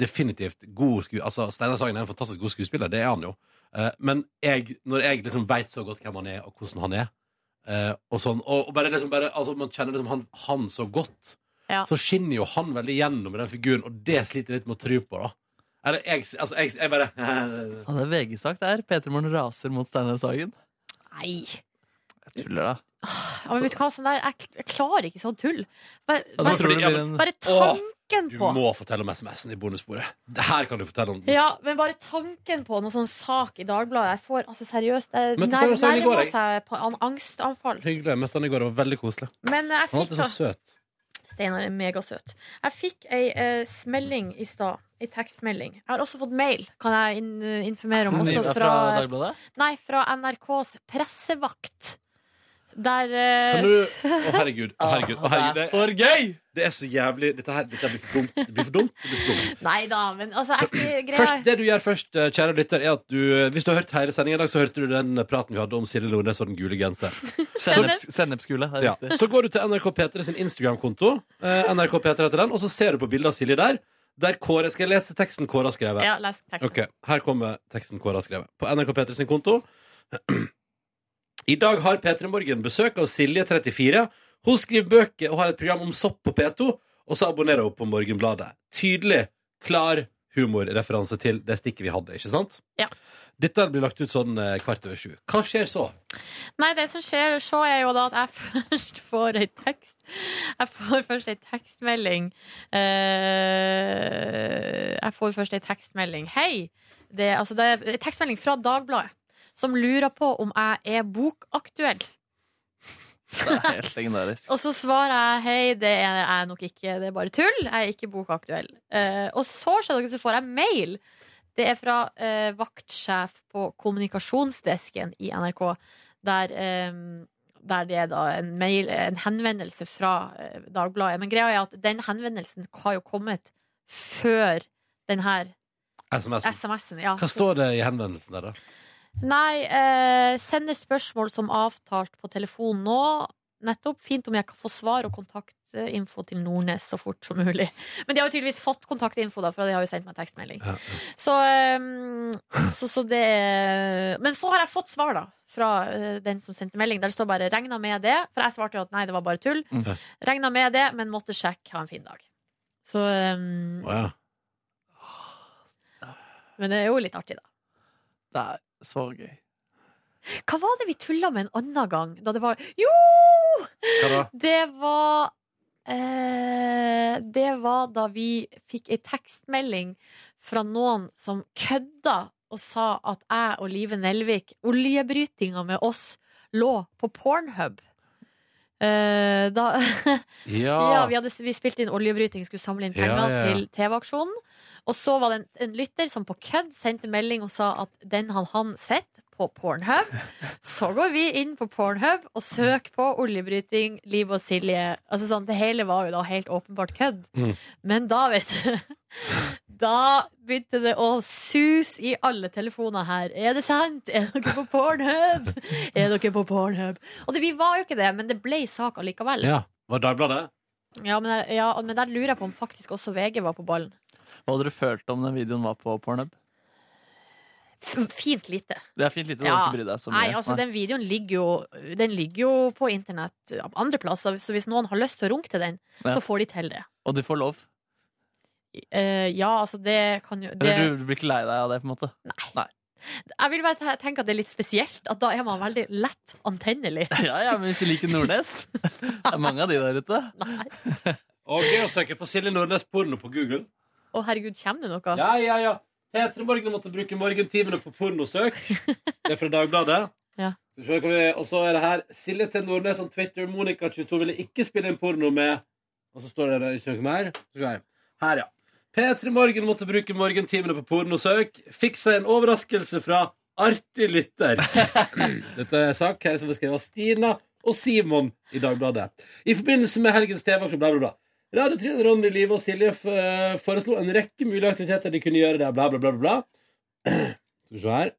B: definitivt god sku... Altså, Steinar Sagen er en fantastisk god skuespiller, det er han jo. Eh, men jeg, når jeg liksom veit så godt hvem han er, og hvordan han er, eh, og sånn Og, og bare liksom bare, altså, man kjenner liksom han, han så godt,
A: Ja.
B: så skinner jo han veldig gjennom i den figuren, og det sliter jeg litt med å tro på, da. Eller jeg, altså, jeg, jeg bare
C: Han er VG-sak der. P3 Morgen raser mot Steinar Sagen.
A: Nei.
C: Tuller, da.
A: Ja, men vet du hva, sånn der, jeg, kl- jeg klarer ikke sånn tull. Bare,
B: Ja, da
A: bare,
B: tror du det blir
A: bare,
B: en-
A: tanken
B: Du
A: på
B: må fortelle om SMS-en i bonussporet. Det her kan du fortelle om.
A: ja, men bare tanken på noen sånn sak i Dagbladet Jeg får altså seriøst Det
B: Men det
A: nær,
B: står jo sånn i går,
A: nærmer
B: jeg.
A: seg på en angstanfall.
B: Hyggelig. Jeg møtte han i går. Det var veldig koselig.
A: Men eh, jeg
B: Han sånn- er
A: fikk
B: alltid så
A: da
B: søt.
A: Steinar er megasøt. Jeg fikk ei eh, smelding i stad. Ei tekstmelding. Jeg har også fått mail, kan jeg inn, eh, informere om. Også
C: Fra,
A: fra,
C: Dagbladet?
A: nei, fra NRKs pressevakt. Der eh,
B: Kan du Å, herregud. Å, herregud. Å, herregud. Det er for gøy! Det er så jævlig Dette, her, dette blir for dumt. Det blir for dumt. Det blir for dumt.
A: Nei da, men altså jeg, greia,
B: Først, det du gjør først, eh, kjære lytter, er at du eh, Hvis du har hørt hele sendingen i dag, så hørte du den eh, praten vi hadde om Silje Nordnes og den gule genseren.
C: Senneps- Sennepsgule. det er
B: Ja.
C: riktig.
B: Så går du til NRK P3 sin Instagram-konto, eh, NRK P3 heter den, og så ser du på bildet av Silje der. Der Kåre, Skal jeg lese teksten Kåre har skrevet?
A: Ja, les teksten.
B: Ok, Her kommer teksten Kåre har skrevet. På NRK P3 sin konto. I dag har P3 Morgen besøk av Silje, 34. Hun skriver bøker og har et program om sopp på P2, og så abonnerer hun på Morgenbladet. tydelig, klar humorreferanse til det stikket vi hadde, ikke sant?
A: Ja.
B: Dette blir lagt ut sånn eh, kvart over sju. Hva skjer så?
A: Nei, det som skjer, så er jo da at jeg først får ei tekst. Jeg får først ei tekstmelding. Eh, jeg får først ei tekstmelding. Hei! Det, er- altså, det er en tekstmelding fra Dagbladet som lurer på om jeg er bokaktuell.
C: Det er helt legendarisk.
A: Og så svarer jeg hei, det er jeg nok ikke, det er bare tull. Jeg er ikke bokaktuell. Eh, og så skjønner dere, så får jeg mail. Det er fra eh, vaktsjef på kommunikasjonsdesken i NRK, der, eh, der det er da en, mail, en henvendelse fra eh, Dagbladet. Men greia er at den henvendelsen har jo kommet før den her
B: SMS-en.
A: SMS-en. Ja.
B: Hva står det i henvendelsen der, da?
A: Nei, eh, sende spørsmål som avtalt på telefon nå. Nettopp. Fint om jeg kan få svar og kontaktinfo til Nordnes så fort som mulig. Men de har jo tydeligvis fått kontaktinfo, da, for de har jo sendt meg tekstmelding. Så, ehm, så, så det Men så har jeg fått svar, da, fra eh, den som sendte melding. Der det står bare 'regna med det', for jeg svarte jo at nei, det var bare tull.
B: Mm.
A: Regna med det, men måtte sjekke. Ha en fin dag. Så ehm,
B: Å, ja.
A: Men det er jo litt artig, da.
C: Det er så gøy.
A: Hva var det vi tulla med en annen gang? Da det var Jo!
B: Hva da?
A: Det var eh, Det var da vi fikk ei tekstmelding fra noen som kødda og sa at jeg og Live Nelvik, oljebrytinga med oss, lå på Pornhub. Eh, da ja, vi, hadde, vi spilte inn oljebryting, skulle samle inn penger
M: Ja, ja, ja.
A: til TV-aksjonen. Og så var det en, en lytter som på kødd sendte melding og sa at den han han sett på Pornhub. Så går vi inn på Pornhub og søker på oljebryting, Liv og Silje. Altså sånn, Det hele var jo da helt åpenbart kødd.
M: Mm.
A: Men da, vet du Da begynte det å suse i alle telefoner her. Er det sant? Er dere på Pornhub? Er dere på Pornhub? Og det, vi var jo ikke det, men det ble sak allikevel.
B: Ja. Var det Dagbladet?
A: Ja, men der, ja, men der lurer jeg på om faktisk også VG var på ballen.
C: Hva hadde dere følt om den videoen var på Pornhub?
A: F fint lite.
C: Det er fint lite, du
A: Ja.
C: må ikke bry deg så mye.
A: Nei, altså Den videoen ligger jo Den ligger jo på internett uh, andre plasser, så hvis noen har lyst til å runke til den,
C: Ja.
A: så får de til det.
C: Og de får lov?
A: Eh, ja, altså, det kan jo det,
C: Eller du, du blir ikke lei deg av det, på en måte? Nei.
A: Jeg vil bare te- tenke at det er litt spesielt, at da er man veldig lett antennelig.
C: Ja, ja, men hvis du liker Nordnes Det er mange av de der ute.
B: Og gøy å søke på Silje Nordnes porno på Google.
A: Å, herregud, kommer det noe?
B: Ja, ja, ja. Petra Morgen måtte bruke morgentimene på pornosøk. Det er fra Dagbladet.
A: Ja.
B: Skal vi se hva vi- Og så er det her Silje T. Nordnes om Twitter. Monica 22 ville ikke spille inn porno med Og så står det der, ikke noe mer. Skal vi se Her, ja. P3 Morgen måtte bruke morgentimene på pornosøk. Fikk seg en overraskelse fra artig lytter. Dette er en sak her som er skrevet av Stina og Simon i Dagbladet. I forbindelse med helgens TV-aksjon, bla, bla, bla. Radio Trine, Ronny, Live og Silje eh, foreslo en rekke mulige aktiviteter de kunne gjøre der, bla, bla, bla, bla. bla. Skal vi se her.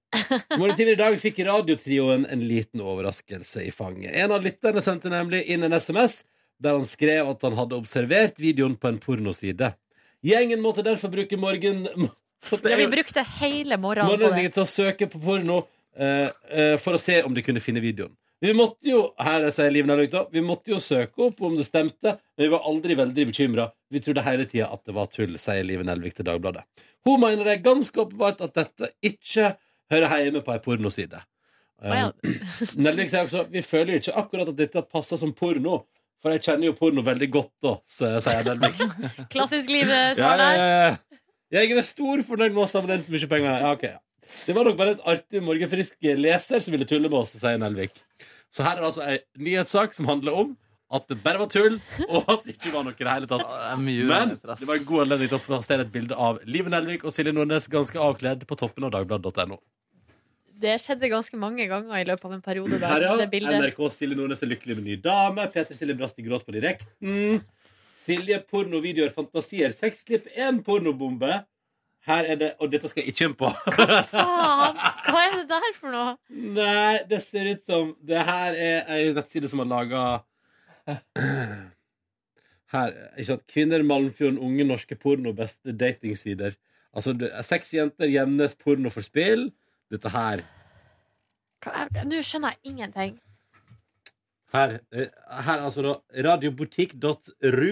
B: Morgen tidligere i dag fikk radiotrioen en liten overraskelse i fanget. En av lytterne sendte nemlig inn en SMS der han skrev at han hadde observert videoen på en pornoside. Gjengen måtte derfor bruke morgen...
A: Ja, vi brukte hele morgenen på det.
B: Morgenlendingen til å søke på porno eh, eh, for å se om de kunne finne videoen. Vi måtte jo her sier Liv Nelvik da, vi måtte jo søke opp om det stemte, men vi var aldri veldig bekymra. Vi trodde hele tida at det var tull, sier Liv Nelvik til Dagbladet. Hun mener det er ganske åpenbart at dette ikke hører hjemme på ei pornoside.
A: ja.
B: Eh, Nelvik sier også vi føler jo ikke akkurat at dette passer som porno, for jeg kjenner jo porno veldig godt, da, sier Nelvik.
A: Klassisk liv-svar der.
B: Jeg er stor fornøyd med oss sammen med så mye penger. Ja, ok, ja. Det var nok bare et artig morgenfrisk leser som ville tulle med oss, sier Nelvik. Så her er altså ei nyhetssak som handler om at det bare var tull, og at det ikke var noe i det hele tatt. Men det var en god anledning til å plassere et bilde av Liv Nelvik og Silje Nordnes ganske avkledd på toppen av dagbladet.no.
A: Det skjedde ganske mange ganger i løpet av en periode. Der,
B: Her, ja.
A: det bildet.
B: NRK Silje Nordnes er lykkelig med ny dame. Peter Silje Brast i gråt på direkten. Silje pornovideoer, fantasier, sexklipp, én pornobombe. Her er det Og dette skal jeg ikke inn på.
A: Faen! Hva er det der for noe?
B: Nei, det ser ut som Det her er ei nettside som har laga Her, ikke sant Kvinner, Malmfjorden, unge, norske porno, beste datingsider. Altså, det er seks jenter, Gjemnes, porno for spill. Dette her.
A: Hva er- Nå skjønner jeg ingenting.
B: Her, eh, her altså da Radiobutikk.ru.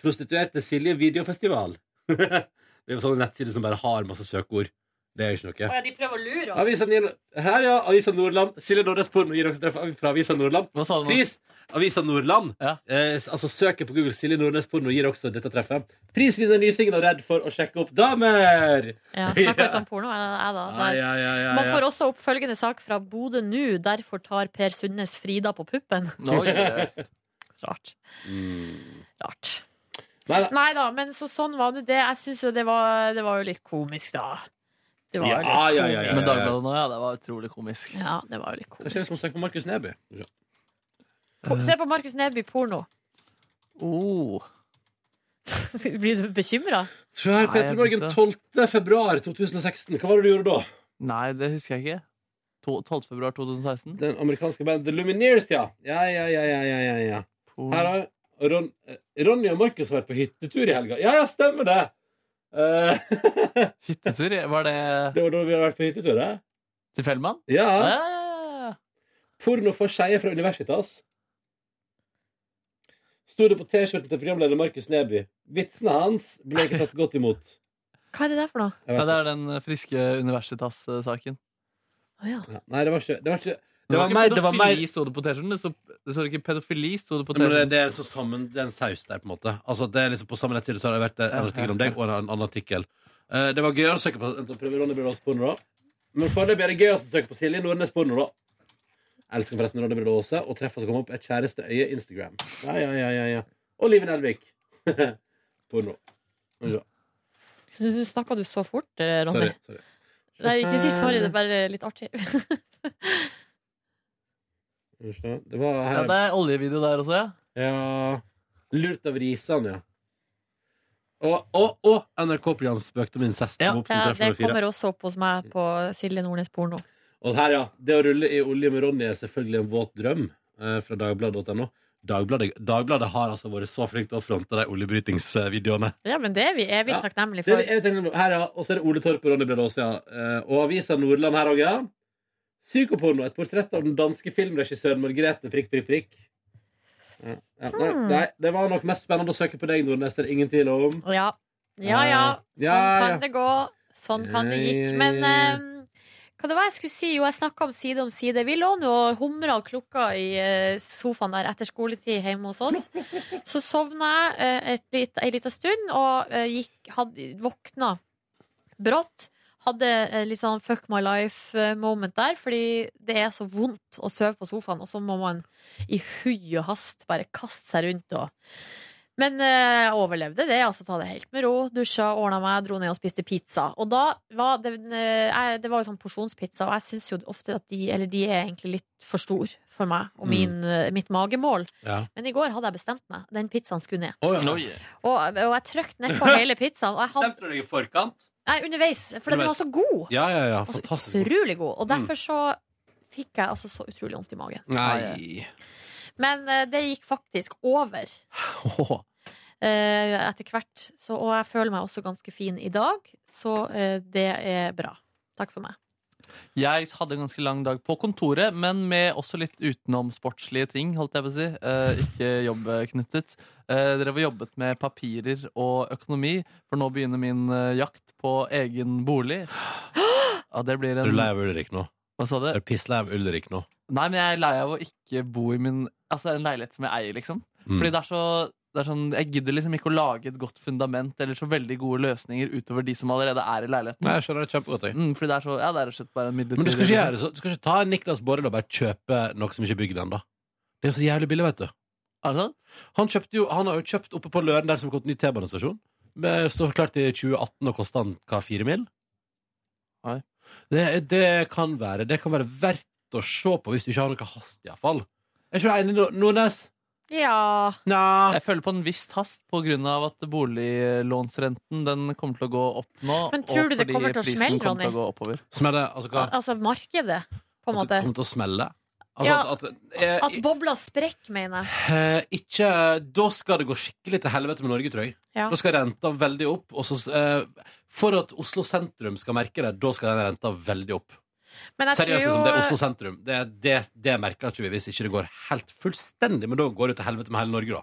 B: Prostituerte Silje videofestival. det er jo sånne nettsider som bare har masse søkeord. Det er jo ikke
A: Å
B: noe.
A: ja, de prøver å lure oss.
B: Avisa Nil- Her, ja. Avisa Nordland. Silje Nordnes Porno gir oss treff fra Avisa Nordland. Pris! Avisa Nordland. Eh, s- altså Søket på Google Silje Nordnes Porno gir også dette treffet. Prisvinner Nysingen og Redd for å sjekke opp damer!
A: Ja, Snakka ut om porno, jeg, jeg da.
B: Ja,
A: Der.
B: ja, ja, ja,
A: Man
B: ja.
A: får også opp følgende sak fra Bodø nå. Derfor tar Per Sundnes Frida på puppen. Rart.
B: Mm.
A: Rart.
B: Nei da.
A: Nei da, men så sånn var nå det. Jeg syns jo det var, det var jo litt komisk, da. Det var jo litt
B: Ja, ja, ja, ja, ja.
C: Men Dagbladet nå, ja. Det var utrolig komisk.
A: Ja, det var jo litt
B: Hva skjer hvis man søker på Markus Neby?
A: ko- Se på Markus Neby porno.
C: Oh.
A: Blir du bekymra?
B: Se her, Peter Morgen, 12. februar 2016. Hva var det du gjorde da?
C: Nei, det husker jeg ikke. To- 12. februar 2016.
B: Den amerikanske bandet The Lumineers, ja. Ja, ja, ja, ja, ja, ja, ja. Her har Ron, eh, Ronny og Markus vært på hyttetur i helga. Ja, ja, stemmer det! Eh,
C: hyttetur? Var det
B: Det var da vi hadde vært på hyttetur, det.
C: Til Fellmann?
B: Ja.
C: Ah.
B: Porno for skeive fra Universitas. Sto det på T-skjorten til programleder Markus Neby. Vitsene hans ble ikke tatt godt imot.
A: Hva er det der for noe?
B: Jeg vet
C: Ja, det er den friske Universitas-saken.
B: Ja, Nei, det var ikke Det var ikke
C: Det var,
B: ikke mer-
C: ikke
B: det var mer-
C: pedofili, sto det på T-skjorten. Det, sto- det står ikke pedofili, sto det på
B: Ja, men det,
C: T-skjorten.
B: det er så sammen, det er en saus der, på en måte. Altså, det er liksom På samme nettside så har det vært
C: Ja,
B: en artikkel om
C: ja,
B: deg og en annen artikkel. Eh, det var gøyere å søke på enn å prøve Ronny Brødals porno, da. Men foreløpig er det gøyest å søke på Silje Nordnes porno, da. Jeg elsker forresten Ronny Brødal Aase, og treffer som kom opp er kjæreste øye Instagram. Ja, ja, ja, ja, ja. Og Liven Elvik. porno. Skal vi se.
A: Snakka du så fort, eh, Ronny?
B: Sorry. sorry.
A: Nei, ikke si sorry. Det er bare litt artig.
B: Skal vi se. Det var her.
C: Ja, det er oljevideo der også, ja.
B: Ja Lurt av risene, ja. Og, og, og NRK-program spøkte om incest. som opp som
A: Ja,
B: treff nummer
A: det
B: fire.
A: kommer også opp hos meg på Silje Nordnes porno.
B: Og her, ja. Det å rulle i olje med Ronny er selvfølgelig en våt drøm eh, fra dagbladet.no. Dagbladet, Dagbladet har altså vært så flink til å fronte de oljebrytingsvideoene.
A: Ja, men det er vi evig
B: Ja.
A: takknemlige
B: Det er
A: for.
B: det jeg tenker nå. Her, ja. Og så er det Ole Torp og Ronny Brede Aase, ja. Eh, Og avisa Nordland her òg, ja. Psykoporno. Et portrett av den danske filmregissøren Margrethe prikk, prikk, prikk. Ja. Ja, nei,
A: Hmm.
B: nei, det var nok mest spennende å søke på deg, Nordnes. Det er det ingen tvil om.
A: Ja. Ja ja, sånn
B: Ja, ja.
A: kan det gå. Sånn kan det gikk. Men eh, hva det var jeg skulle si? Jo, jeg snakka om Side om side. Vi lå nå og humra og klukka i eh, sofaen der etter skoletid hjemme hos oss. Så sovna jeg eh, et lit, ei lita stund og eh, gikk, hadde, våkna brått. Hadde eh, litt sånn fuck my life-moment der, fordi det er så vondt å sove på sofaen, og så må man i hui og hast bare kaste seg rundt og men eh, jeg overlevde det. altså Ta det helt med ro. Dusja, ordna meg, dro ned og spiste pizza. Og da var det, eh, jeg, det var jo sånn porsjonspizza, og jeg syns jo ofte at de Eller de er egentlig litt for store for meg og min, eh, mitt magemål.
B: Ja.
A: Men i går hadde jeg bestemt meg. Den pizzaen skulle ned.
B: Å, ja.
A: Og, og jeg trøkte nedpå hele pizzaen. Og jeg hadde,
B: Stemte du deg i forkant?
A: nei, underveis, for den var så god.
B: Ja, ja, ja. Fantastisk. god.
A: Altså,
B: Mm.
A: Utrolig god. Og derfor så fikk jeg altså så utrolig vondt i magen.
B: Nei.
A: Men eh, det gikk faktisk over. Eh, etter hvert. Så, og jeg føler meg også ganske fin i dag, så eh, det er bra. Takk for meg.
C: Jeg hadde en ganske lang dag på kontoret, men med også litt utenomsportslige ting, holdt jeg på å si. Eh, ikke jobbknyttet. Eh, dere har jobbet med papirer og økonomi, for nå begynner min eh, jakt på egen bolig. Ja, det blir en...
B: Er du lei av Ulrik nå?
C: Hva sa du?
B: Er du pisslei av Ulrik nå?
C: Nei, men jeg er lei av å ikke bo i min Altså en leilighet som jeg eier, liksom.
B: Mm.
C: Fordi det er så det er sånn, Jeg gidder liksom ikke å lage et godt fundament eller så veldig gode løsninger utover de som allerede er i leiligheten.
B: Nei, jeg skjønner det kjempegodt, jeg.
C: Mm, fordi det er så, ja, det er rett og slett bare en midlertidig
B: Men du skal ikke, gjøre, sånn. så, du skal ikke ta Niklas Borrell og bare kjøpe noe som ikke er bygd ennå. Det er så jævlig billig, vet du. Han, kjøpte jo, han har jo kjøpt oppe på Løren der som har gått ny T-banestasjon. Det Står klart i 2018 og kosta han hva, fire mil?
C: Nei.
B: Det, det kan være Det kan være verdt å se på hvis du ikke har noe hast, iallfall. Er ikke du enig, Nordnes?
A: Ja
C: Jeg føler på en viss hast på grunn av at boliglånsrenten den kommer til å gå opp nå.
A: Men tror
C: og
A: du det
C: fordi
A: kommer til å
C: prisen
A: smelle,
C: kommer til å
A: Ronny?
C: gå oppover.
B: Smelle? Altså hva?
A: Altså markedet, på en måte.
B: Kommer til å smelle? Altså,
A: Ja,
B: at, at, eh,
A: At bobla sprekker, mener jeg.
B: Eh, ikke Da skal det gå skikkelig til helvete med Norge, tror jeg.
A: Ja.
B: Da skal renta veldig opp. Og så, eh, for at Oslo sentrum skal merke det, da skal den renta veldig opp.
A: Men jeg tror
B: Seriøst,
A: jo-
B: liksom, det er Oslo sentrum. Det, det, det merker ikke vi hvis ikke det går helt fullstendig. Men da går det til helvete med hele Norge, da.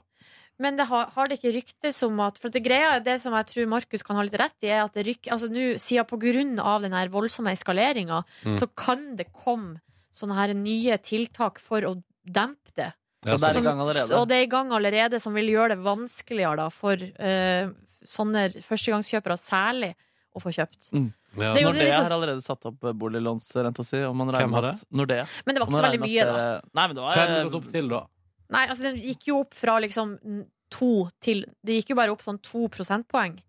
A: Men det har, har det ikke ryktes om at For det greia, det som jeg tror Markus kan ha litt rett i, er at det ryk, altså nå, siden på grunn av den her voldsomme eskaleringa,
O: Mm.
A: så kan det komme sånne her nye tiltak for å dempe det.
C: Ja, så det er i gang allerede.
A: og det er i gang allerede, som vil gjøre det vanskeligere da, for eh, sånne førstegangskjøpere særlig å få kjøpt. Det er jo
C: Nordea
A: liksom-
C: har allerede satt opp eh, boliglånsrenta si. Om man regner
B: Hvem har
C: med at- Nordea.
A: Men det var ikke
C: Og
A: så
C: man
A: veldig
C: regner med
A: mye,
C: at det- Nei, men det var,
B: Hva er det gått opp til, da?
A: Nei, altså den gikk jo opp fra liksom to til Det gikk jo bare opp sånn to prosentpoeng.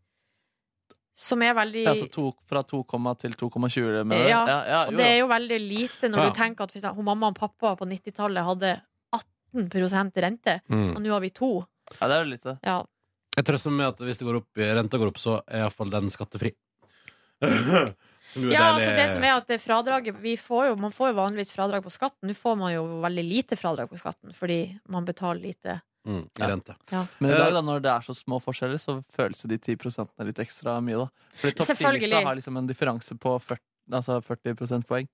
A: Som er veldig
C: Ja, altså to, fra 2,0 til 2,20 med det.
A: Ja,
C: Ja, ja,
A: og
C: jo,
A: det er
C: jo.
A: jo veldig lite når
C: Ja.
A: du tenker at for eksempel, hun mamma og pappa på 90-tallet hadde 18 rente,
B: Mm.
A: og nå har vi to.
C: Ja, det er jo litt det.
A: Ja.
B: Jeg trøster meg med at hvis det går opp, renta går opp, så er iallfall den skattefri. Som jo er
A: Ja,
B: deilig.
A: altså det som er at det fradraget vi får jo, Man får jo vanligvis fradrag på skatten. Nå får man jo veldig lite fradrag på skatten fordi man betaler lite.
B: Mm, i rente.
A: Ja.
C: Men i dag, da, når det er så små forskjeller, så føles jo de 10 prosentene litt ekstra mye, da. Fordi topp 10-lista
A: Selvfølgelig.
C: har liksom en differanse på 40, altså 40 prosentpoeng.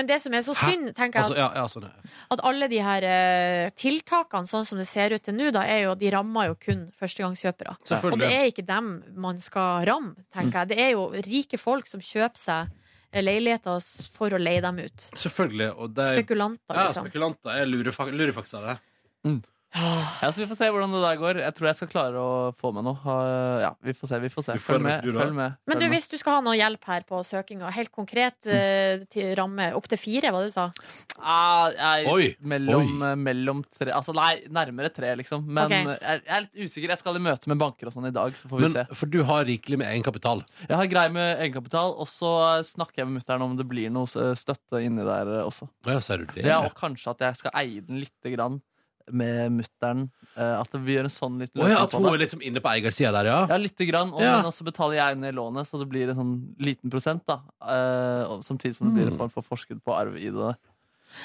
A: Men det som er så synd, tenker jeg at-
C: Altså, ja, ja, sånn,
A: at alle de her eh, tiltakene, sånn som det ser ut til nå, da, er jo, de rammer jo kun førstegangskjøpere.
B: Selvfølgelig.
A: Og det er ikke dem man skal ramme, tenker jeg. Det er jo rike folk som kjøper seg eh, leiligheter s- for å leie dem ut.
B: Selvfølgelig. Og det
A: Spekulanter,
B: ja,
A: liksom.
B: spekulanter er lurefak- lurefakser.
C: Ja, så vi får se hvordan det der går. Jeg tror jeg skal klare å få med noe. Ha- Ja, vi får se, vi får se.
B: får
C: Følg med.
B: det, du da.
C: Følg med.
A: Men du,
C: følg med.
A: hvis du skal ha noe hjelp her på søkinga, helt konkret
B: Mm.
A: eh, til ramme opp til fire, hva du sa?
C: Ah, jeg,
A: Oi,
C: Mellom, eh, mellom tre Altså nei, nærmere tre, liksom. Men
A: Ok.
C: jeg, jeg er litt usikker. Jeg skal i møte med banker og sånn i dag, så får vi
B: Men,
C: se.
B: for du har rikelig med egenkapital.
C: Jeg har grei med egenkapital, og så snakker jeg med mutter'n om det blir noe eh, støtte inni der eh, også.
B: Ja, ser du det?
C: Ja, og kanskje at jeg skal eie den lite grann med mutter'n. eh, At vi gjør en sånn liten
B: Å ja,
C: løsning
B: at hun
C: på
B: er
C: det.
B: liksom inne på eiersida der, ja?
C: Ja, lite grann. Og,
B: Ja.
C: Men også betaler jeg ned lånet, så det blir en sånn liten prosent. da eh, og Samtidig som det
B: Mm.
C: blir en form for forskudd på arv i det.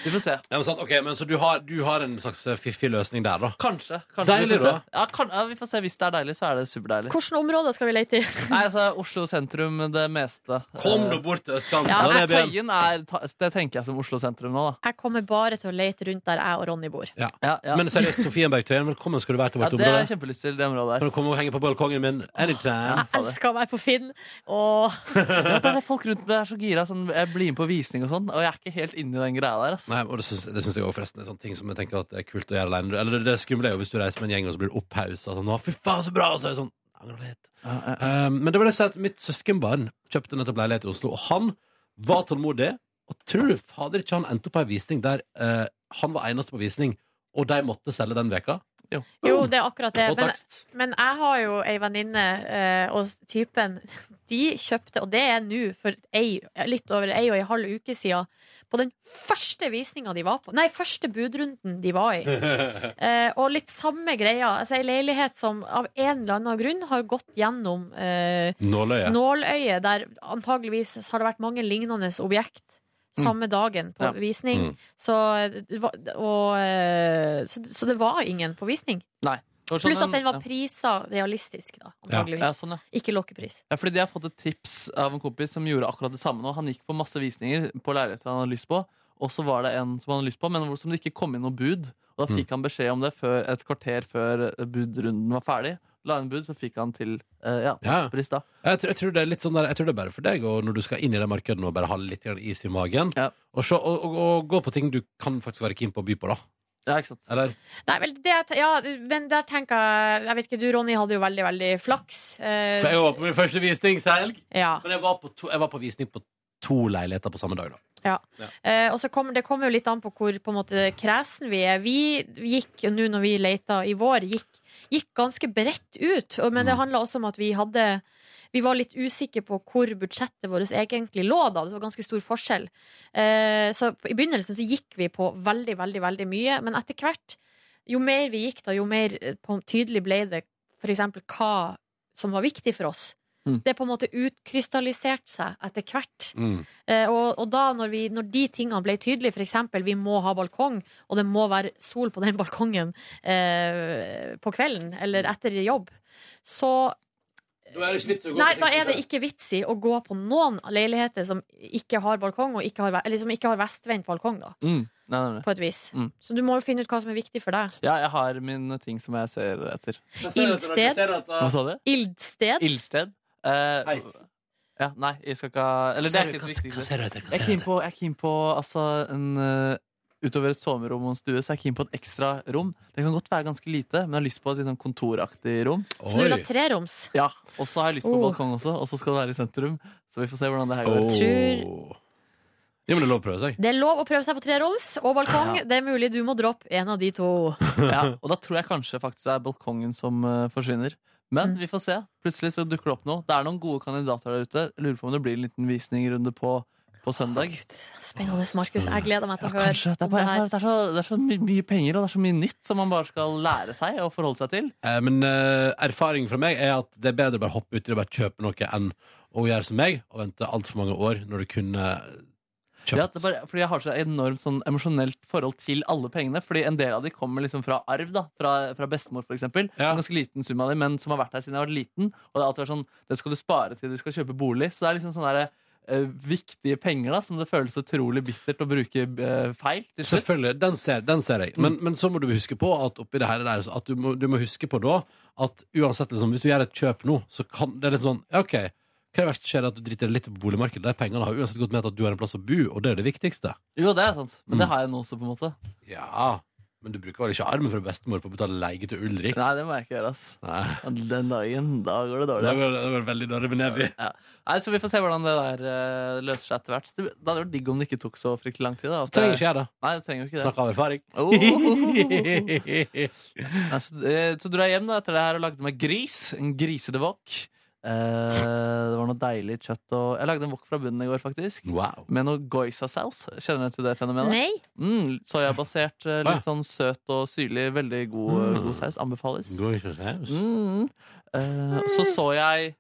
C: Vi får se.
B: Ja, men sant, ok, men Så du har, du har en slags eh, fiffig løsning der, da?
C: Kanskje. kanskje
B: Deilig,
C: vi får
B: da.
C: se. Ja, kan, ja, vi får se. Hvis det er deilig, så er det superdeilig.
A: Hvilke områder skal vi lete i?
C: Nei, altså, Oslo sentrum det meste.
B: Kom nå
C: bort
B: til østkanten.
C: Ja,
B: da,
C: jeg-
B: Nebjørn.
C: Tøyen er, ta- det tenker jeg som Oslo sentrum nå, da.
A: Jeg kommer bare til å lete rundt der jeg og Ronny bor.
B: Ja.
C: ja.
B: Men seriøst, Sofienbergtøyen, velkommen skal du være til
C: Ja,
B: vårt
C: det har jeg
B: område.
C: kjempelyst til, det området
B: Kan du
C: der.
B: komme og henge på balkongen min anytime?
A: Jeg elsker å være på Finn, og
C: Ja, da er folk rundt meg er så gira. Sånn, jeg blir med på visning og sånn, og jeg er ikke helt inni den greia der. Ass.
B: Nei, og Det syns, det syns jeg også forresten. Det er sånne ting som jeg tenker at det er kult å gjøre alene. Eller det skumle er jo hvis du reiser med en gjeng og så blir du opphausa sånn «Å, 'Fy faen, så bra!' Og så er det sånn «Angrer litt». Um, men det var det jeg sa at mitt søskenbarn kjøpte nettopp leilighet i Oslo, og han var tålmodig. Og tror du fader ikke han endte opp på ei visning der eh, han var eneste på visning, og de måtte selge den veka?
C: Jo.
A: Jo, det er akkurat det.
B: På
A: Men,
B: takst.
A: men jeg har jo ei venninne eh, og typen De kjøpte, og det er nå for ei, litt over ei og ei halv uke siden, på den første visninga de var på. Nei, første budrunden de var i. Eh, og litt samme greia. Altså, ei leilighet som av en eller annen grunn har gått gjennom eh,
B: Nåløyet.
A: nåløyet, der antageligvis har det vært mange lignende objekt. Samme dagen på
B: Mm. Ja.
A: visning.
B: Mm.
A: Så, det var- og, eh, så, så det var ingen på visning.
C: Nei. Det var sånn
A: Pluss at
C: en-
A: den var
C: ja.
A: prisa realistisk, da, antageligvis.
C: Ja, sånn, ja.
A: Ikke lokkepris.
C: Ja, fordi de har fått et tips av en kompis som gjorde akkurat det samme nå. Han gikk på masse visninger på leiligheter han hadde lyst på, og så var det en som han hadde lyst på, men hvor som det ikke kom inn noe bud. Og da fikk han beskjed om det før, et kvarter før eh, budrunden var ferdig. La inn bud, så fikk han til eh, ja,
B: Ja.
C: makspris da.
B: Jeg, tror- jeg, tror det er litt sånn der, jeg tror det er bare for deg og når du skal inn i det markedet nå, bare ha litt grann is i magen. Og, se, og, og, og gå på ting du kan faktisk være keen på å by på, da.
C: Ja, ikke sant.
B: Eller?
A: Nei, vel, det, ja, men der tenker jeg Jeg vet ikke, du Ronny hadde jo veldig, veldig flaks. Eh,
B: For jeg var på min første visning helg.
A: Ja.
B: Men jeg var, på to, jeg var på visning på to leiligheter på samme dag, da.
A: Ja.
B: Ja.
A: Eh, og så kommer det kommer jo litt an på hvor på en måte kresen vi er. Vi gikk nå når vi leita i vår, gikk, gikk ganske bredt ut. og- Men det handla også om at vi hadde vi var litt usikre på hvor budsjettet vårt egentlig lå da. Det var ganske stor forskjell. Eh, så i begynnelsen så gikk vi på veldig, veldig, veldig mye. Men etter hvert, jo mer vi gikk da, jo mer eh, på, tydelig ble det f.eks. hva som var viktig for oss.
M: Mm.
A: Det på en måte utkrystalliserte seg etter hvert.
B: Mm.
A: Eh, og, og da når, vi, når de tingene ble tydelige, f.eks. vi må ha balkong, og det må være sol på den balkongen eh, på kvelden eller etter jobb, så
B: Da er det ikke vits i å gå
A: Nei,
B: på
A: da er det
B: teknisk.
A: ikke vits i å gå på noen leiligheter som ikke har balkong, og ikke har, eller som ikke har vestvendt balkong, da.
C: Mm. Nei, nei, nei.
A: På et vis.
C: Mm.
A: Så du må jo finne ut hva som er viktig for deg.
C: Ja, jeg har mine ting som jeg ser etter.
A: Ildsted.
C: Hva sa du?
A: Ildsted.
C: Ildsted. Eh, Ja, nei, jeg skal ikke ha Eller det
M: Hva ser
C: er ikke
M: du-
C: et
M: hva-
C: viktig
M: hva ser du etter? Hva
C: Jeg
M: ser
C: er
M: du
C: keen på, jeg er keen på altså, en, eh, Utover et soverom og en stue, så er jeg keen på et ekstra rom. Det kan godt være ganske lite, men jeg har lyst på et litt sånn kontoraktig rom.
A: Så du vil ha treroms?
C: Ja, Og så har jeg lyst på
A: Oh.
C: balkong også, og så skal det være i sentrum. Så vi får se hvordan det her går.
A: Oh. Tror-
B: Ja, men det er lov å prøve seg.
A: Det er lov å prøve seg på treroms og balkong.
C: Ja.
A: Det er mulig du må droppe en av de to.
C: Ja, og da tror jeg kanskje faktisk det er balkongen som eh, forsvinner.
A: Mm.
C: Men vi får se. Plutselig så dukker det opp noe. Det er noen gode kandidater der ute. Jeg Lurer på om det blir en liten visningrunde på, på søndag.
A: Spennende, Markus. Jeg gleder meg til å høre.
C: Kanskje. Det er,
A: om
C: bare,
A: her.
C: jeg føler at det er, så, det er så my mye penger, og det er så mye nytt som man bare skal lære seg og forholde seg til.
B: Eh, men eh, erfaringen fra meg er at det er bedre å bare hoppe uti og bare kjøpe noe enn å gjøre som meg og vente altfor mange år når du kunne kjøpt.
C: Ja, det er bare, fordi jeg har så enormt sånn emosjonelt forhold til alle pengene. Fordi en del av de kommer liksom fra arv, da. Fra, fra bestemor, for eksempel. En ganske liten sum av de, men som har vært her siden jeg var liten. Og det har alltid vært sånn, det skal du spare til du skal kjøpe bolig. Så det er liksom sånne der, eh, viktige penger da, som det føles utrolig bittert å bruke eh, feil til slutt.
B: Selvfølgelig, den ser, den ser jeg. Men, men så må du huske på at oppi det her der, så at du, må, du må huske på da at uansett, liksom, hvis du gjør et kjøp nå, så kan det er litt sånn ja, OK, hva er det verste som skjer? At du driter deg litt på boligmarkedet? De pengene har uansett gått med til at du har en plass å bo, og det er det viktigste.
C: Jo, det er sant. Men
B: Mm.
C: det har jeg nå også, på en måte.
B: Ja, men du bruker vel ikke armen fra bestemor på å betale leie til Ulrik?
C: Nei, det må jeg ikke gjøre, ass.
B: Nei.
C: Den dagen, da går det dårlig,
B: Det
C: ass.
B: var, det var veldig dårlig med Nebby.
C: Ja. Nei, Så vi får se hvordan det der eh, løser seg etter hvert. Det det hadde vært digg om det ikke tok så fryktelig lang tid. Da, at
B: Det trenger ikke jeg, da.
C: Nei, det trenger jo ikke det.
B: Snakk av erfaring.
C: Oh. Nei, så, eh, så dro jeg hjem da, etter det her og lagde meg gris. En grisete wok. Eh, det var noe deilig kjøtt og Jeg lagde en wok fra bunnen i går, faktisk. Med noe goisasaus. Kjenner du til det fenomenet?
A: Nei.
C: Mm, soyabasert, eh,
B: Ah, ja.
C: litt sånn søt og syrlig. Veldig god, eh,
B: Mm.
C: god saus. Anbefales.
B: Goisasaus.
C: Mm. Eh, så så jeg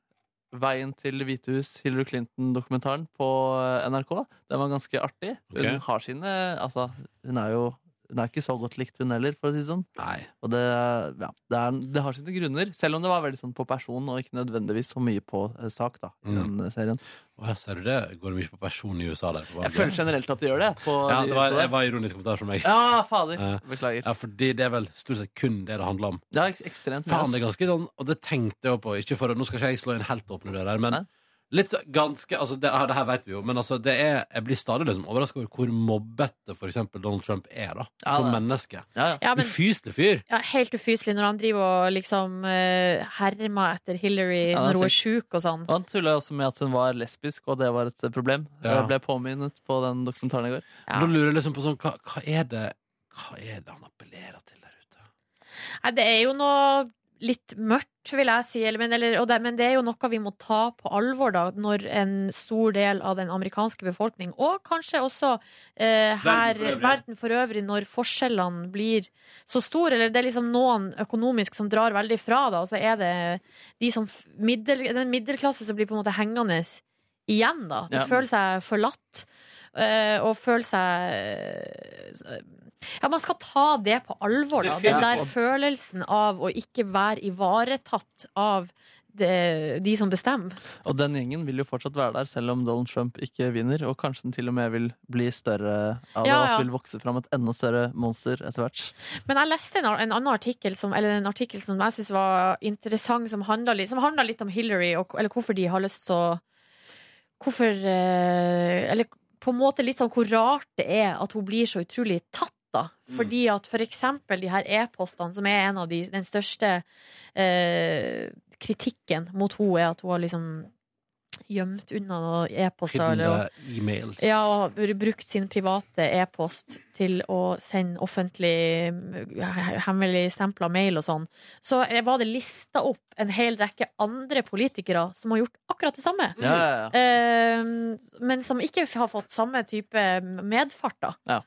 C: Veien til Det hvite hus, Hillary Clinton-dokumentaren på eh, NRK. Den var ganske artig. Hun
B: Ok.
C: har sine Altså, hun er jo hun er ikke så godt likt, hun heller, for å si det sånn.
B: Nei.
C: Og det, ja, det, er, det har sine grunner, selv om det var veldig sånn på person, og ikke nødvendigvis så mye på eh, sak, da, i
B: Mm.
C: den serien.
B: Å, ja, ser du det? Går det mye på person i USA der?
C: Jeg føler generelt at det gjør det. På
B: Ja,
C: de-
B: det var,
C: på
B: det var ironisk kommentar fra meg.
C: Ja, fader.
B: Eh,
C: Beklager.
B: Ja, fordi det er vel stort sett kun det det handler om.
C: Ja, ek- ekstremt mye,
B: Faen,
C: ass.
B: det er ganske sånn, og det tenkte jeg på, ikke for, å- nå skal ikke jeg slå inn helt åpne dører, men litt så- ganske, altså det, ja, det her vet vi jo, men altså det er, jeg blir stadig liksom overrasket over hvor mobbete for eksempel Donald Trump er da,
A: Ja,
B: som
A: det-
B: menneske.
A: Ja, men-
B: Ufyselig fyr.
A: Ja, helt ufyselig når han driver og liksom eh, hermer etter Hillary
C: Ja, det
A: når
C: er
A: hun er
C: sykt.
A: sjuk og sånn.
C: Og han tulla jo også med at hun var lesbisk, og det var et eh, problem.
B: Ja.
C: Jeg ble påminnet på den dokumentaren i går.
B: Da lurer jeg liksom på sånn, hva, hva er det, hva er det han appellerer til?
A: Nei, det er jo noe litt mørkt, vil jeg si, eller, men, eller, og det, men det er jo noe vi må ta på alvor, da, når en stor del av den amerikanske befolkning, og kanskje også eh, her,
O: Verden for øvrig.
A: verden for øvrig, når forskjellene blir så store, eller det er liksom noen økonomisk som drar veldig fra, da, og så er det de som f- middel, den middelklasse som blir på en måte hengende igjen, da. De
O: Ja.
A: føler seg forlatt, eh, og føler seg eh, ja, man skal ta det på alvor, da. Den der
O: Definitivt.
A: følelsen av å ikke være ivaretatt av det, de som bestemmer.
C: Og den gjengen vil jo fortsatt være der, selv om Donald Trump ikke vinner. Og kanskje den til og med vil bli større av det,
A: Ja,
C: og at
A: ja.
C: det vil vokse fram et enda større monster etter hvert.
A: Men jeg leste en, en annen artikkel som, eller en artikkel som jeg syns var interessant, som handla litt, som handlet litt om Hillary, og, eller hvorfor de har lyst så Hvorfor eh, Eller på en måte litt sånn hvor rart det er at hun blir så utrolig tatt. da Fordi at for eksempel de her e-postene, som er en av de, den største eh, kritikken mot henne, er at hun har liksom gjemt unna noen e-poster. eller-
B: Hidden e-mails.
A: ja, og br- brukt sin private e-post til å sende offentlig he- hemmelig stempla mail og sånn, så eh, var det lista opp en hel rekke andre politikere som har gjort akkurat det samme.
C: Ja, ja, ja.
A: Eh, men som ikke har fått samme type medfart, da.
C: Ja.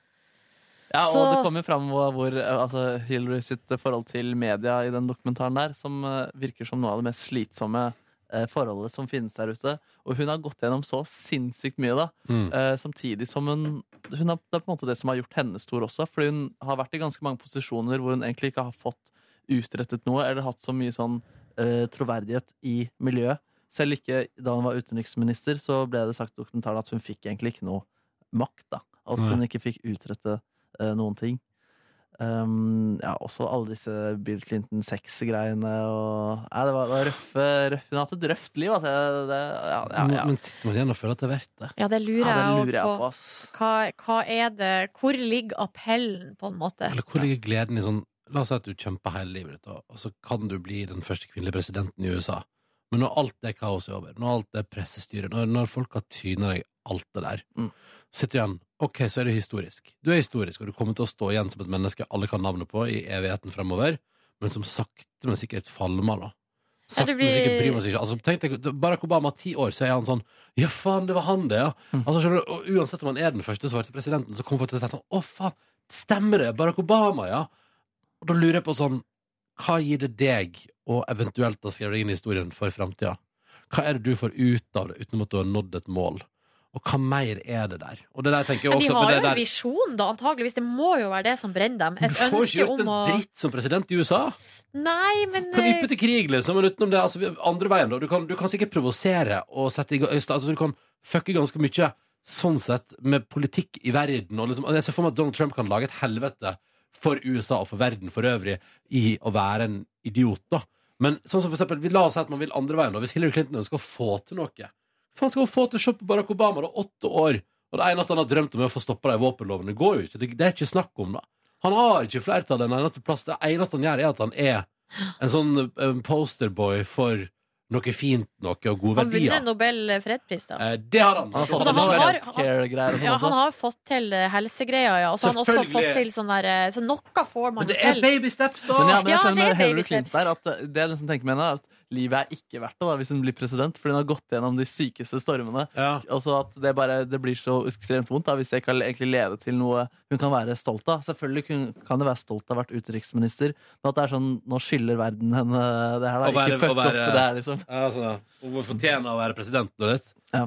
C: Ja, og
A: Så-
C: det kommer fram hvor, hvor eh, altså, Hillary sitt forhold til media i den dokumentaren der, som eh, virker som noe av det mest slitsomme eh, forholdet som finnes der ute. Og hun har gått gjennom så sinnssykt mye, da.
M: Mm.
C: Eh, samtidig som hun, hun har, Det er på en måte det som har gjort henne stor også, fordi hun har vært i ganske mange posisjoner hvor hun egentlig ikke har fått utrettet noe, eller hatt så mye sånn eh, troverdighet i miljøet. Selv ikke da hun var utenriksminister, så ble det sagt i dokumentaren at hun fikk egentlig ikke noe makt. da At hun
O: Nei.
C: ikke fikk utrette eh, noen ting. Um, ja, også alle disse Bill Clinton sex-greiene og Nei, det var, det var røffe, røff- Hun har hatt et røft liv, altså. Det, ja, ja, ja.
B: Men sitter man igjen og føler at det er verdt det?
A: Ja, det lurer,
C: Ja, det
A: jeg også
C: lurer jeg på,
A: Hva, hva er det Hvor ligger appellen, på en måte?
B: Eller hvor ligger gleden i sånn La oss si at du kjemper hele livet ditt, og og så kan du bli den første kvinnelige presidenten i USA. Men når alt det kaoset er over, når alt det pressestyret, når, når folk har tyna deg alt det der, sitter du igjen OK, så er du historisk. Du er historisk, og du kommer til å stå igjen som et menneske alle kan navnet på i evigheten fremover, men som sakte, men sikkert falmer, da.
A: Ja,
B: Sakte,
A: det
B: men sikkert
A: blir-
B: bryr man seg ikke. Altså, tenk deg, Barack Obama, ti år, så er han sånn Ja, faen, det var han, det, ja.
A: Mm.
B: Altså, skjønner du, og uansett om han er den første svarte presidenten, så kommer folk til å si sånn Å, faen, stemmer det? Barack Obama, ja. Og da lurer jeg på sånn Hva gir det deg, og eventuelt da skriver deg inn i historien for framtida? Hva er det du får ut av det, utenom at du har nådd et mål? Og hva mer er det der? Og det der tenker jeg
A: Men de
B: også
A: har
B: men
A: jo
B: det
A: en
B: der,
A: visjon, da, antageligvis. Det må jo være det som brenner dem.
B: Du
A: Et
B: får ikke
A: ønske
B: gjort
A: om
B: en
A: å
B: dritt som president i USA!
A: Nei, men
B: kan
A: eh,
B: yppe til krig, liksom, men utenom det, altså, andre veien, da. Du kan, du kan sikkert provosere og sette i gang altså, Du kan fucke ganske mye sånn sett med politikk i verden. Og liksom, altså, jeg ser for meg at Donald Trump kan lage et helvete for USA og for verden for øvrig i å være en idiot, da. Men sånn som for eksempel, vi la oss si at man vil andre veien, da. Hvis Hillary Clinton ønsker å få til noe Faen skal hun få til å se på Barack Obama, da? Åtte år. Og det eneste han har drømt om, er å få stoppa de våpenlovene. Det går jo ikke. Det, det er ikke snakk om, da. Han har ikke flertall en eneste plass. Det eneste han gjør, er at han er en sånn eh, posterboy for noe fint noe og gode
A: han vunnet
B: verdier.
A: Nobel fredspris, da.
B: Eh, Det har han.
C: Han har fått
A: Altså,
C: til
A: han
C: noe
A: har-
C: healthcare-greier og sånn
A: Ja,
C: også.
A: han har fått til eh, helsegreier, ja. Og så har han også
C: Selvfølgelig.
A: fått til sånn der eh, Så noe får man jo
C: det er
A: til.
B: baby steps,
C: Men ja, men jeg skjønner med
A: det er
C: Hillary
A: baby steps.
C: Clinton der at eh, det jeg nesten tenker med henne, er at livet er ikke verdt det da, hvis hun blir president, fordi hun har gått gjennom de sykeste stormene. Og så at det bare det blir så ekstremt vondt da, hvis det kan egentlig lede til noe hun kan være stolt av. Selvfølgelig kun- kan det være stolt av å ha vært utenriksminister, men at det er sånn nå skylder verden henne eh, det her,
B: Å
C: da.
B: være-
C: ikke fuck
B: å være-
C: opp til det her, liksom.
B: Ja, sånn, ja. Hun fortjener å være president nå, litt.
C: Ja.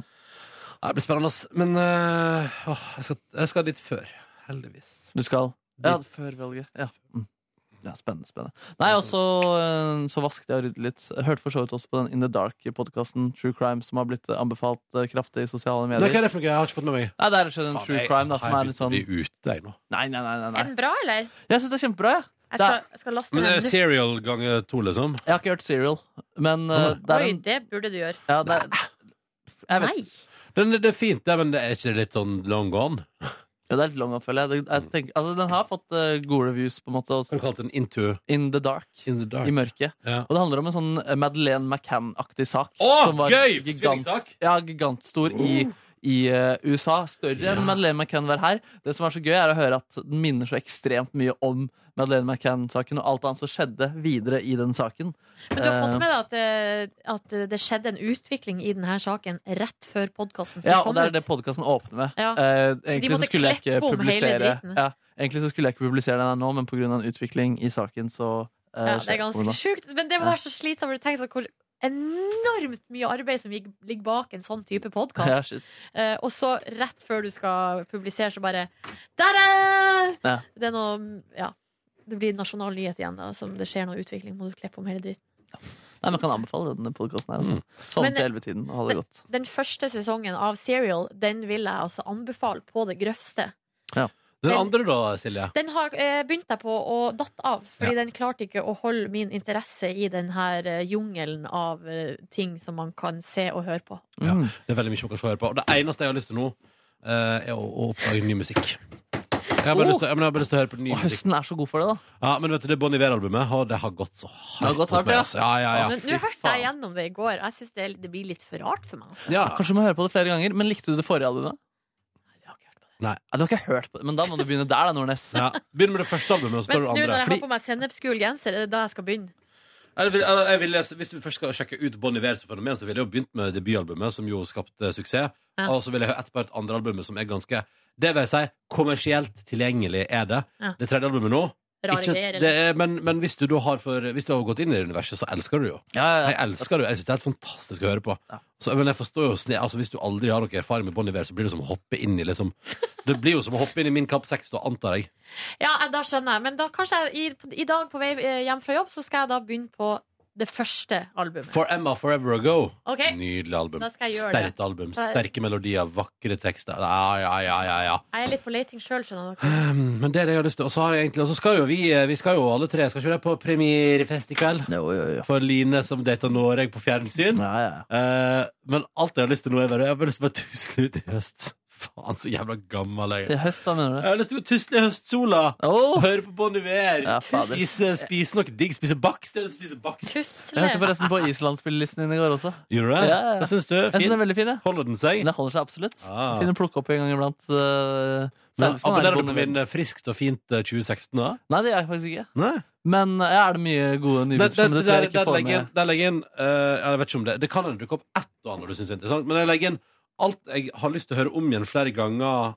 B: Det blir spennende, ass. Men eh, åh, jeg, skal, jeg skal dit før. Heldigvis.
C: Du skal Ja, før valget. Ja. Mm. Ja, spennende, spennende. Nei, og så, eh, så vasket jeg og ryddet litt. Jeg Hørte for så vidt også på den In the Dark-podkasten True Crime, som har blitt eh, anbefalt eh, kraftig i sosiale
B: Nei,
C: medier.
B: hva er det for noe? Jeg har ikke fått med meg.
C: Nei, det er rett og slett en
B: Faen,
C: true
B: jeg-
C: crime da, som
B: her
C: er litt sånn
B: begynte vi ute, jeg nå.
C: Nei, nei, nei, nei,
A: Er den
C: nei.
A: bra, eller?
C: Jeg syns det er kjempebra, jeg.
A: Jeg skal, jeg skal laste
B: Men
C: eh,
A: den.
B: er det
A: nå.
B: serial ganger to, liksom?
C: Jeg har ikke hørt Serial, men eh, det er
A: Oi,
C: en
A: det burde du gjøre.
C: ja, det er, jeg vet.
A: Nei.
B: Den, det er fint, det, men det er ikke det litt sånn long gone?
C: Ja, det er litt long off, føler jeg. Det- jeg tenker, altså, den har fått eh, gode reviews, på en måte. Også.
B: Har du kalt den Into?
C: In the Dark.
B: dark.
C: I mørket.
B: Ja.
C: Og det handler om en sånn eh, Madeleine McCann-aktig sak.
B: Å, gøy! Oh. Forsvinningssak.
C: ja, gigantstor i, i eh, USA. Større enn Madeleine McCann var her. Det som er så gøy, er å høre at den minner så ekstremt mye om Madeleine McCann-saken og alt annet som skjedde videre i den saken.
A: Men du har fått
C: Eh,
A: med deg at, eh, at det skjedde en utvikling i denne saken rett før podkasten
C: Ja, og
A: kom
C: det er
A: ut?
C: det podkasten åpner med.
A: Ja.
C: Eh,
A: Så de
C: egentlig
A: måtte
C: så skulle jeg
A: kleppe
C: ikke
A: om hele
C: publisere
A: dritten.
C: ja, Egentlig så skulle jeg ikke publisere den her nå, men pga. en utvikling i saken, så eh,
A: Ja, det
C: skjer
A: er ganske
C: nå.
A: sjukt. Men det
C: Ja.
A: var så slitsomt. for Tenk deg hvor enormt mye arbeid som gikk- ligger bak en sånn type
C: Ja,
A: podkast.
C: shit.
A: Eh, og så rett før du skal publisere, så bare Der!
C: Ja.
A: Det er noe Ja. Det blir nasjonal nyhet igjen. Da, som det skjer noe utvikling. Må du kleppe om hele dritten.
C: Nei, Man kan anbefale denne podkasten her. Altså.
B: Mm.
C: Sånn
A: Men-
C: til ellevetiden. Ha det godt.
A: Den første sesongen av Serial Den vil jeg altså anbefale på det grøvste.
B: Den andre, da, Silje?
A: Den har eh, begynt jeg på å datt av, fordi den klarte ikke å holde min interesse i den her eh, jungelen av eh, ting som man kan se og høre på.
B: Ja,
C: Mm.
B: det er veldig mye man kan se og høre på. Og det eneste jeg har lyst til nå, eh, er å, å oppdage ny musikk. Jeg har, bare
C: Oh.
B: lyst til, jeg, men jeg har bare lyst til å høre på ny
C: Og
B: musikk.
C: høsten er så god for det, da.
B: Ja, men vet du, Det Bon Iver-albumet og det har gått så hardt.
C: har gått
B: hos
C: hardt,
B: meg,
C: ja.
B: altså. ja, ja,
A: Men nå
B: ja.
A: hørte jeg gjennom det i går. Jeg syns det, det blir litt for rart for meg. Altså.
B: Ja.
C: Kanskje du må høre på det flere ganger. Men likte du det forrige albumet?
B: Nei.
C: Ja, du har ikke hørt på det, men da må du begynne der, da, Nordnes.
B: Ja, Begynn med det første albumet, og så
A: Men
B: tar
A: nå
B: du
A: når
B: andre.
A: jeg har
B: Fordi,
A: på meg sennepsgul genser, er det da jeg skal begynne?
B: jeg vil, jeg vil, hvis du først skal sjekke ut Bon Iver som fenomen, så ville jeg jo begynt med debutalbumet, som jo skapte suksess.
A: Ja.
B: Og så vil jeg høre etterpå et andre albumet som er ganske Det vil jeg si, kommersielt tilgjengelig er det.
A: Ja.
B: Det tredje albumet nå
A: Rare
B: ikke,
A: greier, eller?
B: det er, men, men hvis du da har for, Hvis du har gått inn i det universet, så elsker du det jo. Jeg elsker det, jeg synes det er helt fantastisk å høre på. Så, men jeg forstår jo sne- altså, Hvis du aldri har noe erfaring med Bon Iver, så blir det som å hoppe inn i liksom, Det blir jo som å hoppe inn i min Kapp 6, da, antar jeg.
A: Ja, eh, da skjønner jeg. Men da kanskje jeg i, i dag på vei eh, hjem fra jobb, så skal jeg da begynne på det første albumet.
B: For Emma Forever Ago.
A: Ok.
B: Nydelig album.
A: Da skal jeg gjøre
B: Sterkt
A: det.
B: album.
A: Da-
B: Sterke melodier, vakre tekster. Ja, ja, ja, ja, ja.
A: Jeg er litt på leiting sjøl, skjønner dere.
B: Um, Men det er det jeg har lyst til. Og så har jeg egentlig, og så skal jo vi, eh, vi skal jo alle tre skal ikke det på premierefest i kveld. For Line som data Noreg på fjernsyn. Eh, men alt jeg har lyst til nå, er bare Jeg har bare lyst til å bare tusle ut i høst. Faen, så jævla gammel jeg
C: I
B: er.
C: høst, da, mener du?
B: Jeg har lyst til å tusle i høstsola. Høre på Bon Iver.
C: Ja, fader.
B: spise, spise noe digg. Spise bakst. Jeg har lyst til å spise bakst.
C: Jeg hørte forresten på Island-spillelisten din i går også.
B: Gjorde du det?
C: Ja, ja, ja.
B: Hva syns du?
C: Jeg synes den er veldig fin. jeg.
B: Holder den seg?
C: Den holder seg absolutt.
B: Ah.
C: Fin å plukke opp en gang iblant. eh,
B: Men
C: særlig hvis man er i
B: Abonnerer du på
C: bondevenn.
B: min eh, friskt og fint eh, 2016 da?
C: Nei, det gjør jeg faktisk ikke.
B: Nei.
C: Men eh, er det mye gode
B: Der,
C: nyheter
B: der,
C: som du tror
B: der,
C: jeg ikke
B: der
C: får
B: legger inn,
C: med?
B: der legger inn eh, Jeg vet ikke om det Det kan hende dukke opp ett og annet du syns er interessant, men jeg legger inn alt jeg har lyst til å høre om igjen flere ganger,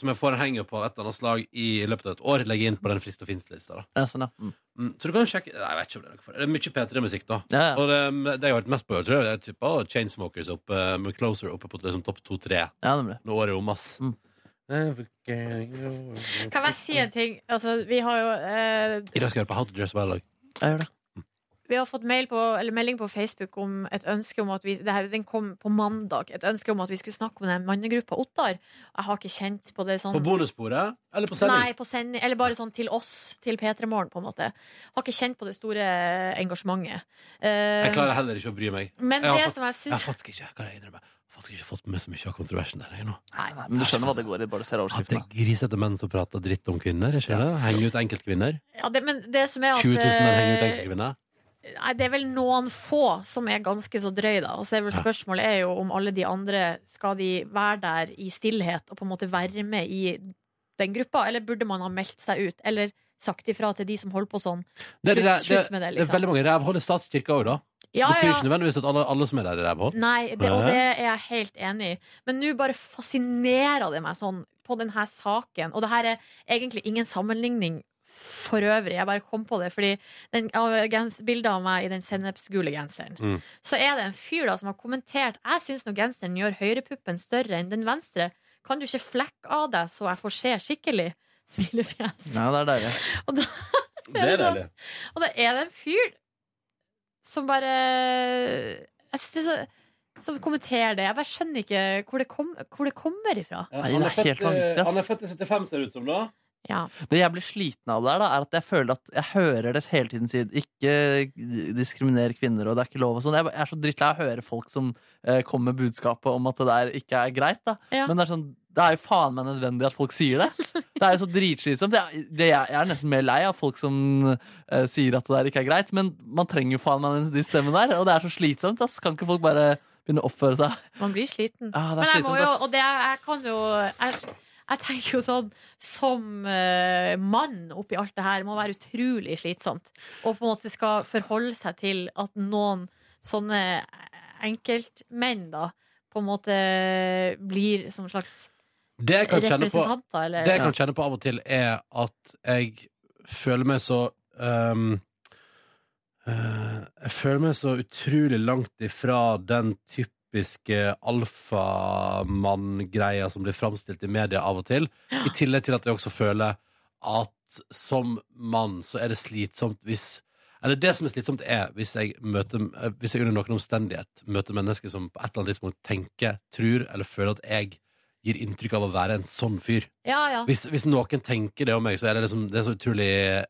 B: som jeg får en henger på et eller annet slag i løpet av et år, legger jeg inn på den frist og finst-lista. da.
C: Ja, sånn, ja. Mm.
B: Mm, så du kan sjekke Nei, jeg vet ikke om det er noe for Det er mye P3-musikk, da.
C: Ja, ja.
B: Og ehm, det, det jeg har vært mest på, tror jeg, det er type av Chainsmokers opp eh, med Closer oppe på liksom, topp to-tre.
C: Ja, nemlig.
B: Når året er omme, ass.
A: Kan jeg si en ting? Altså, vi har jo eh,
B: I dag skal jeg høre på How to Dress Well.
C: Jeg gjør det.
A: Vi har fått mail på, eller melding på Facebook om et ønske om at vi det her, Den kom på mandag. Et ønske om at vi skulle snakke om den mannegruppa Ottar. Jeg har ikke kjent på det sånn
B: På bonussporet eller på sending?
A: Nei, på sending. Eller bare sånn til oss, til P3 Morgen, på en måte. Har ikke kjent på det store engasjementet. Eh,
B: Jeg klarer heller ikke å bry meg.
A: men
B: har
A: det
B: fått,
A: som jeg syns-
B: Jeg har faktisk ikke, kan jeg innrømme, jeg har faktisk ikke fått med så mye av kontroversen der, jeg nå.
C: Nei, Men du skjønner hva det går i, bare ser overskriften. da.
B: Grisete menn som prater dritt om kvinner, ikke det? Henger ut enkeltkvinner.
A: ja, det, men det som er
B: 20
A: at
B: 000 menn henger ut
A: eh,
B: enkeltkvinner.
A: Nei, det er vel noen få som er ganske så drøy, da. Og så er vel spørsmålet er jo om alle de andre skal de være der i stillhet og på en måte være med i den gruppa, eller burde man ha meldt seg ut? Eller sagt ifra til de som holder på sånn.
B: Det
A: Slutt,
B: er, det, det,
A: slutt med det,
B: det er veldig
A: liksom.
B: mange rævhold i statskirka òg, da.
A: Ja,
B: det betyr
A: ja.
B: ikke nødvendigvis at alle, alle som er der, er rævhold.
A: Nei, det, og det er jeg helt enig i. Men nå bare fascinerer det meg sånn på denne saken. Og det her er egentlig ingen sammenligning for øvrig. Jeg bare kom på det, fordi den, av gens- bildet av meg i den sennepsgule genseren
M: Mm.
A: så er det en fyr da som har kommentert Jeg syns når genseren gjør høyrepuppen større enn den venstre, kan du ikke flekke av deg så jeg får se skikkelig? Smilefjes.
C: Nei, det er deilig.
A: Det er deilig. Og da er det en fyr som bare Jeg synes det er så som kommenterer det. Jeg bare skjønner ikke hvor det, kom, hvor det kommer ifra.
B: Ja,
C: Nei, det er helt vanvittig, ass.
B: Han er født i 75, ser det ut som, da.
A: Ja.
C: Det jeg blir sliten av der, da, er at jeg føler at jeg hører det hele tiden siden. Ikke diskriminer kvinner, og det er ikke lov og sånn. Jeg er så drittlei av å høre folk som eh, kommer med budskapet om at det der ikke er greit, da.
A: Ja.
C: Men det er sånn det er jo faen meg nødvendig at folk sier det. Det er jo så dritslitsomt. Jeg, det, jeg er nesten mer lei av folk som eh, sier at det der ikke er greit, men man trenger jo faen meg den- de stemmene der, og det er så slitsomt. Ass. Kan ikke folk bare begynne å oppføre seg?
A: Man blir sliten.
C: Ja, det
A: Men
C: er
A: jeg må
C: slitsomt,
A: jo,
C: ass.
A: og det, jeg kan jo jeg, jeg tenker jo sånn Som eh, mann oppi alt det her må være utrolig slitsomt. Og på en måte skal forholde seg til at noen sånne enkeltmenn, da, på en måte blir som slags
B: Det jeg kan kjenne på,
A: Representanter, eller-
B: det jeg kan
A: Ja.
B: kjenne på av og til, er at jeg føler meg så ehm, eh, Jeg føler meg så utrolig langt ifra den typiske alfamann-greia som blir framstilt i media av og til, i tillegg til at jeg også føler at som mann så er det slitsomt hvis eller det som er slitsomt er hvis jeg, møter, eh, hvis jeg under noen omstendighet møter mennesker som på et eller annet tidspunkt tenker, tror eller føler at jeg gir inntrykk av å være en sånn fyr.
A: Ja, ja.
B: Hvis, hvis noen tenker det om meg, så er det, liksom, det er så utrolig eh,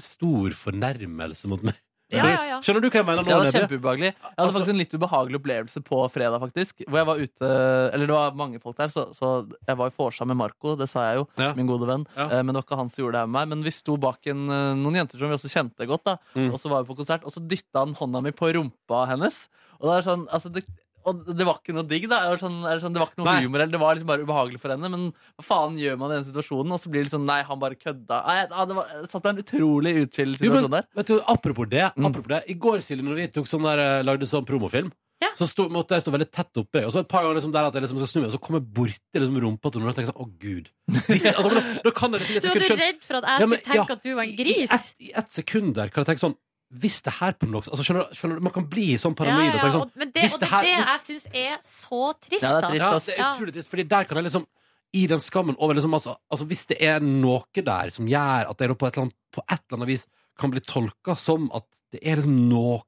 B: stor fornærmelse mot meg.
C: Ja, ja, ja.
B: Skjønner du hva jeg Altså- mener nå?
C: Ja, det var
B: Nebbe?
C: kjempeubehagelig. Jeg hadde faktisk en litt ubehagelig opplevelse på fredag, faktisk. Hvor jeg var ute Eller det var mange folk der, så, så jeg var i Forsa med Marco, det sa jeg jo. Min gode venn. Eh, Men det var ikke han som gjorde det her med meg. Men vi sto bak en, eh, noen jenter som vi også kjente godt, da.
B: Mm.
C: Og så var vi på konsert, og så dytta han hånda mi på rumpa hennes. Og det er sånn, altså det og det var ikke noe digg, da. Det var, sånn, er det sånn, det var ikke noe
B: Nei.
C: humor, eller det var liksom bare ubehagelig for henne. Men hva faen gjør man i den situasjonen? Og så blir det sånn, nei, han bare kødda. Nei, ja, det var, jeg satt meg i en utrolig utfillet
B: Jo, men,
C: situasjon der. Mm.
B: vet du, apropos det, apropos det I går, Silje, når vi tok sånn der, eh, lagde sånn promofilm Så sto, måtte jeg stå veldig tett oppe Og så et par ganger liksom, der at jeg liksom skal snu meg Og så kommer jeg borti liksom, rumpa til noen og tenker sånn, å Gud Hvis- altså, men da, da kan jeg liksom i et
A: Du var
B: sekund
A: jo
B: skjønne-
A: redd for at jeg
B: Ja, men-
A: skulle tenke
B: ja.
A: at du var en
B: I
A: gris.
B: ett, I ett sekund der kan jeg tenke sånn Hvis det her på noe altså, skjønner, du- skjønner du, Man kan bli sånn paranoid og tenke sånn,
A: og, men det,
B: hvis
A: og det er
B: her-
A: det
B: hvis-
A: jeg syns er så trist,
B: ja, det
A: da.
B: er trist, ass. Ja, det er utrolig trist, fordi der kan jeg liksom i den skammen over liksom, altså, altså Hvis det er noe der som gjør at jeg da på et eller annet, på et eller annet vis kan bli tolka som at det er liksom noe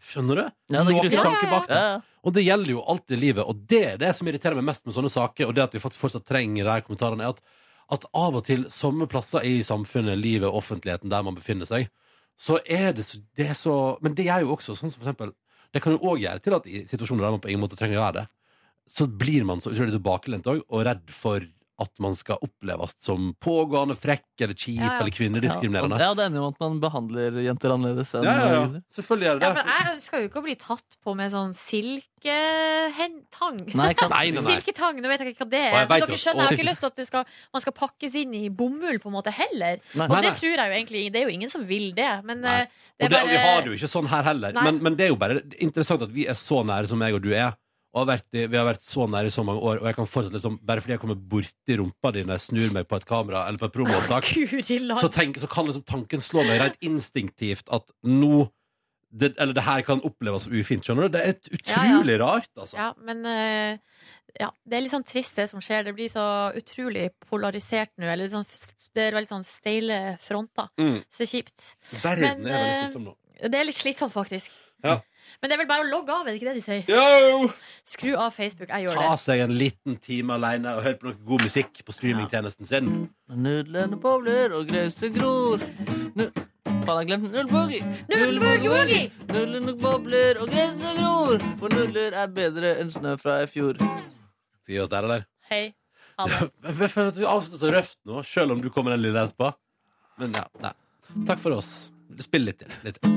B: Skjønner du?
C: Ja, det er
B: Noen
C: grusomt.
B: tanker bak det.
C: Ja, ja.
B: Og det gjelder jo alt i livet. Og det er det som irriterer meg mest med sånne saker, og det at vi faktisk fortsatt trenger de her kommentarene, er at, at av og til, samme plasser i samfunnet, livet, offentligheten, der man befinner seg, så er det så, det er så Men det er jo også sånn som for eksempel Det kan jo òg gjøre til at i situasjoner der man på ingen måte trenger å gjøre det, så blir man så utrolig tilbakelent òg, og redd for at man skal oppleves som pågående, frekk eller kjip eller kvinnediskriminerende.
C: Ja, og- ja, det ender jo med at man behandler jenter annerledes enn
B: Ja, ja, ja. Selvfølgelig er det
A: Ja, men jeg ønsker jo ikke å bli tatt på med sånn silketang.
C: Nei, ikke sant. Nei, nei, nei.
A: Silketang, nå vet jeg ikke hva det er.
C: Og jeg vet
A: Men
C: jo
A: dere
C: at-
A: skjønner, jeg har
C: og-
A: ikke lyst til at det skal, man skal pakkes inn i bomull på en måte heller.
B: Nei.
A: og
B: Nei,
A: det
B: nei.
A: tror jeg jo egentlig Det er jo ingen som vil det. Men eh, det
B: Og
A: er
B: det, og vi har
A: bare
B: det jo ikke sånn her heller.
A: Nei.
B: Men, men det er jo bare interessant at vi er så nære som jeg og du er. Og har vært i, vi har vært så nære i så mange år, og jeg kan fortsatt liksom Bare fordi jeg kommer borti rumpa di når jeg snur meg på et kamera eller på et promoopptak,
A: Guri land.
B: så, tenk- så kan liksom tanken slå meg rent instinktivt at nå det, Eller det her kan oppleves som ufint, skjønner du? Det er et utrolig rart, altså.
A: Ja, men eh, ja, det er litt sånn trist det som skjer. Det blir så utrolig polarisert nå. Eller sånn, det er veldig sånn steile fronter.
B: Mm.
A: Så kjipt.
B: Verden
A: Men,
B: er veldig
A: eh,
B: slitsom nå.
A: Det er litt slitsomt, faktisk.
B: Ja.
A: Men det er vel bare å logge av, er det ikke det de sier? Skru av Facebook. Jeg gjør det.
B: Ta seg en liten time aleine og hør på noe god musikk på streamingtjenesten sin.
C: Nudlene bobler og grauset gror. Nu Faen, jeg glemte nudelboogie.
M: Nudelboogie!
C: Nudlene bobler og gresset gror. For nudler er bedre enn snø fra i fjor.
B: Skal vi gi oss der, eller?
A: Hei. Ha det.
B: Hvorfor at vi avslutter så røft nå, selv om du kommer den lille etterpå? Men ja, nei. Takk for oss. Spill litt til. Litt til.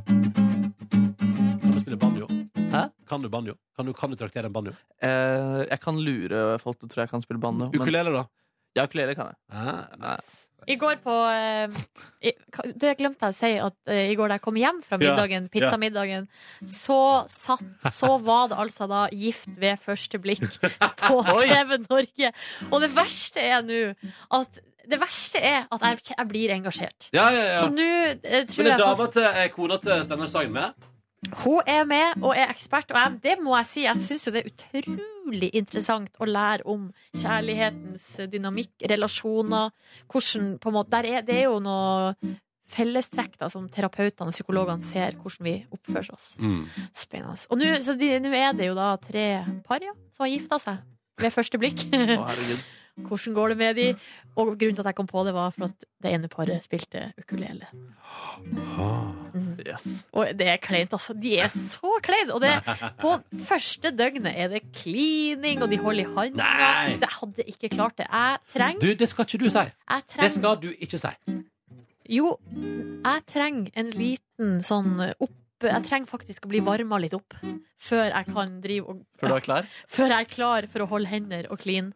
B: Kan du spille banjo?
C: Hæ?
B: Kan du banjo? Kan du, kan du traktere en banjo?
C: Eh, jeg kan lure folk til å tro jeg kan spille banjo. men-
B: Ukulele, da?
C: Ja, ukulele kan jeg.
A: I går på eh, i, hva- Det glemte jeg å si at eh, i går da jeg kom hjem fra
C: Ja,
A: middagen,
C: ja.
A: pizzamiddagen, så satt Så var det altså da Gift ved første blikk på
M: Oi.
A: TV Norge. Og det verste er nå at det verste er at jeg, jeg blir engasjert.
B: Ja, ja, ja.
A: Så nå eh, tror
B: Men
A: jeg
B: er dama
A: folk-
B: til er kona til Steinar Sagen med?
A: Hun er med og er ekspert, og jeg, det må jeg si. Jeg syns jo det er utrolig interessant å lære om kjærlighetens dynamikk, relasjoner, hvordan på en måte, der er, Det er jo noe fellestrekk da, som terapeutene og psykologene ser hvordan vi oppfører oss. Spennende. Og nå så de- nå er det jo da tre par ja, som har gifta seg ved første blikk.
C: herregud.
A: Hvordan går det med de? Og grunnen til at jeg kom på det, var for at det ene paret spilte ukulele.
C: Yes.
A: Og det er kleint, altså. De er så kleine! Og det, på første døgnet er det klining, og de holder i handa.
B: Nei.
A: Jeg hadde ikke klart det. Jeg trenger
B: Du, det skal ikke du si.
A: Jeg
B: Det
A: trenger-
B: skal du ikke si.
A: Jo, jeg trenger en liten sånn opp Jeg trenger faktisk å bli varma litt opp før jeg kan drive og
C: Før du er klar?
A: Før jeg er klar for å holde hender og kline.